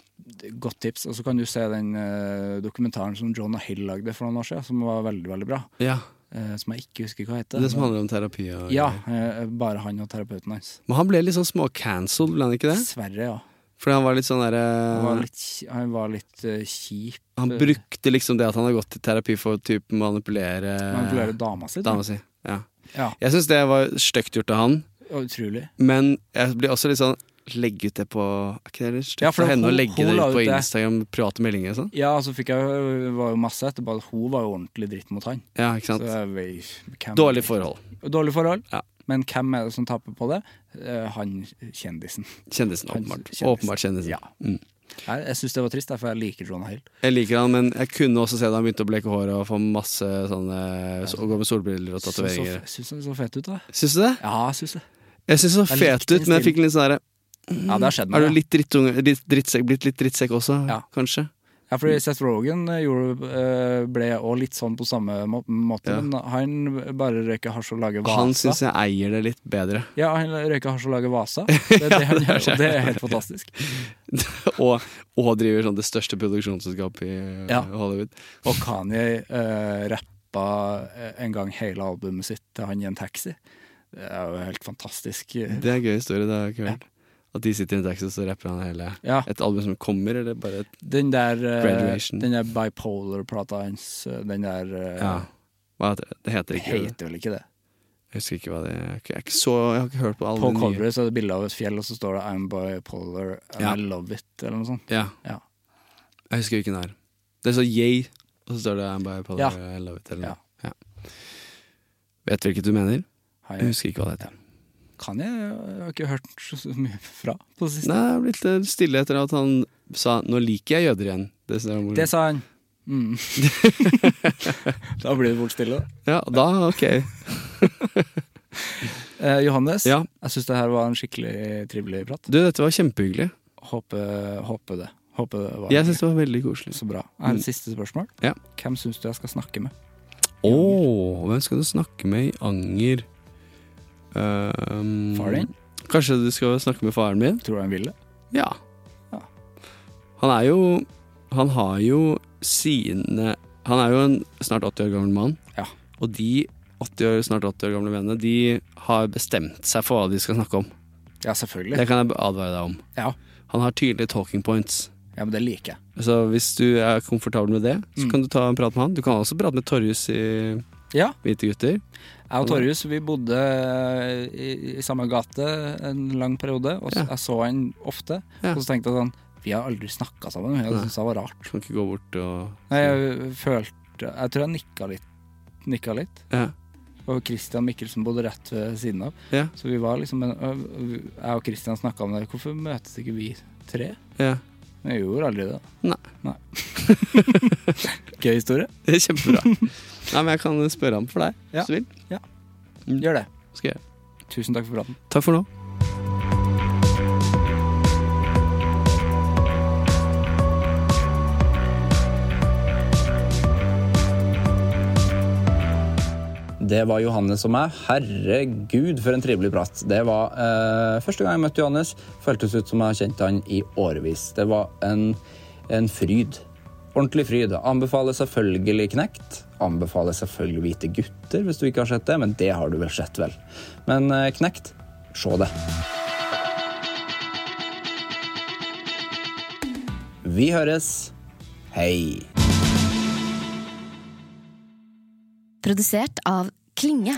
godt tips. Og så kan du se den eh, dokumentaren som Jonah Hill lagde for noen år siden, som var veldig, veldig bra.
Ja,
Eh, som jeg ikke husker hva heter.
Det, som handler om terapi og
Ja, eh, bare han og terapeuten hans.
Men han ble litt sånn småcancelled, ble han ikke det?
Dessverre, ja.
Fordi han var litt sånn
Han var
derre
litt, han var litt eh, kjip.
Han brukte liksom det at han har gått til terapi for å typ manipulere,
Manipulerer dama si. da.
Eh. dama si. Ja.
Ja,
Jeg syns det var stygt gjort av han.
og utrolig.
Men jeg blir også litt sånn Legge ut det på Er ikke det litt stygt
Ja, for
for henne å
hun-
legge
hun
det
la
ut
ut
på
det.
Instagram, private meldinger og sånn?
Ja, så fikk jeg eh, var jo masse etterpå at hun var jo ordentlig dritt mot han.
Ja, ikke
Så eh,
sant?
jeg vet- hvem-
Dårlig forhold.
Dårlig forhold.
Ja.
Men hvem er det som taper på det? Eh, han kjendisen.
Kjendisen,
Han-
åpenbart.
kjendisen.
Åpenbart kjendisen.
Ja.
Mm.
Jeg, jeg syns det var trist, derfor jeg liker Jonah Hill.
Jeg liker han, men jeg kunne også se da han begynte å bleke håret og få masse sånne så, Og gå med solbriller og
Syns så,
tatoveringer.
syns han så fet ut, da.
Syns du det?
Ja, jeg syns det.
Jeg syns det så
Jeg
fet
likte
ut, men jeg
stilen.
fikk litt sånn derre
Ja, det har skjedd meg.
Er
ja.
du litt drittunge, litt drittsekk, blitt litt drittsekk også,
Ja.
kanskje?
Ja, fordi Seth Rogan eh, gjorde, eh, ble òg litt sånn på samme må- måte,
Ja.
men han bare røyker hasj og lager
Han
vasa.
syns jeg eier det litt bedre. (laughs)
Ja, han røyker hasj og lager vasa. Det er det han
det er
gjør, og det er helt
det.
fantastisk.
og, og driver sånn det største produksjonsselskapet i eh,
Ja.
Hollywood.
Og Kanye eh, rappa eh, en gang hele albumet sitt til han i en taxi. Det er jo helt fantastisk.
Det er en gøy historie. Det har jeg ikke hørt. At de sitter i en taxi, og så rapper han hele
Ja.
Et album som kommer, eller bare et
Den der, eh,
Graduation.
den der bipolar-plata hans, eh, den der eh,
Ja. Hva heter det? Det heter
Det
ikke det.
heter vel ikke det.
Jeg husker ikke hva det jeg er. ikke- Jeg, er ikke så, jeg har ikke hørt på alle
På
de nye.
coveret så er det bilde av et fjell, og så står det 'I'm bipolar and
Ja.
I love it', eller noe sånt.
Ja.
Ja.
Jeg husker hvilken det er. Det står Yay, og så står det I'm bipolar,
Ja.
I love it, eller
Ja.
noe. Ja. Vet du hvilket du mener?
Han-
Jeg husker ikke hva det heter.
kan jeg, jeg har ikke hørt så så mye fra på det siste.
Nei, jeg har blitt eh, stille etter at han sa 'nå liker jeg jøder igjen'. Det sa
Det sa han. (laughs) Mm. da blir det fort stille. da.
Ja, da ok.
Eh, Johannes,
Ja.
jeg syns det her var en skikkelig trivelig prat.
Du, dette var kjempehyggelig.
Håper, håper det. Håper det var
Jeg syns det var veldig koselig.
så bra. Jeg
Mm.
har et siste spørsmål.
Ja.
Hvem syns du jeg skal snakke med?
Å, hvem skal du snakke med i anger? Um,
Far din?
Kanskje du skal snakke med faren min?
Tror du han vil det?
Ja.
Ja.
Han er jo Han har jo sine Han er jo en snart 80 år gammel mann.
Ja.
Og de 80 år, snart 80 år gamle mennene De har bestemt seg for hva de skal snakke om.
Ja, selvfølgelig.
Det kan jeg advare deg om.
Ja.
Han har tydelige talking points.
ja, men det liker jeg.
Så hvis du er komfortabel med det, så
Mm.
kan du ta en prat med han. Du kan også prate med Torjus i
Ja,
Hvite gutter.
jeg og Torjus vi bodde i, i samme gate en lang periode, og så,
Ja.
jeg så han ofte.
Ja.
Og så tenkte jeg sånn Vi har aldri snakka sammen, og jeg
Nei.
syntes det var rart.
Kan ikke gå bort og
Nei, jeg følte Jeg tror jeg nikka litt. Nikka litt.
ja.
Og Christian Mikkelsen bodde rett ved siden av.
Ja.
Så vi var liksom en- ø- ø- Jeg og Christian snakka om det. Hvorfor møtes ikke vi tre?
ja.
Men vi gjorde aldri det.
Nei.
(laughs) Gøy historie.
Det er
(laughs)
kjempebra. Nei, men jeg kan spørre ham for deg,
Ja.
hvis du vil.
Gjør det.
Skal jeg.
Tusen takk for praten.
Takk for nå.
Det var Johannes og meg. Herregud, for en trivelig prat. Det var eh, første gang jeg møtte Johannes. Føltes ut som jeg har kjent han i årevis. Det var en, en fryd. Ordentlig fryd. Anbefaler selvfølgelig Knekt. Anbefaler selvfølgelig Hvite gutter, hvis du ikke har sett det. Men det har du vel sett, vel. Men eh, Knekt, se det. Vi høres. Hei.
Produsert av Klinge.